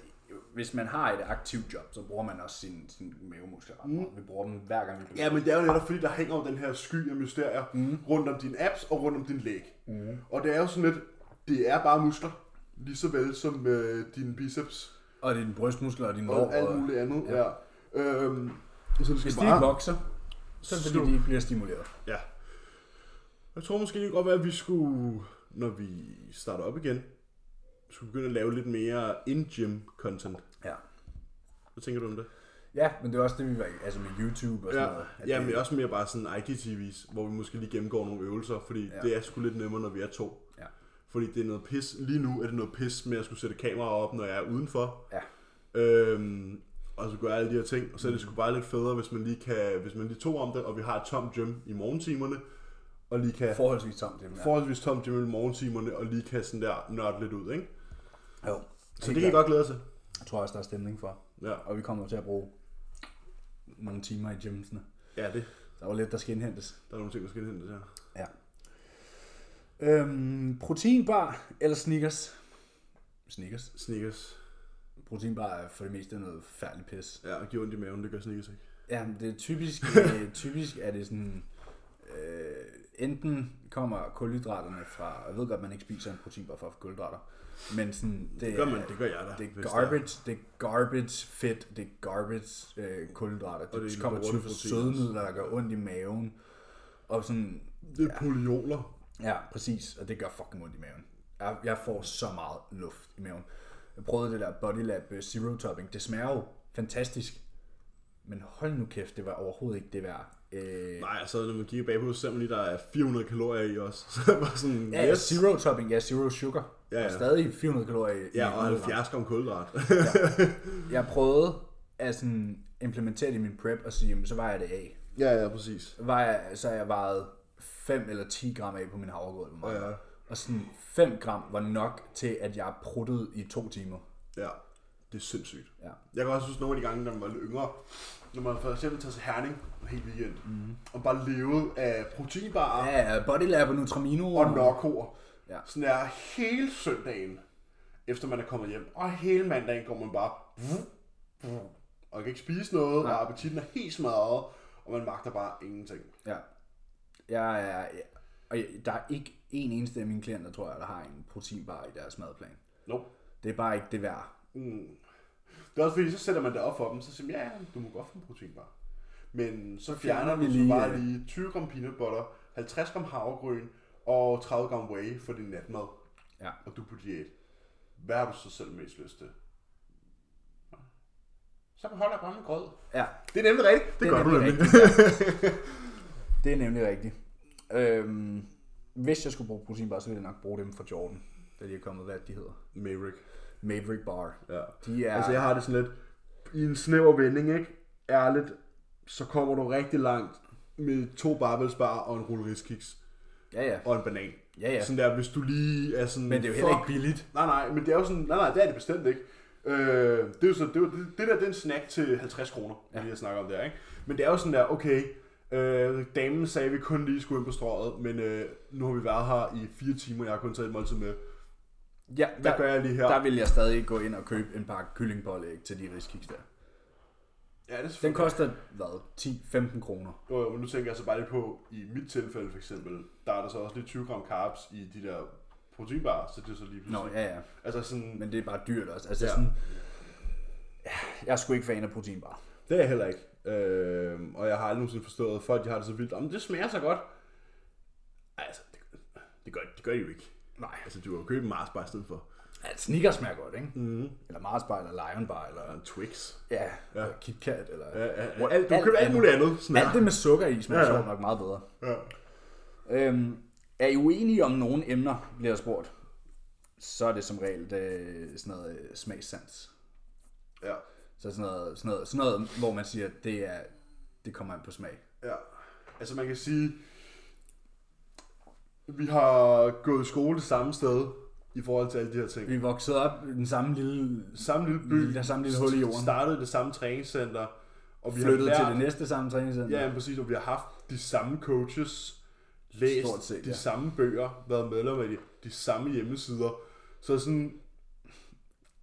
A: hvis man har et aktivt job, så bruger man også sine sin mavemuskler ret meget. Vi bruger dem hver gang, vi bevæger
B: Ja, men det er jo netop fordi, der hænger jo den her sky af mysterier mm. rundt om dine apps og rundt om din læg. Mm. Og det er jo sådan lidt, det er bare muskler, lige så vel som øh, dine biceps
A: Og det er dine brystmuskler og dine
B: og
A: lår.
B: alt
A: Og...
B: muligt andet. Ja. Ja. Øhm, så det skal
A: Hvis de
B: bare...
A: ikke vokser, så er det fordi, de ikke bliver stimuleret.
B: Ja. Jeg tror måske det kan godt være, at vi skulle, når vi starter op igen, skulle begynde at lave lidt mere in-gym content.
A: Ja.
B: Hvad tænker du om det?
A: Ja, men det er også det, vi var altså med YouTube og sådan
B: Ja,
A: noget. at
B: ja
A: det-
B: men også mere bare sådan IGTV's, hvor vi måske lige gennemgår nogle øvelser, fordi ja. det er sgu lidt nemmere, når vi er to.
A: Ja.
B: Fordi det er noget pis, lige nu er det noget pis med at skulle sætte kameraer op, når jeg er udenfor.
A: ja.
B: Øhm, og så gør jeg alle de her ting, og så er
A: Mm.
B: det sgu bare lidt federe, hvis man lige kan, hvis man lige tog om det, og vi har et tomt gym i morgentimerne, og lige kan
A: Forholdsvis tomt, det men ja.
B: forholdsvis tomt gym i morgentimerne, og lige kan sådan der nørde lidt ud, ikke?
A: Jo.
B: Så det kan I godt glæde jer til.
A: Jeg tror også, der er stemning for.
B: Ja,
A: Og vi kommer til at bruge mange timer i gymsene.
B: ja det
A: Der var lidt, der skal indhentes.
B: Der er nogle ting, der skal indhentes her.
A: Ja. Øhm, proteinbar eller Snickers? Snickers.
B: Snickers.
A: Proteinbar er for det meste noget færdigt pis.
B: Ja, og giver ondt i maven, det gør Snickers ikke.
A: Ja, men det er typisk, øh, typisk er det sådan, øh, enten kommer kulhydraterne fra, jeg ved godt, man ikke spiser en proteinbar for at få kulhydrater, men sådan, det,
B: Det gør man,
A: er-
B: det gør jeg da.
A: det er
B: hvis
A: garbage, det er garbage fedt, det er garbage øh, kulhydrater.
B: det er
A: Det,
B: de
A: det kommer
B: lorte
A: typisk fra
B: proteiner.
A: sødemidler, der gør ondt i maven. Og sådan,
B: er- Det er polioler.
A: ja, præcis, og det gør fucking ondt i maven. Jeg, jeg får så meget luft i maven. Jeg prøvede det der Body Lab øh, Zero Topping, det smager jo fantastisk. Men hold nu kæft, det var overhovedet ikke det værd. Øh,
B: Nej, altså når man kigger bagpå, så ser man lige, der er 400 kalorier i os. Så er det bare sådan,
A: ja, yes. Zero Topping, ja, Zero Sugar.
B: Ja, ja.
A: Og stadig 400 kalorier. i-
B: Ja,
A: i
B: og
A: kulhydrat.
B: 70 gram kulhydrat.
A: Jeg prøvede at sådan implementere det i min prep og sige, jamen, så var jeg det af.
B: ja, ja, præcis.
A: var jeg, så jeg vejet 5 eller 10 gram af på min havregrød. hvor meget.
B: Ja, ja.
A: Og sådan 5 gram var nok til, at jeg pruttede i to timer.
B: Ja, det er sindssygt.
A: Ja.
B: Jeg kan også huske nogle af de gange, når man var lidt yngre, når man for eksempel tager til Herning en hel weekend, mm-hmm. og bare levede af proteinbarer ja.
A: Ja, Bodylab og Nutramino.
B: og nokkoer.
A: Ja.
B: Sådan der hele søndagen, efter man er kommet hjem, og hele mandagen går man bare og kan ikke spise noget, og appetitten er helt smadret, og man magter bare ingenting.
A: Ja. Jeg er, ja. Og jeg, der er ikke en eneste af mine klienter, tror jeg, der har en proteinbar i deres madplan.
B: Nope.
A: Det er bare ikke det værd.
B: Mm. Det er også fordi, så sætter man det op for dem, så siger man, ja, ja, du må godt få en proteinbar. Men så fjerner vi lige, øh, bare lige 20 gram peanut butter, 50 gram havregryn og 30 gram whey for din natmad,
A: Ja.
B: og du er på diæt. Hvad har du så selv mest lyst til? Så beholder jeg bare min grød.
A: ja.
B: Det er nemlig rigtigt. Det,
A: er
B: det gør du
A: nemlig
B: nemlig.
A: Det er nemlig rigtigt. Øhm, hvis jeg skulle bruge proteinbar, så ville jeg nok bruge dem fra Jordan. Da de er kommet, hvad de hedder.
B: Maverick.
A: Maverick Bar.
B: Ja.
A: De er...
B: Altså, jeg har det sådan lidt, i en snæver vending, ikke? Ærligt, så kommer du rigtig langt med to barbelsbar og en rulle riskiks.
A: Ja, ja.
B: og en banan.
A: Ja, ja.
B: Sådan der, hvis du lige er sådan...
A: Men det er jo heller ikke billigt.
B: Nej, nej, men det er jo sådan... Nej, nej, det er det bestemt ikke. Øh, det, er jo så, det, er jo, det, det der, det er en snack til 50 kroner, ja. vi lige snakker om der, ikke? Men det er jo sådan der, okay, øh, damen sagde, at vi kun lige skulle ind på strøget, men øh, nu har vi været her i fire timer, jeg har kun taget et måltid med.
A: Ja,
B: Hvad gør jeg lige her?
A: Der vil jeg stadig gå ind og købe en pakke kyllingpålæg til de riskiks der.
B: Ja, det er
A: Den
B: selvfølgelig-
A: koster, hvad, 10-15 kroner.
B: Jo, jo, men nu tænker jeg så bare lige på, i mit tilfælde for eksempel, der er der så også lige 20 gram carbs i de der proteinbarer, så det er så lige
A: Nå,
B: pludselig.
A: ja, ja.
B: Altså sådan,
A: Men det er bare dyrt også. Altså
B: Ja.
A: ja. sådan, Ja, jeg er sgu ikke fan af proteinbar.
B: Det er jeg heller ikke. Øh, og jeg har aldrig nogensinde forstået, at folk de har det så vildt. Jamen, det smager så godt. Ej, Altså, det, det, gør, det gør de jo ikke.
A: Nej.
B: Altså, du har jo købt en Mars bare i stedet for.
A: Ja, sneakers smager godt, ikke? Mm.
B: Mhm.
A: Eller Mars bar, eller Lion bar,
B: Og
A: eller,
B: en Twix.
A: ja, ja. eller Kit Kat, eller...
B: Ja, ja, ja. Alt, du køber alt muligt andet. Sådan
A: Alt det med sukker i smager
B: Ja,
A: ja,
B: ja.
A: ja. sjovt nok meget bedre.
B: Ja.
A: Øhm, er I uenige om nogle emner, bliver jeg spurgt, så er det som regel det, sådan noget øh, smagssans.
B: ja.
A: Så sådan noget, sådan noget, sådan noget hvor man siger, at det, er, det kommer an på smag.
B: Ja. Altså, man kan sige, vi har gået i skole det samme sted i forhold til alle de her ting.
A: Vi er vokset op i den samme lille...
B: Samme lille by.
A: Der er samme lille hul i jorden.
B: Startede i det samme træningscenter. Og vi
A: Flyttet
B: har
A: til
B: lært,
A: det næste samme træningscenter.
B: Ja, ja, præcis, og vi har haft de samme coaches, læst
A: Stort set,
B: de
A: ja.
B: samme bøger, været medlem af de, de samme hjemmesider. Så sådan,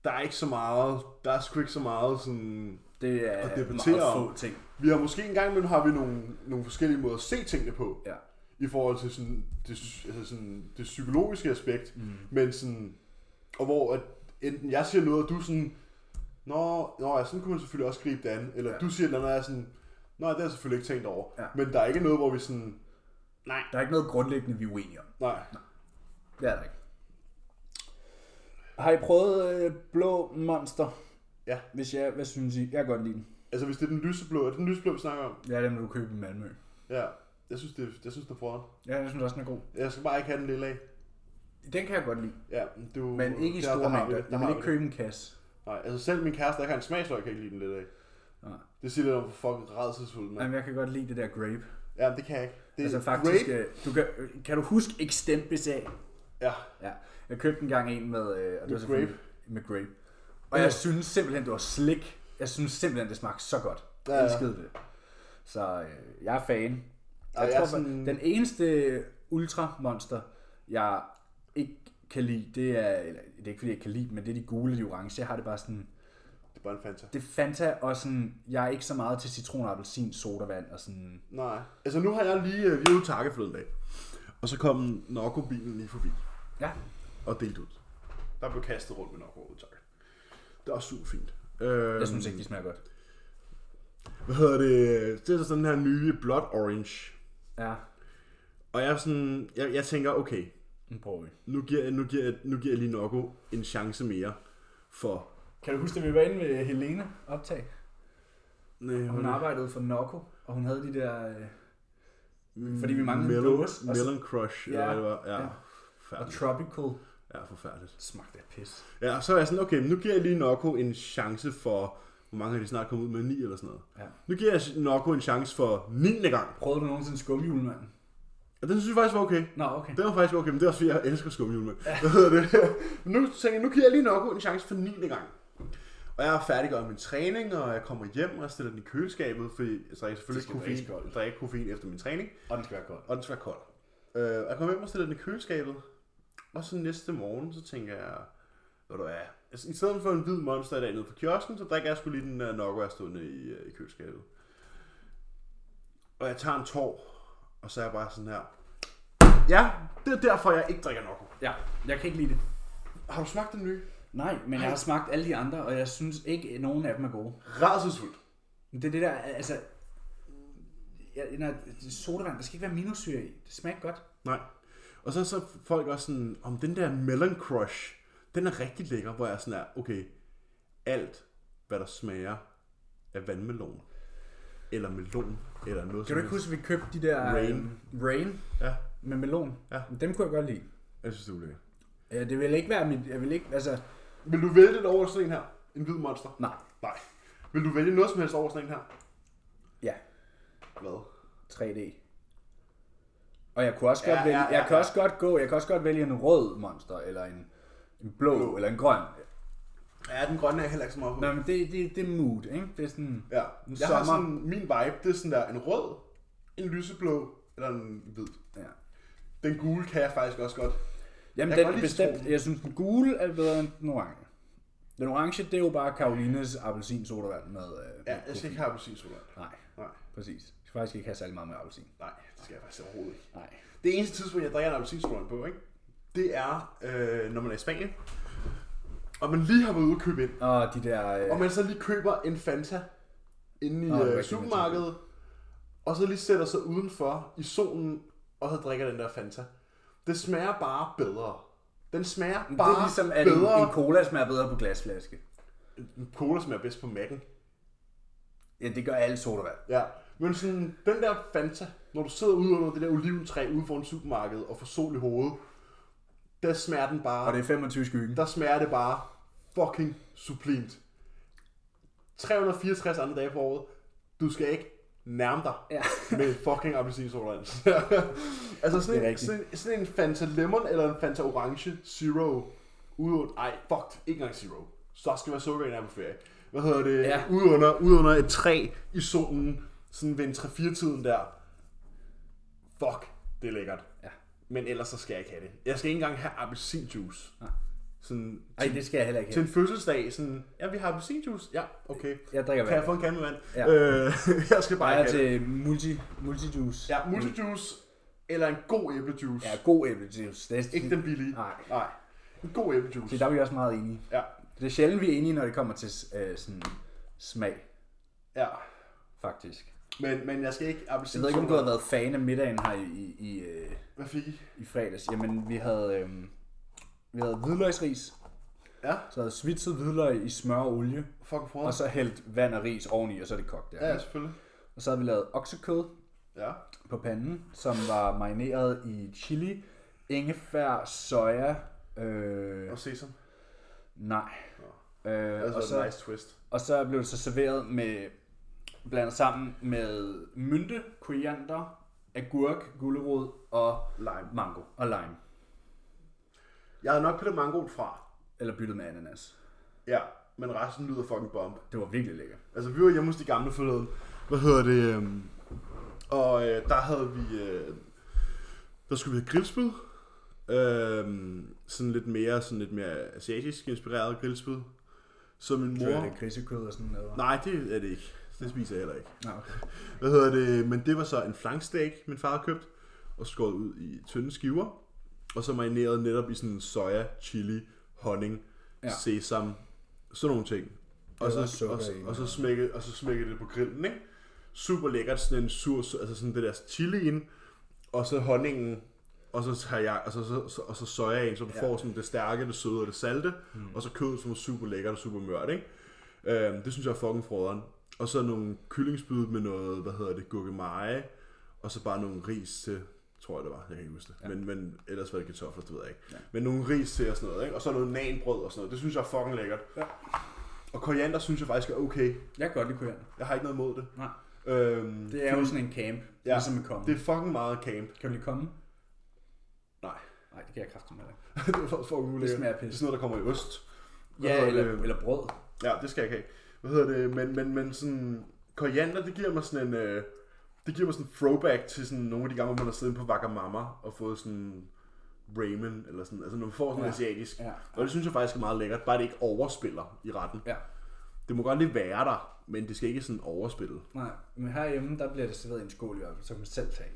B: der er ikke så meget, der er sgu ikke så meget sådan...
A: Det er
B: Og debattere
A: meget
B: om.
A: få ting.
B: Vi har måske engang, men har vi nogle, nogle forskellige måder at se tingene på,
A: Ja.
B: i forhold til sådan det, altså sådan det psykologiske aspekt, mm. men sådan, og hvor at enten jeg siger noget, og du er sådan, nå, nå ja, sådan kunne man selvfølgelig også gribe det an, eller ja.
A: Ja.
B: du siger et eller andet, og jeg er sådan, nej, det har jeg selvfølgelig ikke tænkt over,
A: Ja.
B: men der er ikke noget, hvor vi sådan, nej,
A: Der er ikke noget grundlæggende, vi er uenige om.
B: nej,
A: Det er der ikke. Har I prøvet øh, blå monster?
B: Ja.
A: Hvis jeg, hvad synes I? Jeg kan godt lide den.
B: altså hvis det er den lyseblå, er det den lyseblå, vi snakker om?
A: Ja, den vil du købe i Malmø.
B: Ja, jeg synes, det, jeg synes, det er foran.
A: Ja, jeg synes også, den er god.
B: Jeg skal bare ikke have den lille af.
A: Den kan jeg godt lide.
B: Ja, du,
A: Men ikke i
B: Uh, der- der
A: store
B: har vi
A: mængder.
B: det, der
A: Jeg
B: har
A: vil
B: vi
A: ikke købe en kasse.
B: det. Nej, altså selv min kæreste, der ikke har en smagsløg, kan ikke lide den lidt af.
A: Nej.
B: Det siger lidt om, hvor fucking redselsfuld man er.
A: Jamen, jeg kan godt lide det der grape.
B: Ja, det kan jeg ikke. Det er
A: Altså faktisk,
B: grape.
A: øh, du kan, øh, kan du huske Extempis af?
B: Ja,
A: Ja, jeg købte engang en med, øh, og det
B: Med
A: var selvfølgelig- med grape. Og jeg synes simpelthen, det var slik. Jeg synes simpelthen, det smagte så godt.
B: Ja,
A: Jeg
B: ja.
A: elskede det. Så øh, jeg er fan. Jeg,
B: jeg
A: jeg
B: er
A: tror,
B: sådan-
A: sådan... den eneste ultramonster, jeg ikke kan lide, det er, eller, det er ikke fordi, jeg ikke kan lide dem, men det er de gule og de orange. Jeg har det bare sådan,
B: Det er bare en Fanta.
A: det er Fanta, og sådan, jeg er ikke så meget til citron, og appelsin, sodavand og sådan.
B: Nej. Altså nu har jeg lige, øh, vi er ude takke forleden dag. Og så kom Nokko-bilen lige forbi
A: Ja,
B: og delte ud. Der blev kastet rundt med Nokko ude takke. Det er også super fint. Øhm,
A: jeg synes ikke, de smager godt.
B: Hvad hedder det? Det er så sådan den her nye Blood Orange.
A: Ja,
B: Og jeg er sådan, jeg, jeg tænker, okay,
A: nu prøver vi.
B: nu giver, jeg- nu, giver, jeg- nu giver jeg lige Nokko en chance mere for...
A: Kan du huske, at vi var inde med Helene optag?
B: Nej,
A: Hun arbejdede for Nokko, og hun havde de der... Øh, fordi vi manglede en
B: Melon,
A: dåse, og så-
B: melon Crush, ja, eller
A: Ja,
B: hvad det var. Ja,
A: ja. og
B: forfærdeligt.
A: Tropical.
B: Ja, forfærdeligt.
A: Smagte af pis.
B: Ja, og så er jeg sådan, okay, men nu giver jeg lige Nokko en chance for... Hvor mange har de snart kommet ud med? 9 eller sådan noget.
A: Ja.
B: Nu giver jeg Nokko en chance for 9. gang.
A: Prøvede du nogensinde skumhjulemanden?
B: Og den synes jeg faktisk var okay.
A: Nå, okay.
B: Det var faktisk okay, men det er også fordi, jeg elsker skumhjulmænd. Hvad hedder det? Men nu tænker jeg, nu giver jeg lige nok en chance for 9. gang. Og jeg har færdiggjort min træning, og jeg kommer hjem og stiller den i køleskabet, fordi jeg drikker selvfølgelig
A: skal drikkes
B: koffein,
A: koldt.
B: drikker koffein efter min træning,
A: Og den skal være kold.
B: og den skal være kold. Øh, og jeg kommer hjem og stiller den i køleskabet, og så næste morgen, så tænker jeg, hvad du er, altså, i stedet for en hvid monster i dag nede på kiosken, så drikker jeg sgu lige den der Nokko, jeg stod i, øh, i køleskabet. Og jeg tager en tår, og så er jeg bare sådan her, ja, det er derfor, jeg ikke drikker Nokko.
A: Ja, jeg kan ikke lide det.
B: Har du smagt den nye?
A: Nej, men jeg har smagt alle de andre, og jeg synes ikke, at nogen af dem er gode.
B: Rædselsfuldt.
A: Men det er det der, altså... Jeg, når, sodavand, der skal ikke være minussyre i. Det smager ikke godt.
B: Nej. Og så så er folk også sådan, om den der melon crush, den er rigtig lækker, hvor jeg sådan er, okay, alt, hvad der smager af vandmelon, eller melon, eller noget
A: Kan du ikke huske, at vi købte de der...
B: Rain.
A: øhm, rain
B: Ja,
A: med melon.
B: Ja.
A: Dem kunne jeg godt lide.
B: jeg synes, det er ulækkert.
A: Ja, det vil ikke være mit... Jeg vil ikke... Altså...
B: Vil du vælge det over sådan en her? En hvid monster?
A: Nej.
B: Nej. Vil du vælge noget som helst over sådan en her?
A: Ja.
B: Hvad?
A: 3D. Og jeg kunne også
B: Ja,
A: godt vælge,
B: ja, ja,
A: jeg kan
B: ja.
A: også godt gå, jeg kan også godt vælge en rød monster, eller en, en blå,
B: Blå.
A: eller en grøn.
B: Ja, den grønne er heller ikke så meget på.
A: Nå, men det, det, det er mood, ikke? Det er sådan,
B: Ja, jeg
A: Sommer.
B: har sådan, min vibe, det er sådan der, en rød, en lyseblå, eller en hvid.
A: ja.
B: Den gule kan jeg faktisk også godt.
A: Jamen, jeg
B: Jeg kan
A: den
B: godt
A: er
B: lide
A: bestemt,
B: citronen.
A: jeg synes, den gule er bedre end den orange. Den orange, det er jo bare Karolines appelsinsodavand med... Øh,
B: Ja,
A: med
B: jeg skal ikke have appelsinsodavand.
A: koffein. Nej,
B: Nej,
A: præcis. Jeg skal faktisk ikke have særlig meget med appelsin.
B: nej, det skal jeg faktisk overhovedet ikke.
A: Nej.
B: Det eneste tidspunkt, jeg drikker en appelsinsodavand på, ikke? det er, øh, når man er i Spanien, og man lige har været ude og købe ind,
A: Og de der... Øh,
B: og man så lige køber en Fanta inde i
A: Nå, det er
B: øh,
A: rigtigt,
B: supermarkedet, og så lige sætter sig udenfor i solen, og så drikker den der Fanta. Det smager bare bedre. Den smager
A: det
B: bare
A: er ligesom, at en,
B: bedre.
A: en cola smager bedre på glasflaske.
B: en cola smager bedst på Mac'en.
A: Ja, det gør alle sodavand.
B: Ja, men sådan, den der Fanta, når du sidder ude under det der oliventræ ude foran supermarkedet og får sol i hovedet, der smager den bare,
A: Og det er 25 skyggen.
B: der smager det bare fucking sublimt. 364 andre dage på året, du skal ikke nærme dig
A: Ja.
B: med fucking appelsinsodavand. altså sådan
A: Det er
B: en,
A: rigtigt.
B: sådan, en- sådan en Fanta Lemon eller en Fanta Orange Zero, ude under, ej, fuck, ikke engang Zero. Så skal man sukker i en på ferie. Hvad hedder det?
A: Ja.
B: Ude, under, ude under et træ i solen, sådan ved en 3-4-tiden der. Fuck, det er lækkert.
A: Ja.
B: Men ellers så skal jeg ikke have det. Jeg skal ikke engang have appelsinjuice.
A: Nej.
B: Sådan,
A: Ej, det skal jeg heller ikke
B: til
A: have.
B: en fødselsdag, sådan, ja, vi har appelsinjuice. Ja, okay.
A: Jeg drikker
B: Kan jeg
A: vand.
B: få en kande med vand?
A: Ja.
B: Øh, jeg skal bare
A: Jeg
B: ikke
A: er
B: have det.
A: til multi, multijuice.
B: Ja, multijuice eller en god æblejuice.
A: Ja, god æblejuice. Det er,
B: Ikke den billige.
A: Nej.
B: Nej. En god æblejuice.
A: Det, der er vi også meget enige.
B: Ja.
A: Det er sjældent, vi er enige, når det kommer til øh, sådan smag,
B: Ja.
A: faktisk.
B: Men, men jeg skal ikke
A: Jeg
B: appelsin.
A: ved ikke, om du har været fan af middagen her i, i, i, øh,
B: Hvad fik I?
A: i fredags. Jamen, vi havde, øh, vi havde hvidløgsris,
B: Ja.
A: så havde svitset hvidløg i smør og olie,
B: Fuck for.
A: og så hældt vand og ris oveni, og så er det kogt der.
B: Ja, selvfølgelig.
A: Og så havde vi lavet oksekød
B: Ja.
A: på panden, som var marineret i chili, ingefær, soja, øh,
B: Og sesam.
A: nej. Øh,
B: Altså,
A: og så,
B: nice twist.
A: Og så blev det så serveret med blandet sammen med mynte, koriander, agurk, gulerod og
B: Lime.
A: mango og lime.
B: Jeg havde nok pillet mangoen fra.
A: Eller byttet med ananas.
B: Ja. Men resten lyder fucking bomb.
A: Det var virkelig lækkert.
B: Altså, vi var hjemme hos de gamle forleden. Hvad hedder det? øhm, Og øh, der havde vi... Øh, der skulle vi have grillspyd. Øh, sådan lidt mere, sådan lidt mere asiatisk inspireret grillspyd. Som min
A: Så er
B: mor...
A: det grisekød og sådan noget.
B: Nej, det er det ikke. Det spiser jeg heller ikke.
A: Nå, okay.
B: Hvad hedder det? Men det var så en flanksteak, min far havde købt, og skåret ud i tynde skiver, og så marineret netop i sådan soja, chili, honning,
A: Ja.
B: ja. sesam, sådan nogle ting. Og
A: var
B: så,
A: også sukker
B: og, så-
A: i,
B: og, så
A: ja.
B: smækkede, og så smækkede det på grillen, ikke? Super lækkert, sådan en sur, altså sådan det der chilien, og så honningen, og så, har jeg, og så, så, så, og så sojaen, som
A: Ja.
B: ja. får sådan det stærke, det søde og det salte, mm. og så kødet, som er super lækkert og super mørt, ikke? Øhm, det synes jeg er fucking frøderen. Og så nogle kyllingspyd med noget, hvad hedder det, gurkemeje, og så bare nogle ris til, tror jeg det var, jeg kan ikke huske det. Ja. Men, men ellers var det kartofler, det ved jeg ikke. Ja. Men nogle ris til og sådan noget, ikke? Og så noget nanbrød og sådan noget, det synes jeg er fucking lækkert.
A: Ja.
B: Og koriander synes jeg faktisk er okay.
A: Jeg kan godt lide koriander.
B: Jeg har ikke noget imod det.
A: Nej.
B: Øhm,
A: Det er jo sådan en camp, ja.
B: Ja.
A: ligesom med komme.
B: det er fucking meget camp.
A: Kan du lige komme?
B: Nej,
A: Nej, det kan jeg kraftigt med dig.
B: det er faktisk fucking ulækkert.
A: smager
B: Det er
A: pisse.
B: sådan noget, der kommer i ost. Hvad
A: Ja,
B: hedder
A: eller,
B: det?
A: eller brød.
B: Ja, det skal jeg ikke have. Hvad hedder det? Men, men, men sådan, koriander, det giver mig sådan en... Øh, det giver mig sådan en throwback til sådan nogle af de gange, hvor man har siddet på Wagamama og fået sådan ramen eller sådan. Altså når man får sådan
A: Ja.
B: ja. asiatisk.
A: Ja.
B: Og det synes jeg faktisk er meget lækkert, bare det ikke overspiller i retten.
A: Ja.
B: Det må godt lige være der, men det skal ikke sådan overspille.
A: Nej, men herhjemme, der bliver det serveret i en skål i hvert fald, så kan man selv tage.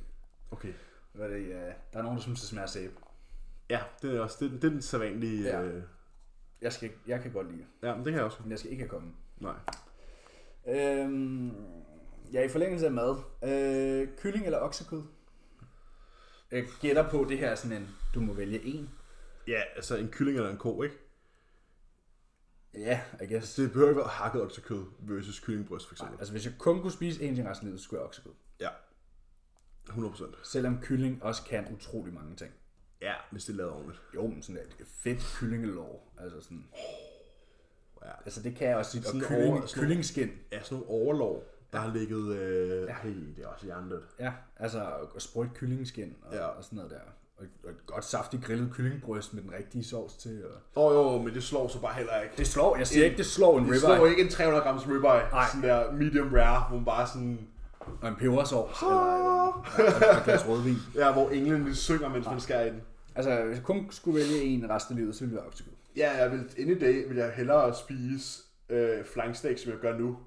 B: Okay.
A: Hvad er det, øh, der er nogen, der synes, det smager af sæbe.
B: Ja, det er også det, er- det er den sædvanlige...
A: Ja.
B: Ja. Øh,
A: Jeg, skal, ikke- jeg kan godt lide, det,
B: ja, men det kan jeg også.
A: men jeg skal ikke have kommet.
B: Nej.
A: Øhm, ja, i forlængelse af mad. Øh, kylling eller oksekød? Jeg gætter på, det her er sådan en, du må vælge en.
B: Ja, altså en kylling eller en ko, ikke?
A: Ja, I guess.
B: Det behøver ikke være hakket oksekød versus kyllingbryst, for eksempel.
A: Altså, hvis jeg kun kunne spise én ting resten af livet, så skulle jeg oksekød.
B: Ja. 100%.
A: Selvom kylling også kan utrolig mange ting.
B: Ja, hvis det er lavet ordentligt.
A: Jo, men sådan et fedt kyllingelår. Altså, sådan,
B: Ja.
A: altså det kan jeg også sige. Og
B: Sådan
A: kylling,
B: over- sådan-
A: kyllingskin.
B: Ja, sådan nogle overlov, der har ligget... Øh, ja. Hey, det er også hjernedødt.
A: Ja, altså og sprøjt kyllingskin og, ja.
B: Ja.
A: og sådan noget der. Og, et- og et godt saftigt grillet kyllingbryst med den rigtige sovs til. Og...
B: Åh oh, jo, men det slår så bare heller ikke.
A: Det slår, jeg siger ikke, det slår en
B: Det slår
A: ribeye
B: ikke en 300 grams ribeye,
A: Nej.
B: sådan der medium rare, hvor man bare sådan...
A: og en pebersovs eller, eller ja, og et glas rødvin.
B: Ja, hvor englen lige synger, mens man skærer i den.
A: Altså, hvis jeg kun skulle vælge en resten af livet, så ville det være oksekød.
B: Ja, jeg vil, inde i dag vil jeg hellere spise øh, flanksteak, som jeg gør nu,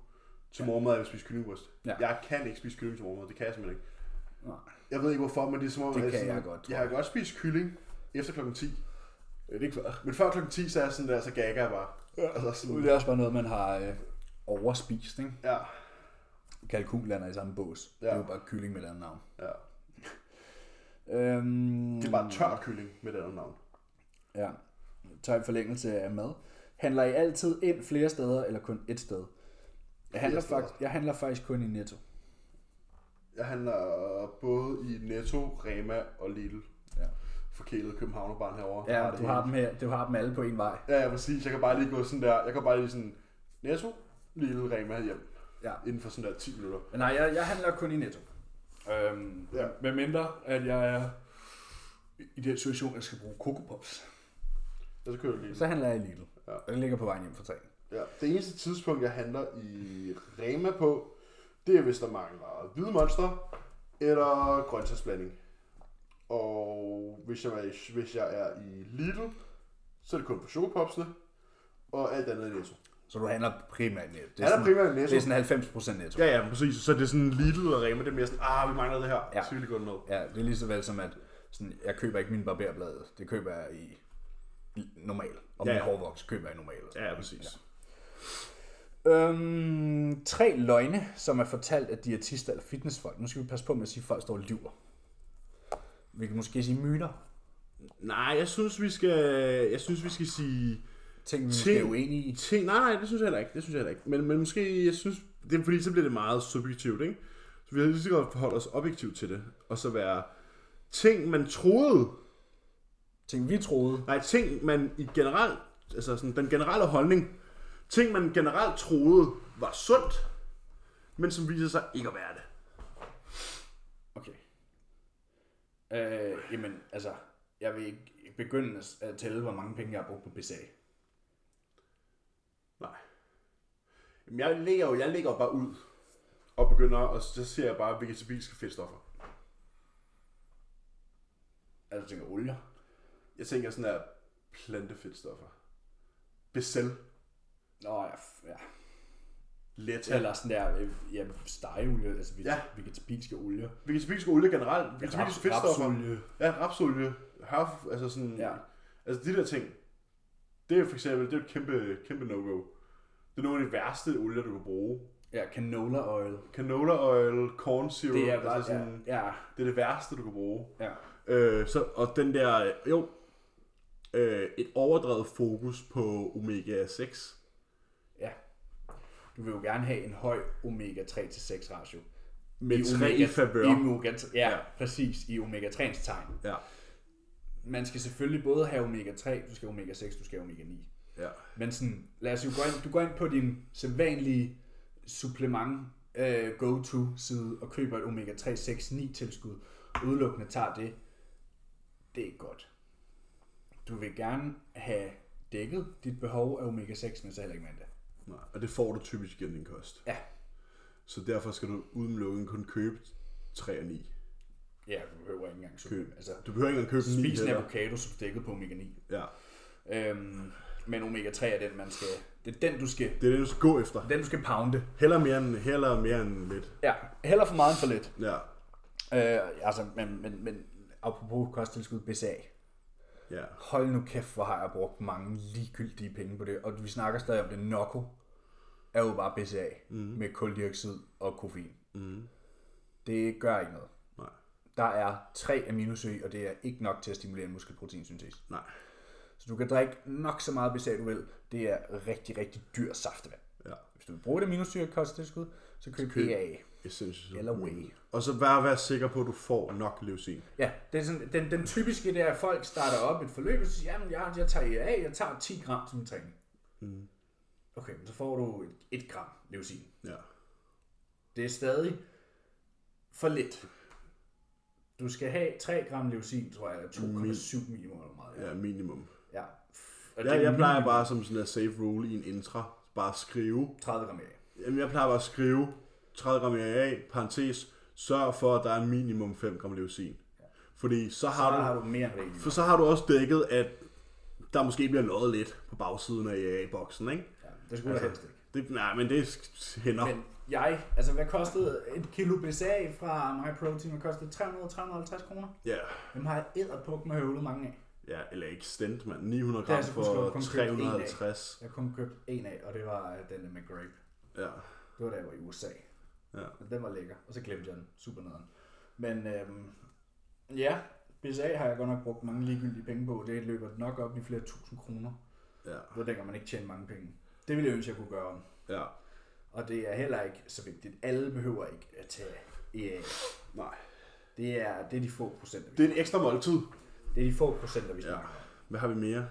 B: til morgenmad, end jeg vil spise kyllingbryst.
A: Ja.
B: Ja. Jeg kan ikke spise kylling til morgenmad, det kan jeg simpelthen ikke.
A: Nej.
B: Jeg ved ikke hvorfor, men det er som om...
A: Det
B: at
A: kan
B: sådan-
A: jeg godt, tror
B: Jeg
A: jeg.
B: har godt spist kylling efter klokken 10.
A: Det er ikke klart.
B: Men før klokken 10, så er jeg sådan der, så gagger jeg bare. Ja. Altså sådan,
A: Det er også bare noget, man har øh, overspist, ikke?
B: ja.
A: Kalkun lander i samme bås. Ja. Det er
B: Ja.
A: jo bare kylling med et andet navn.
B: ja.
A: Øhm,
B: Det er bare tør kylling med det andet navn.
A: Ja. Tøj forlængelse af mad. Handler I altid ind flere steder, eller kun et sted? Jeg handler,
B: steder.
A: fakt, jeg handler faktisk kun i Netto.
B: Jeg handler øh, både i Netto, Rema og Lidl.
A: Ja.
B: Forkælet københavnerbarn herovre.
A: Ja,
B: Har det
A: du
B: hele.
A: har, dem her, du har dem alle på en vej.
B: Ja, ja, præcis. Jeg kan bare lige gå sådan der. Jeg kan bare lige sådan Netto, Lidl, Rema hjem.
A: Ja.
B: Inden for sådan der 10 minutter.
A: Men nej, jeg, jeg handler kun i Netto. Øhm,
B: Ja.
A: Med mindre, at jeg er i den situation, at jeg skal bruge Coco Pops.
B: Og så kører jeg Lidl.
A: Så handler jeg i Lidl.
B: Ja.
A: Og det ligger på vejen hjem fra tagen.
B: Ja. Det eneste tidspunkt, jeg handler i Rema på, det er, hvis der mangler hvide monster eller grøntsagsblanding. Og hvis jeg, er i, hvis jeg er i Lidl, så er det kun for chokopopsene, og alt andet er Netto.
A: Så du handler primært i Netto. Det
B: Jeg handler primært i
A: det
B: Netto.
A: er sådan 90% Netto.
B: Ja, ja, præcis. Så det er sådan Lidl og Rema, det er mere sådan, ah, vi mangler det her.
A: Ja.
B: Ja. Så vil vi gå ned.
A: Ja, det er lige så vel som, at sådan, jeg køber ikke mine barberblade. Det køber jeg i normal. Og
B: Ja,
A: min
B: ja.
A: hårvoks køber jeg i normal.
B: Ja, ja, præcis. Ja.
A: Øhm, tre løgne, som er fortalt af diætister eller fitnessfolk. Nu skal vi passe på med at sige, at folk står og lyver. Vi kan måske sige myter.
B: Nej, jeg synes, vi skal, jeg synes, vi skal sige...
A: Ting, vi måske
B: Ting.
A: er uenige i.
B: Ting. Nej, nej, det synes jeg heller ikke. Det synes jeg heller ikke. Men, men måske, jeg synes, det er fordi, så bliver det meget subjektivt, ikke? Så vi har lige så godt forholde os objektivt til det. Og så være ting, man troede.
A: Ting, vi troede.
B: Nej, ting, man i generelt... Altså sådan, den generelle holdning. Ting, man generelt troede var sundt, men som viser sig ikke at være det.
A: Okay. Øh, jamen, altså, jeg vil ikke begynde at- at tælle, hvor mange penge jeg har brugt på BCA.
B: Nej. Jamen, jeg ligger jo jeg ligger jo bare ud. og begynder, og så ser jeg bare vegetabilske fedtstoffer.
A: Altså, du tænker olier.
B: Jeg tænker sådan der plantefedtstoffer. Becel,
A: Nå, ja, f- ja.
B: letta.
A: Eller sådan der, øh, ja, stegeolie, altså
B: Ja.
A: ja. vegetabilske olier.
B: Vegetabilske olie generelt,
A: Ja,
B: vegetabilske
A: raps-
B: fedtstoffer.
A: rapsolie.
B: Ja, rapsolie, hørf, altså sådan,
A: Ja.
B: altså de der ting, det er jo for eksempel, det er jo et kæmpe, kæmpe no-go. Det er nogle af de værste olier, du kan bruge.
A: Ja, canola oil.
B: Canola oil, corn syrup,
A: Det er bare,
B: altså sådan, ja.
A: ja, ja,
B: det er det værste, du kan bruge.
A: ja.
B: Øh, så, og den der, øh, jo, øh, et overdrevet fokus på omega-6.
A: Ja. Du vil jo gerne have en høj omega 3 til 6 ratio.
B: Med tre i favør.
A: I omega, ja,
B: Ja.
A: ja, præcis. I omega 3's tegn.
B: Ja,
A: Man skal selvfølgelig både have omega 3, du skal have omega 6, du skal have omega 9.
B: ja.
A: Men sådan, lad os jo gå ind, du går ind på din sædvanlige supplement øh, go-to side og køber et omega 3, 6, 9 tilskud, og udelukkende tager det. Det er ikke godt. Du vil gerne have dækket dit behov af omega 6, men så heller ikke mandag.
B: Nej, og det får du typisk gennem din kost.
A: Ja,
B: Så derfor skal du udelukkende kun købe 3 og 9.
A: ja, du behøver ikke engang
B: Køb.
A: suppe. Altså,
B: Du behøver ikke engang købe 9
A: Spis en
B: heller.
A: avocado, som dækket på omega 9.
B: Ja,
A: Øhm, men omega 3 er den, man skal... Det er den, du skal,
B: det er det, du skal gå efter.
A: den, du skal pounde.
B: Heller mere end, heller mere end lidt.
A: Ja, heller for meget end for lidt.
B: Ja,
A: Øh, altså, men, men, men apropos kosttilskud BCA.
B: ja.
A: Hold nu kæft, hvor har jeg brugt mange ligegyldige penge på det. Og vi snakker stadig om det. Nokko er jo bare BCA mm. med koldioxid og koffein. Mm. Det gør ikke noget.
B: Nej,
A: Der er tre aminosyre, og det er ikke nok til at stimulere en muskelproteinsyntese.
B: nej.
A: Så du kan drikke nok så meget BCA, du vil. Det er rigtig, rigtig dyr saftevand.
B: Ja.
A: Hvis du vil bruge det aminosyre kosttilskud, så køb EA.
B: Essential.
A: Eller whey.
B: Og så bare være sikker på, at du får nok leucin.
A: Ja, det er sådan, den, den typiske, det er, at folk starter op et forløb, og så siger, jamen, jeg, jeg tager EA, jeg tager 10 gram til min træning. Mm. Okay, men så får du et, et gram leucin.
B: Ja.
A: Det er stadig for lidt. Du skal have 3 gram leucin, tror jeg, eller 2,7 minimum eller meget.
B: Mm. Ja, minimum.
A: ja. Og det er
B: Jeg, jeg plejer
A: minimum
B: bare som sådan en safe rule i en intra, bare at skrive.
A: 30 gram EA.
B: Jamen, jeg plejer bare at skrive 30 gram AA, parentes, sørg for, at der er minimum 5 gram leucin. Fordi så
A: Så
B: har, du,
A: har du mere end rigtigt.
B: For så har du også dækket, at der måske bliver løjet lidt på bagsiden af AA-boksen, ikke?
A: Ja, det skulle altså, helst ikke.
B: Det, nej, men det hænder.
A: Men jeg, altså hvad kostede et kilo BCA fra MyProtein? Hvad kostede 300-350 kroner?
B: Ja,
A: Dem har jeg æderpuk med høvlet mange af.
B: ja, eller ikke stent, mand. 900
A: Det er
B: gram
A: altså kun slået
B: for
A: konkret en dag.
B: 350.
A: Jeg har kun købt en af, og det var øh, den der med grape.
B: Ja,
A: Det var da jeg var i USA.
B: ja.
A: Og den var lækker, og så glemte jeg den. Super nederen. Men øhm, ja, BCA har jeg godt nok brugt mange ligegyldige penge på. Det løber nok op i flere tusind kroner.
B: Ja,
A: Det var dengang man ikke tjente mange penge. Det ville jeg ønske, jeg kunne gøre om.
B: ja.
A: Og det er heller ikke så vigtigt. Alle behøver ikke at tage EA.
B: Nej.
A: Det er, det er de få procent,
B: Det er et ekstra måltid.
A: Det er de få procenter, vi
B: Ja.
A: snakker om.
B: Hvad har vi mere?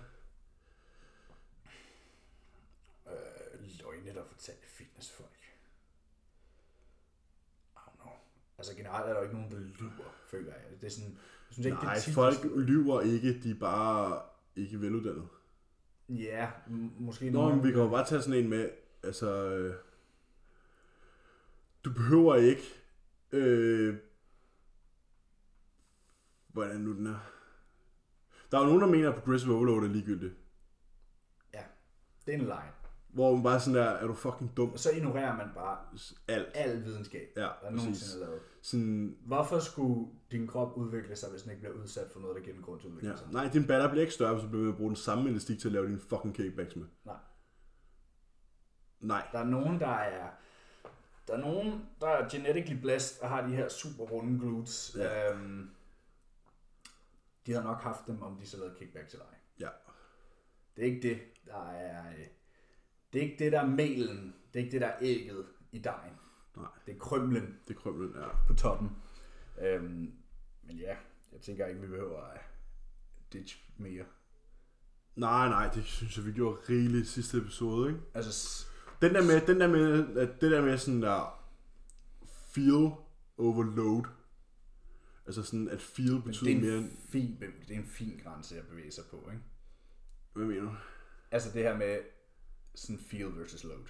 A: Øh, løgne, der fortalte fitnessfolk. I don't know. Altså generelt er der jo ikke nogen, der lyver, føler jeg. Det er sådan, jeg synes ikke,
B: Nej,
A: det er tit-
B: folk lyver ikke. De er bare ikke veluddannede.
A: Ja, m- måske
B: Nå, men vi kan jo bare tage sådan en med, altså, øh, du behøver ikke, øh, hvordan nu den er. Der er jo nogen, der mener, at progressive overload er ligegyldigt.
A: Ja, det er en line.
B: Hvor man bare sådan der, er du fucking dum?
A: Og så ignorerer man bare
B: Alt.
A: al videnskab,
B: Ja,
A: der
B: præcis.
A: nogensinde er lavet.
B: Sådan,
A: Hvorfor skulle din krop udvikle sig, hvis den ikke bliver udsat for noget, der giver den grund til at udvikle
B: ja.
A: sig?
B: Nej, din batter bliver ikke større, hvis du bliver ved at bruge den samme elastik til at lave dine fucking kickbacks med.
A: Nej.
B: Nej.
A: Der er nogen, der er der er nogen, der er genetically blessed og har de her super runde glutes.
B: Ja.
A: Ja. Øhm, de har nok haft dem, om de så lavede kickback til dig.
B: Ja.
A: Det er ikke det, der er... øh, Det er ikke det, der er melen. Det er ikke det, der er ægget i dejen.
B: Nej.
A: Det er krymlen
B: Det krømlen er.
A: på toppen. Øhm, men ja, jeg tænker ikke, vi behøver at øh, ditch mere.
B: Nej, nej, det synes jeg, vi gjorde rigeligt i sidste episode, ikke?
A: Altså, s-
B: Den der med, den der med, at det der med sådan der feel overload. Altså sådan, at feel
A: men det
B: betyder
A: er,
B: mere
A: en
B: end...
A: fin, det er en fin grænse at bevæge sig på, ikke?
B: Hvad mener du?
A: Altså det her med sådan feel versus load.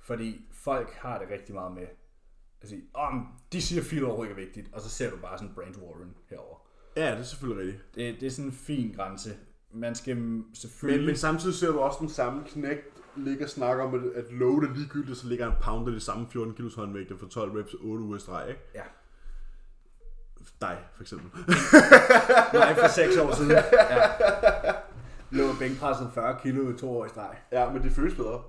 A: Fordi folk har det rigtig meget med, Altså, om de siger, at field overhovedet ikke er vigtigt, og så ser du bare sådan Brand Warren herover.
B: Ja, det er selvfølgelig rigtigt.
A: Det, det er sådan en fin grænse. Man skal
B: Men,
A: selvfølgelig...
B: men samtidig ser du også den samme knægt ligge og snakke om, at, at low er ligegyldigt, så ligger han pounder det samme 14 kilos håndvægter for 12 reps 8 uger i streg, ikke?
A: Ja,
B: Dig, for eksempel.
A: nej, for seks år siden. Ja. Lå bænkpresset 40 kilo i to år i streg.
B: ja, men det føles bedre.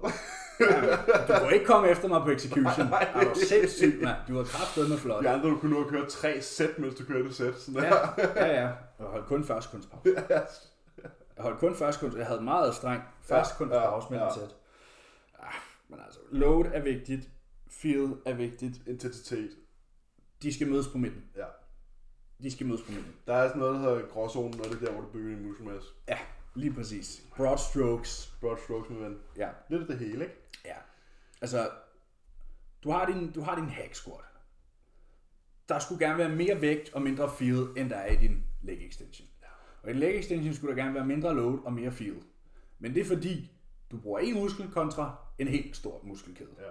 A: Du må ikke komme efter mig på execution. Nej, nej. Er du sindssygt, mand? Du har kraftet med flot.
B: De andre, du kunne nå at køre tre sæt, mens du kørte et sæt. Sådan der.
A: ja, ja, ja. Og holdt kun første kunstpause. Jeg holdt kun første kunst. Jeg havde meget streng første
B: Ja,
A: ja, kunstpause
B: ja,
A: mellem
B: ja.
A: sæt. Ah, Men altså, load er vigtigt. Feel er vigtigt.
B: Intensitet.
A: De skal mødes på midten.
B: Ja.
A: De skal mødes på midten.
B: Der er sådan noget, der hedder gråzonen, og det er der, hvor du bygger din muskelmasse.
A: Ja, lige præcis. Broad strokes.
B: Broad strokes, min ven.
A: Ja,
B: Lidt af det hele, ikke?
A: ja. Altså, du har din, du har din hack squat. Der skulle gerne være mere vægt og mindre feel, end der er i din leg extension. Og i en leg extension skulle der gerne være mindre load og mere feel. Men det er fordi, du bruger en muskel kontra en helt stor muskelkæde.
B: Ja.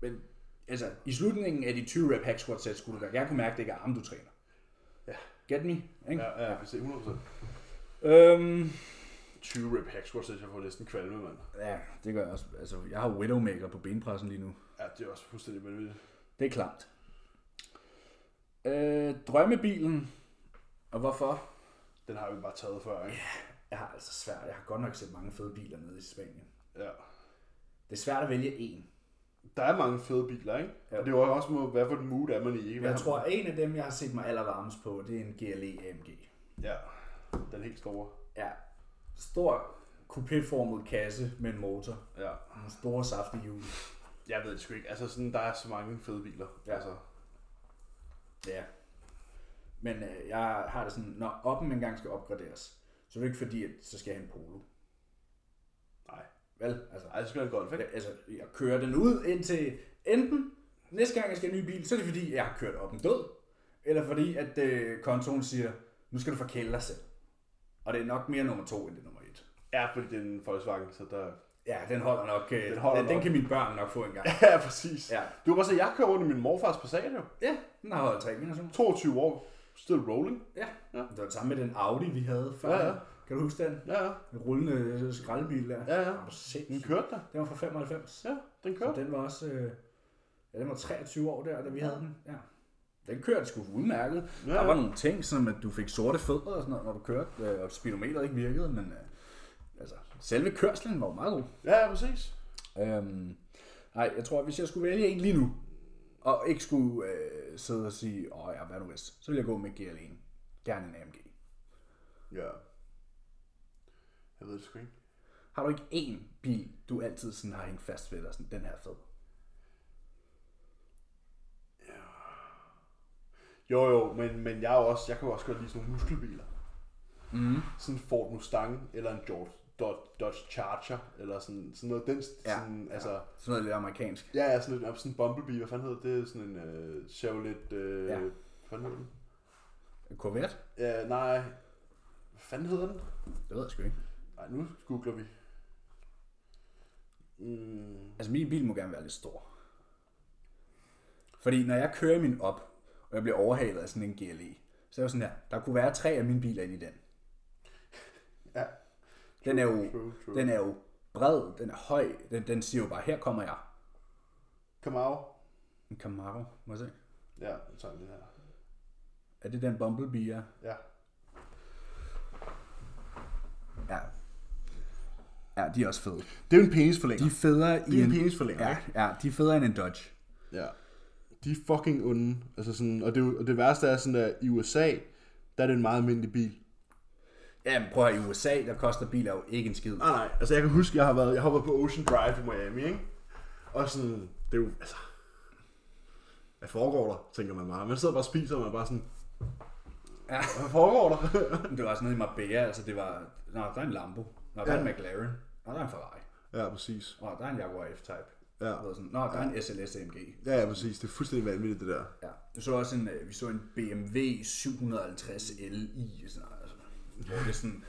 A: Men altså, i slutningen af de 20 rep hack squat sæt, skulle du da gerne kunne mærke, at det ikke er arme, du træner.
B: Ja.
A: Get me? Ikke?
B: Ja, ja, jeg kan se 100%.
A: Ja. Øhm,
B: 20 rep hack squats, jeg får næsten kvalme, mand.
A: ja, det gør jeg også. Altså, jeg har Widowmaker på benpressen lige nu.
B: Ja, det er også fuldstændig vanvittigt.
A: Det er klart. Øh, drømmebilen. Og hvorfor?
B: Den har vi bare taget før, ikke?
A: Jeg har altså svært. Jeg har godt nok set mange fede biler nede i Spanien.
B: Ja.
A: Det er svært at vælge en.
B: Der er mange fede biler, ikke? Ja. Og det er jo også, med, hvad for et mood er man i, ikke? Hvad
A: Jeg
B: har-
A: tror, at en af dem, jeg har set mig allervarmest på, det er en E GLE AMG.
B: Ja, den helt store.
A: Ja. Stor coupéformet kasse med en motor.
B: Ja.
A: Nogle store saftige hjul.
B: Jeg ved det sgu ikke. Altså, sådan, der er så mange fede biler.
A: Ja.
B: Altså,
A: Ja. Men øh, jeg har det sådan, når oppen engang skal opgraderes, så er det ikke fordi, at så skal jeg have en polo.
B: nej.
A: Vel? Altså,
B: Ej, så skal jeg en golf, ikke?
A: Ja, altså, jeg kører den ud indtil enten næste gang, jeg skal have en ny bil, så er det fordi, jeg har kørt op en død, eller fordi, at øh, kontoen siger, nu skal du forkæle dig selv. Og det er nok mere nummer to, end det er nummer et.
B: Ja, fordi det er en Volkswagen, så der...
A: Ja, den holder nok. Øh,
B: Den
A: den,
B: holder
A: holder den, den
B: nok.
A: kan mine børn nok få en gang.
B: Ja, præcis.
A: Ja.
B: Du kan bare se, jeg kører rundt i min morfars Passat, jo.
A: Ja, den har holdt tre generationer.
B: 22 år. Still rolling.
A: Ja. ja.
B: Ja.
A: Det var det samme med den Audi, vi havde før.
B: Ja, ja.
A: Kan du huske den?
B: Ja, ja.
A: Den rullende øh, skraldebil der.
B: Ja, ja.
A: Den var
B: Den
A: sindssyg.
B: kørte der.
A: Den var fra 95.
B: Ja, den
A: Så
B: kørte.
A: den var også... Øh, ja, den var 23 år der, da vi havde den. Ja. Den kørte sgu udmærket.
B: Ja,
A: Ja.
B: ja.
A: Der var nogle ting, som at du fik sorte fødder og sådan noget, når du kørte, øh, og speedometeret ikke virkede, men øh, altså, selve kørslen var jo meget god.
B: Ja, ja, præcis.
A: Øhm, nej, jeg tror, at hvis jeg skulle vælge en lige nu, og ikke skulle øh, sidde og sige, åh ja, hvad nu hvis, så ville jeg gå med GL1. Gerne en AMG.
B: Ja. Jeg ved det sgu ikke.
A: Har du ikke én bil, du altid sådan har hængt fast ved, og sådan, den her er fed?
B: Jo, jo, men, men jeg, er jo også, jeg kan jo også godt lide sådan nogle muskelbiler.
A: Mm.
B: Sådan en Ford Mustang, eller en George Dodge, Dodge Charger, eller sådan, sådan noget. Den,
A: Ja,
B: sådan, ja. altså,
A: Sådan noget lidt amerikansk.
B: ja, ja, sådan, en, sådan en Bumblebee, hvad fanden hedder det? Det er sådan en øh, Chevrolet, øh, ja.
A: Ja.
B: hvad fanden hedder den?
A: Corvette?
B: Ja, nej, hvad fanden hedder den?
A: Det ved jeg sgu ikke.
B: Nej, nu googler vi. Mm,
A: Altså, min bil må gerne være lidt stor. Fordi når jeg kører min op, og jeg bliver overhalet af sådan en GLE, så er jeg sådan her, der kunne være tre af mine biler inde i den.
B: ja,
A: Den er jo,
B: true, true.
A: den er jo bred, den er høj, den, den siger jo bare, her kommer jeg.
B: Camaro.
A: En Camaro, må jeg se.
B: Ja, nu tager vi den her.
A: Er det den Bumblebee, ja?
B: Ja,
A: Ja. Ja, de er også fede.
B: det er jo en
A: De
B: penisforlænger.
A: er federe i
B: Det er en penisforlænger,
A: ja, ja, de er federe end en Dodge.
B: Ja. De er fucking onde. Altså sådan, og, det, er jo- og det værste er sådan, at i USA, der er det en meget almindelig bil.
A: Jamen prøv at høre, i USA, der koster biler jo ikke en skid.
B: Nej, nej. Altså jeg kan huske, jeg har været, jeg har været på Ocean Drive i Miami, ikke? Og sådan, det er jo, altså... Hvad foregår der, tænker man bare. Man sidder bare og spiser, og man er bare sådan...
A: Ja.
B: Hvad foregår der?
A: Men Det var også nede i Marbella, altså det var, nå, der er en Lambo, nå, der er en McLaren, nå, der er en Ferrari,
B: ja, præcis.
A: nå, der er en Jaguar F-Type.
B: Ja.
A: Du ved sådan, Nå, der er en SLS AMG.
B: Ja, ja, præcis. Det er fuldstændig vanvittigt, det der.
A: Ja. Jeg så også en, øh, vi så en BMW 750 Li, sådan, noget, altså, hvor det er sådan,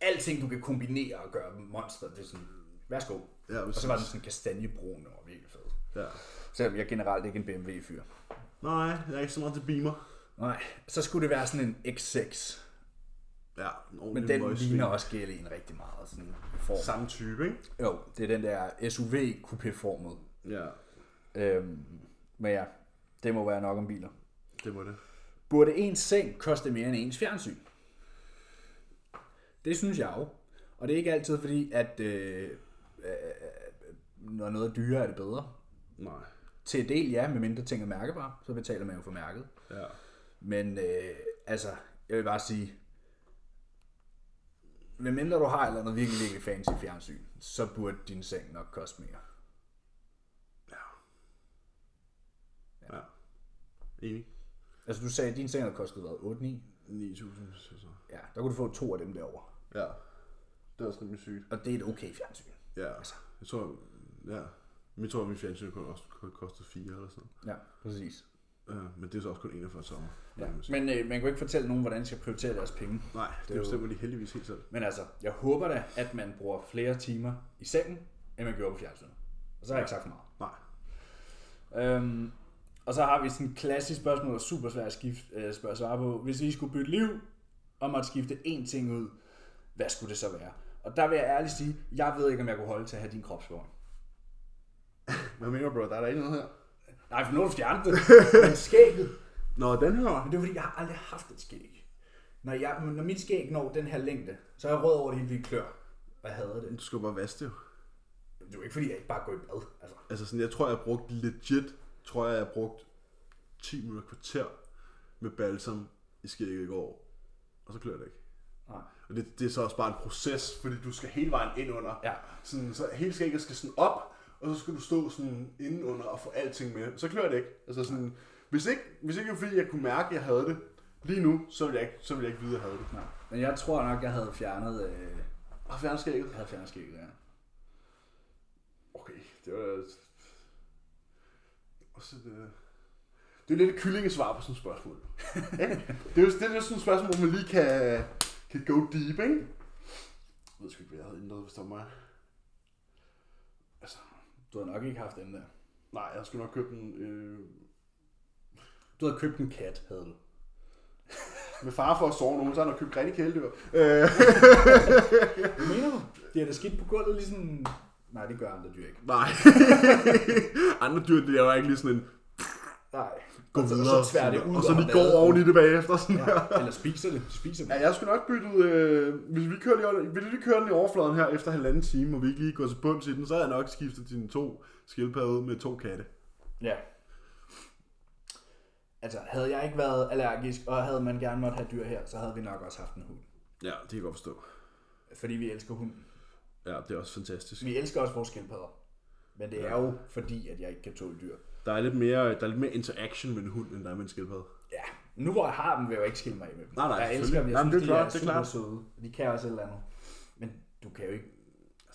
A: alting du kan kombinere og gøre monster, det er sådan, værsgo.
B: Ja,
A: Og
B: præcis.
A: så var den sådan kastanjebrun og virkelig fed.
B: Ja.
A: Selvom jeg generelt ikke er en BMW-fyr.
B: Nej, jeg er ikke så meget til Beamer.
A: Nej, så skulle det være sådan en X6.
B: Ja, en
A: Men
B: ordentlig
A: den
B: møgsvin.
A: ligner også GL'en rigtig meget. Sådan i form.
B: Samme type, ikke?
A: Jo, det er den der suv coupéformet
B: Ja,
A: Øhm, men ja, det må være nok om biler.
B: det må det.
A: Burde ens seng koste mere end ens fjernsyn? Det synes jeg jo. Og det er ikke altid fordi, at øh, øh, når noget er dyrere, er det bedre.
B: Nej.
A: Til del ja, medmindre ting er mærkebare, så betaler man jo for mærket.
B: Ja.
A: Men øh, altså, jeg vil bare sige, medmindre du har et eller andet virkelig, virkelig fancy fjernsyn, så burde din seng nok koste mere.
B: Ja. Ja. Enig.
A: Altså du sagde, at din seng havde kostet hvad, 8-9?
B: 9.000, så så.
A: Ja, der kunne du få to af dem derovre.
B: Ja. Det er også rimelig sygt.
A: Og det er et okay fjernsyn.
B: Ja. Jeg tror, ja. Jeg tror, at min fjernsyn kun også kostede 4 eller sådan
A: Ja, præcis.
B: noget. Øh, men det er så også kun 41 sommer.
A: Ja. Men øh, man kan jo ikke fortælle nogen, hvordan de skal prioritere deres penge.
B: Nej, det,
A: er jo-
B: bestemmer de heldigvis helt selv.
A: Men altså, jeg håber da, at man bruger flere timer i sengen, end man gjorde på fjernsynet. Og så har jeg ikke sagt for meget.
B: Nej.
A: Øhm, og så har vi sådan et klassisk spørgsmål, der er super svært at, skifte, øh, spørge svare på. Hvis I skulle bytte liv, og måtte skifte én ting ud, hvad skulle det så være? Og der vil jeg ærligt sige, jeg ved ikke, om jeg kunne holde til at have din kropsform.
B: Hvad mener du, bro? Der er der ikke noget her.
A: Nej, for nu har du fjernet det. Men skægget.
B: Nå, den her.
A: Men det er fordi, jeg har aldrig haft et skæg. Når, jeg, når mit skæg når den her længde, så er jeg rød over det hele vildt klør. Og jeg hader det.
B: Du skal jo bare vaske det jo.
A: Det er jo ikke fordi, jeg ikke bare går i bad. Altså.
B: Altså sådan, jeg tror, jeg brugte legit, tror jeg, jeg brugte 10 minutter kvarter med balsam i skægget i går. Og så klør det ikke.
A: Nej.
B: Og det, det er så også bare en proces, fordi du skal hele vejen ind under.
A: Ja.
B: Sådan, så hele skægget skal sådan op, og så skal du stå sådan indenunder og få alting med. Så klør det ikke. Altså sådan, hvis ikke, hvis ikke det var fordi jeg kunne mærke, at jeg havde det lige nu, så ville jeg ikke, så ville jeg ikke vide, at jeg havde det.
A: Nej. Men jeg tror nok, jeg havde fjernet, øh,
B: Og fjerne skægget.
A: jeg havde fjernet skægget, ja.
B: Okay, det var... Og så det... Det er jo lidt et kyllingesvar på sådan et spørgsmål. Ikke? det er jo det er jo sådan et spørgsmål, hvor man lige kan, kan go deep, ikke? Jeg ved sgu ikke, hvad jeg havde indladet, hvis det var mig. Altså,
A: Du havde nok ikke haft den der.
B: nej, jeg skulle nok købe den øh,
A: Du havde købt en kat, havde du.
B: med far for at sove nogen, så har jeg nok købt grinig kæledyr. Øh,
A: Hvad mener du? Det er da skidt på gulvet, ligesom... Nej, det gør andre dyr ikke.
B: nej. Andre dyr, det er jo ikke lige sådan en
A: Nej.
B: gå
A: og så,
B: videre.
A: og så tværer det
B: sådan
A: ud
B: der. og så
A: over
B: lige går
A: maden.
B: oven i det bagefter. Sådan ja.
A: Ja, eller spiser det. De spiser det.
B: Ja, jeg skulle nok bytte ud, øh, hvis vi kører lige, over- vil du lige køre den i overfladen her efter halvanden time, og vi ikke lige går til bunds i den, så havde jeg nok skiftet dine to skildpadder ud med to katte.
A: Ja. Altså, havde jeg ikke været allergisk, og havde man gerne måtte have dyr her, så havde vi nok også haft en hund.
B: Ja, det kan jeg godt forstå.
A: Fordi vi elsker hunden.
B: Ja, det er også fantastisk.
A: Vi elsker også vores skildpadder. Men det er jo fordi, at jeg ikke kan tåle dyr.
B: Der er lidt mere, der er lidt mere interaction med en hund, end der er med en skildpadde.
A: Ja, nu hvor jeg har dem, vil jeg jo ikke skille mig af med dem.
B: Nej, nej,
A: jeg elsker
B: selvfølgelig.
A: dem, jeg
B: Nej, men
A: synes,
B: det er
A: de
B: klart,
A: er super
B: det er klart.
A: søde. De kan også et eller andet. Men du kan jo ikke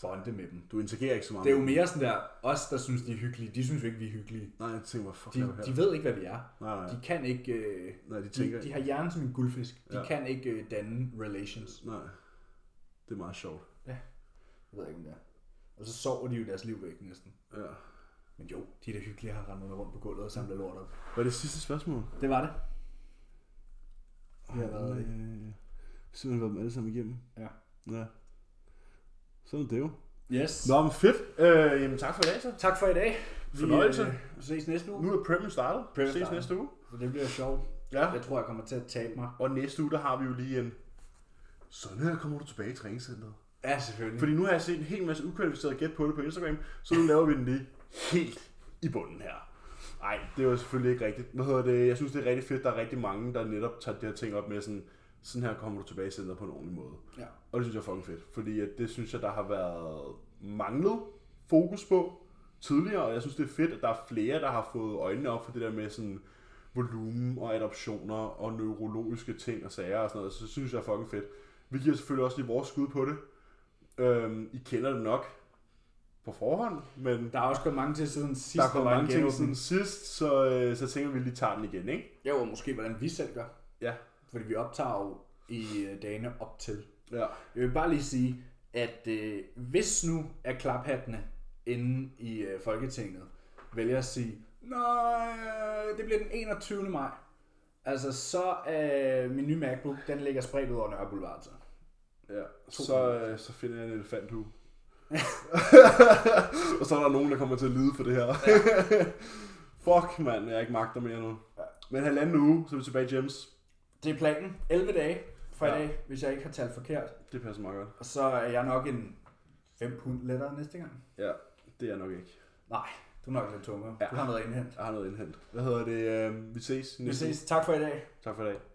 A: bonde med dem.
B: Du interagerer ikke så meget
A: Det er jo mere sådan der, os der synes, de er hyggelige, de synes jo ikke, vi er hyggelige.
B: Nej, jeg tænker, hvor fuck
A: De,
B: er det her?
A: de ved ikke, hvad vi er.
B: Nej, nej.
A: De kan ikke... Øh,
B: Nej, de tænker
A: de, de
B: ikke.
A: har hjernen som en guldfisk. De
B: Ja.
A: kan ikke øh, danne relations.
B: Nej, det er meget sjovt.
A: Jeg ved ikke, om det er. Og så sover de jo deres liv væk næsten.
B: Ja.
A: Men jo, de der hyggelige har rendt rundt på gulvet og samlet lort op.
B: Var det sidste spørgsmål?
A: Det var det. Det har været det.
B: Øh, simpelthen været dem alle sammen igennem.
A: Ja.
B: Ja. Sådan er det jo.
A: Yes.
B: Nå, men fedt. Øh, jamen tak for i dag, så.
A: Tak for i dag. Vi,
B: Fornøjelse.
A: øh, ses næste uge.
B: Nu er Premier startet.
A: Premier
B: Ses
A: startet.
B: næste uge.
A: Så det bliver sjovt.
B: Ja.
A: Jeg tror, jeg kommer til at tabe mig.
B: Og næste uge, der har vi jo lige en... Sådan her kommer du tilbage i træningscenteret.
A: Ja, selvfølgelig.
B: Fordi nu har jeg set en hel masse ukvalificerede gæt på det på Instagram, så nu laver vi den lige helt i bunden her. Nej, det er jo selvfølgelig ikke rigtigt. Hvad hedder det? Jeg synes, det er rigtig fedt. Der er rigtig mange, der netop tager det her ting op med sådan, sådan her kommer du tilbage i centret på en ordentlig måde.
A: Ja.
B: Og det synes jeg er fucking fedt, fordi at det synes jeg, der har været manglet fokus på tidligere, og jeg synes, det er fedt, at der er flere, der har fået øjnene op for det der med sådan volumen og adoptioner og neurologiske ting og sager og sådan noget, så synes jeg er fucking fedt. Vi giver selvfølgelig også lige vores skud på det. Øhm, I kender det nok på forhånd, men
A: Der er også gået mange til siden sidst,
B: der er kommet
A: var en
B: mange ting
A: genåbning.
B: siden sidst, så, øh, så tænker vi lige tager den igen, ikke?
A: Ja, og måske hvordan vi selv gør.
B: Ja.
A: Fordi vi optager jo i øh, dagene op til.
B: Ja.
A: Jeg vil bare lige sige, at øh, hvis nu er klaphattene inde i øh, Folketinget vælger at sige, nej, øh, det bliver den 21. maj, altså så er øh, min nye MacBook, den ligger spredt ud over Nørre Boulevard. Så.
B: Ja, så, øh, så finder jeg en elefanthue. og så er der nogen, der kommer til at lide for det her. Fuck, mand, jeg ikke magter mere nu. Men halvanden uge, så er vi tilbage i James.
A: Det er planen. 11 dage fra i
B: Ja.
A: dag, hvis jeg ikke har talt forkert.
B: Det passer meget godt.
A: Og så er jeg nok en 5 pund lettere næste gang.
B: Ja, det er jeg nok ikke.
A: Nej, du er nok lidt tungere. Ja.
B: Ja.
A: Du har noget indhent.
B: Jeg har noget indhent. Hvad hedder det? Øh, vi ses.
A: Vi
B: næste uge.
A: ses. Tak for i dag.
B: Tak for i dag.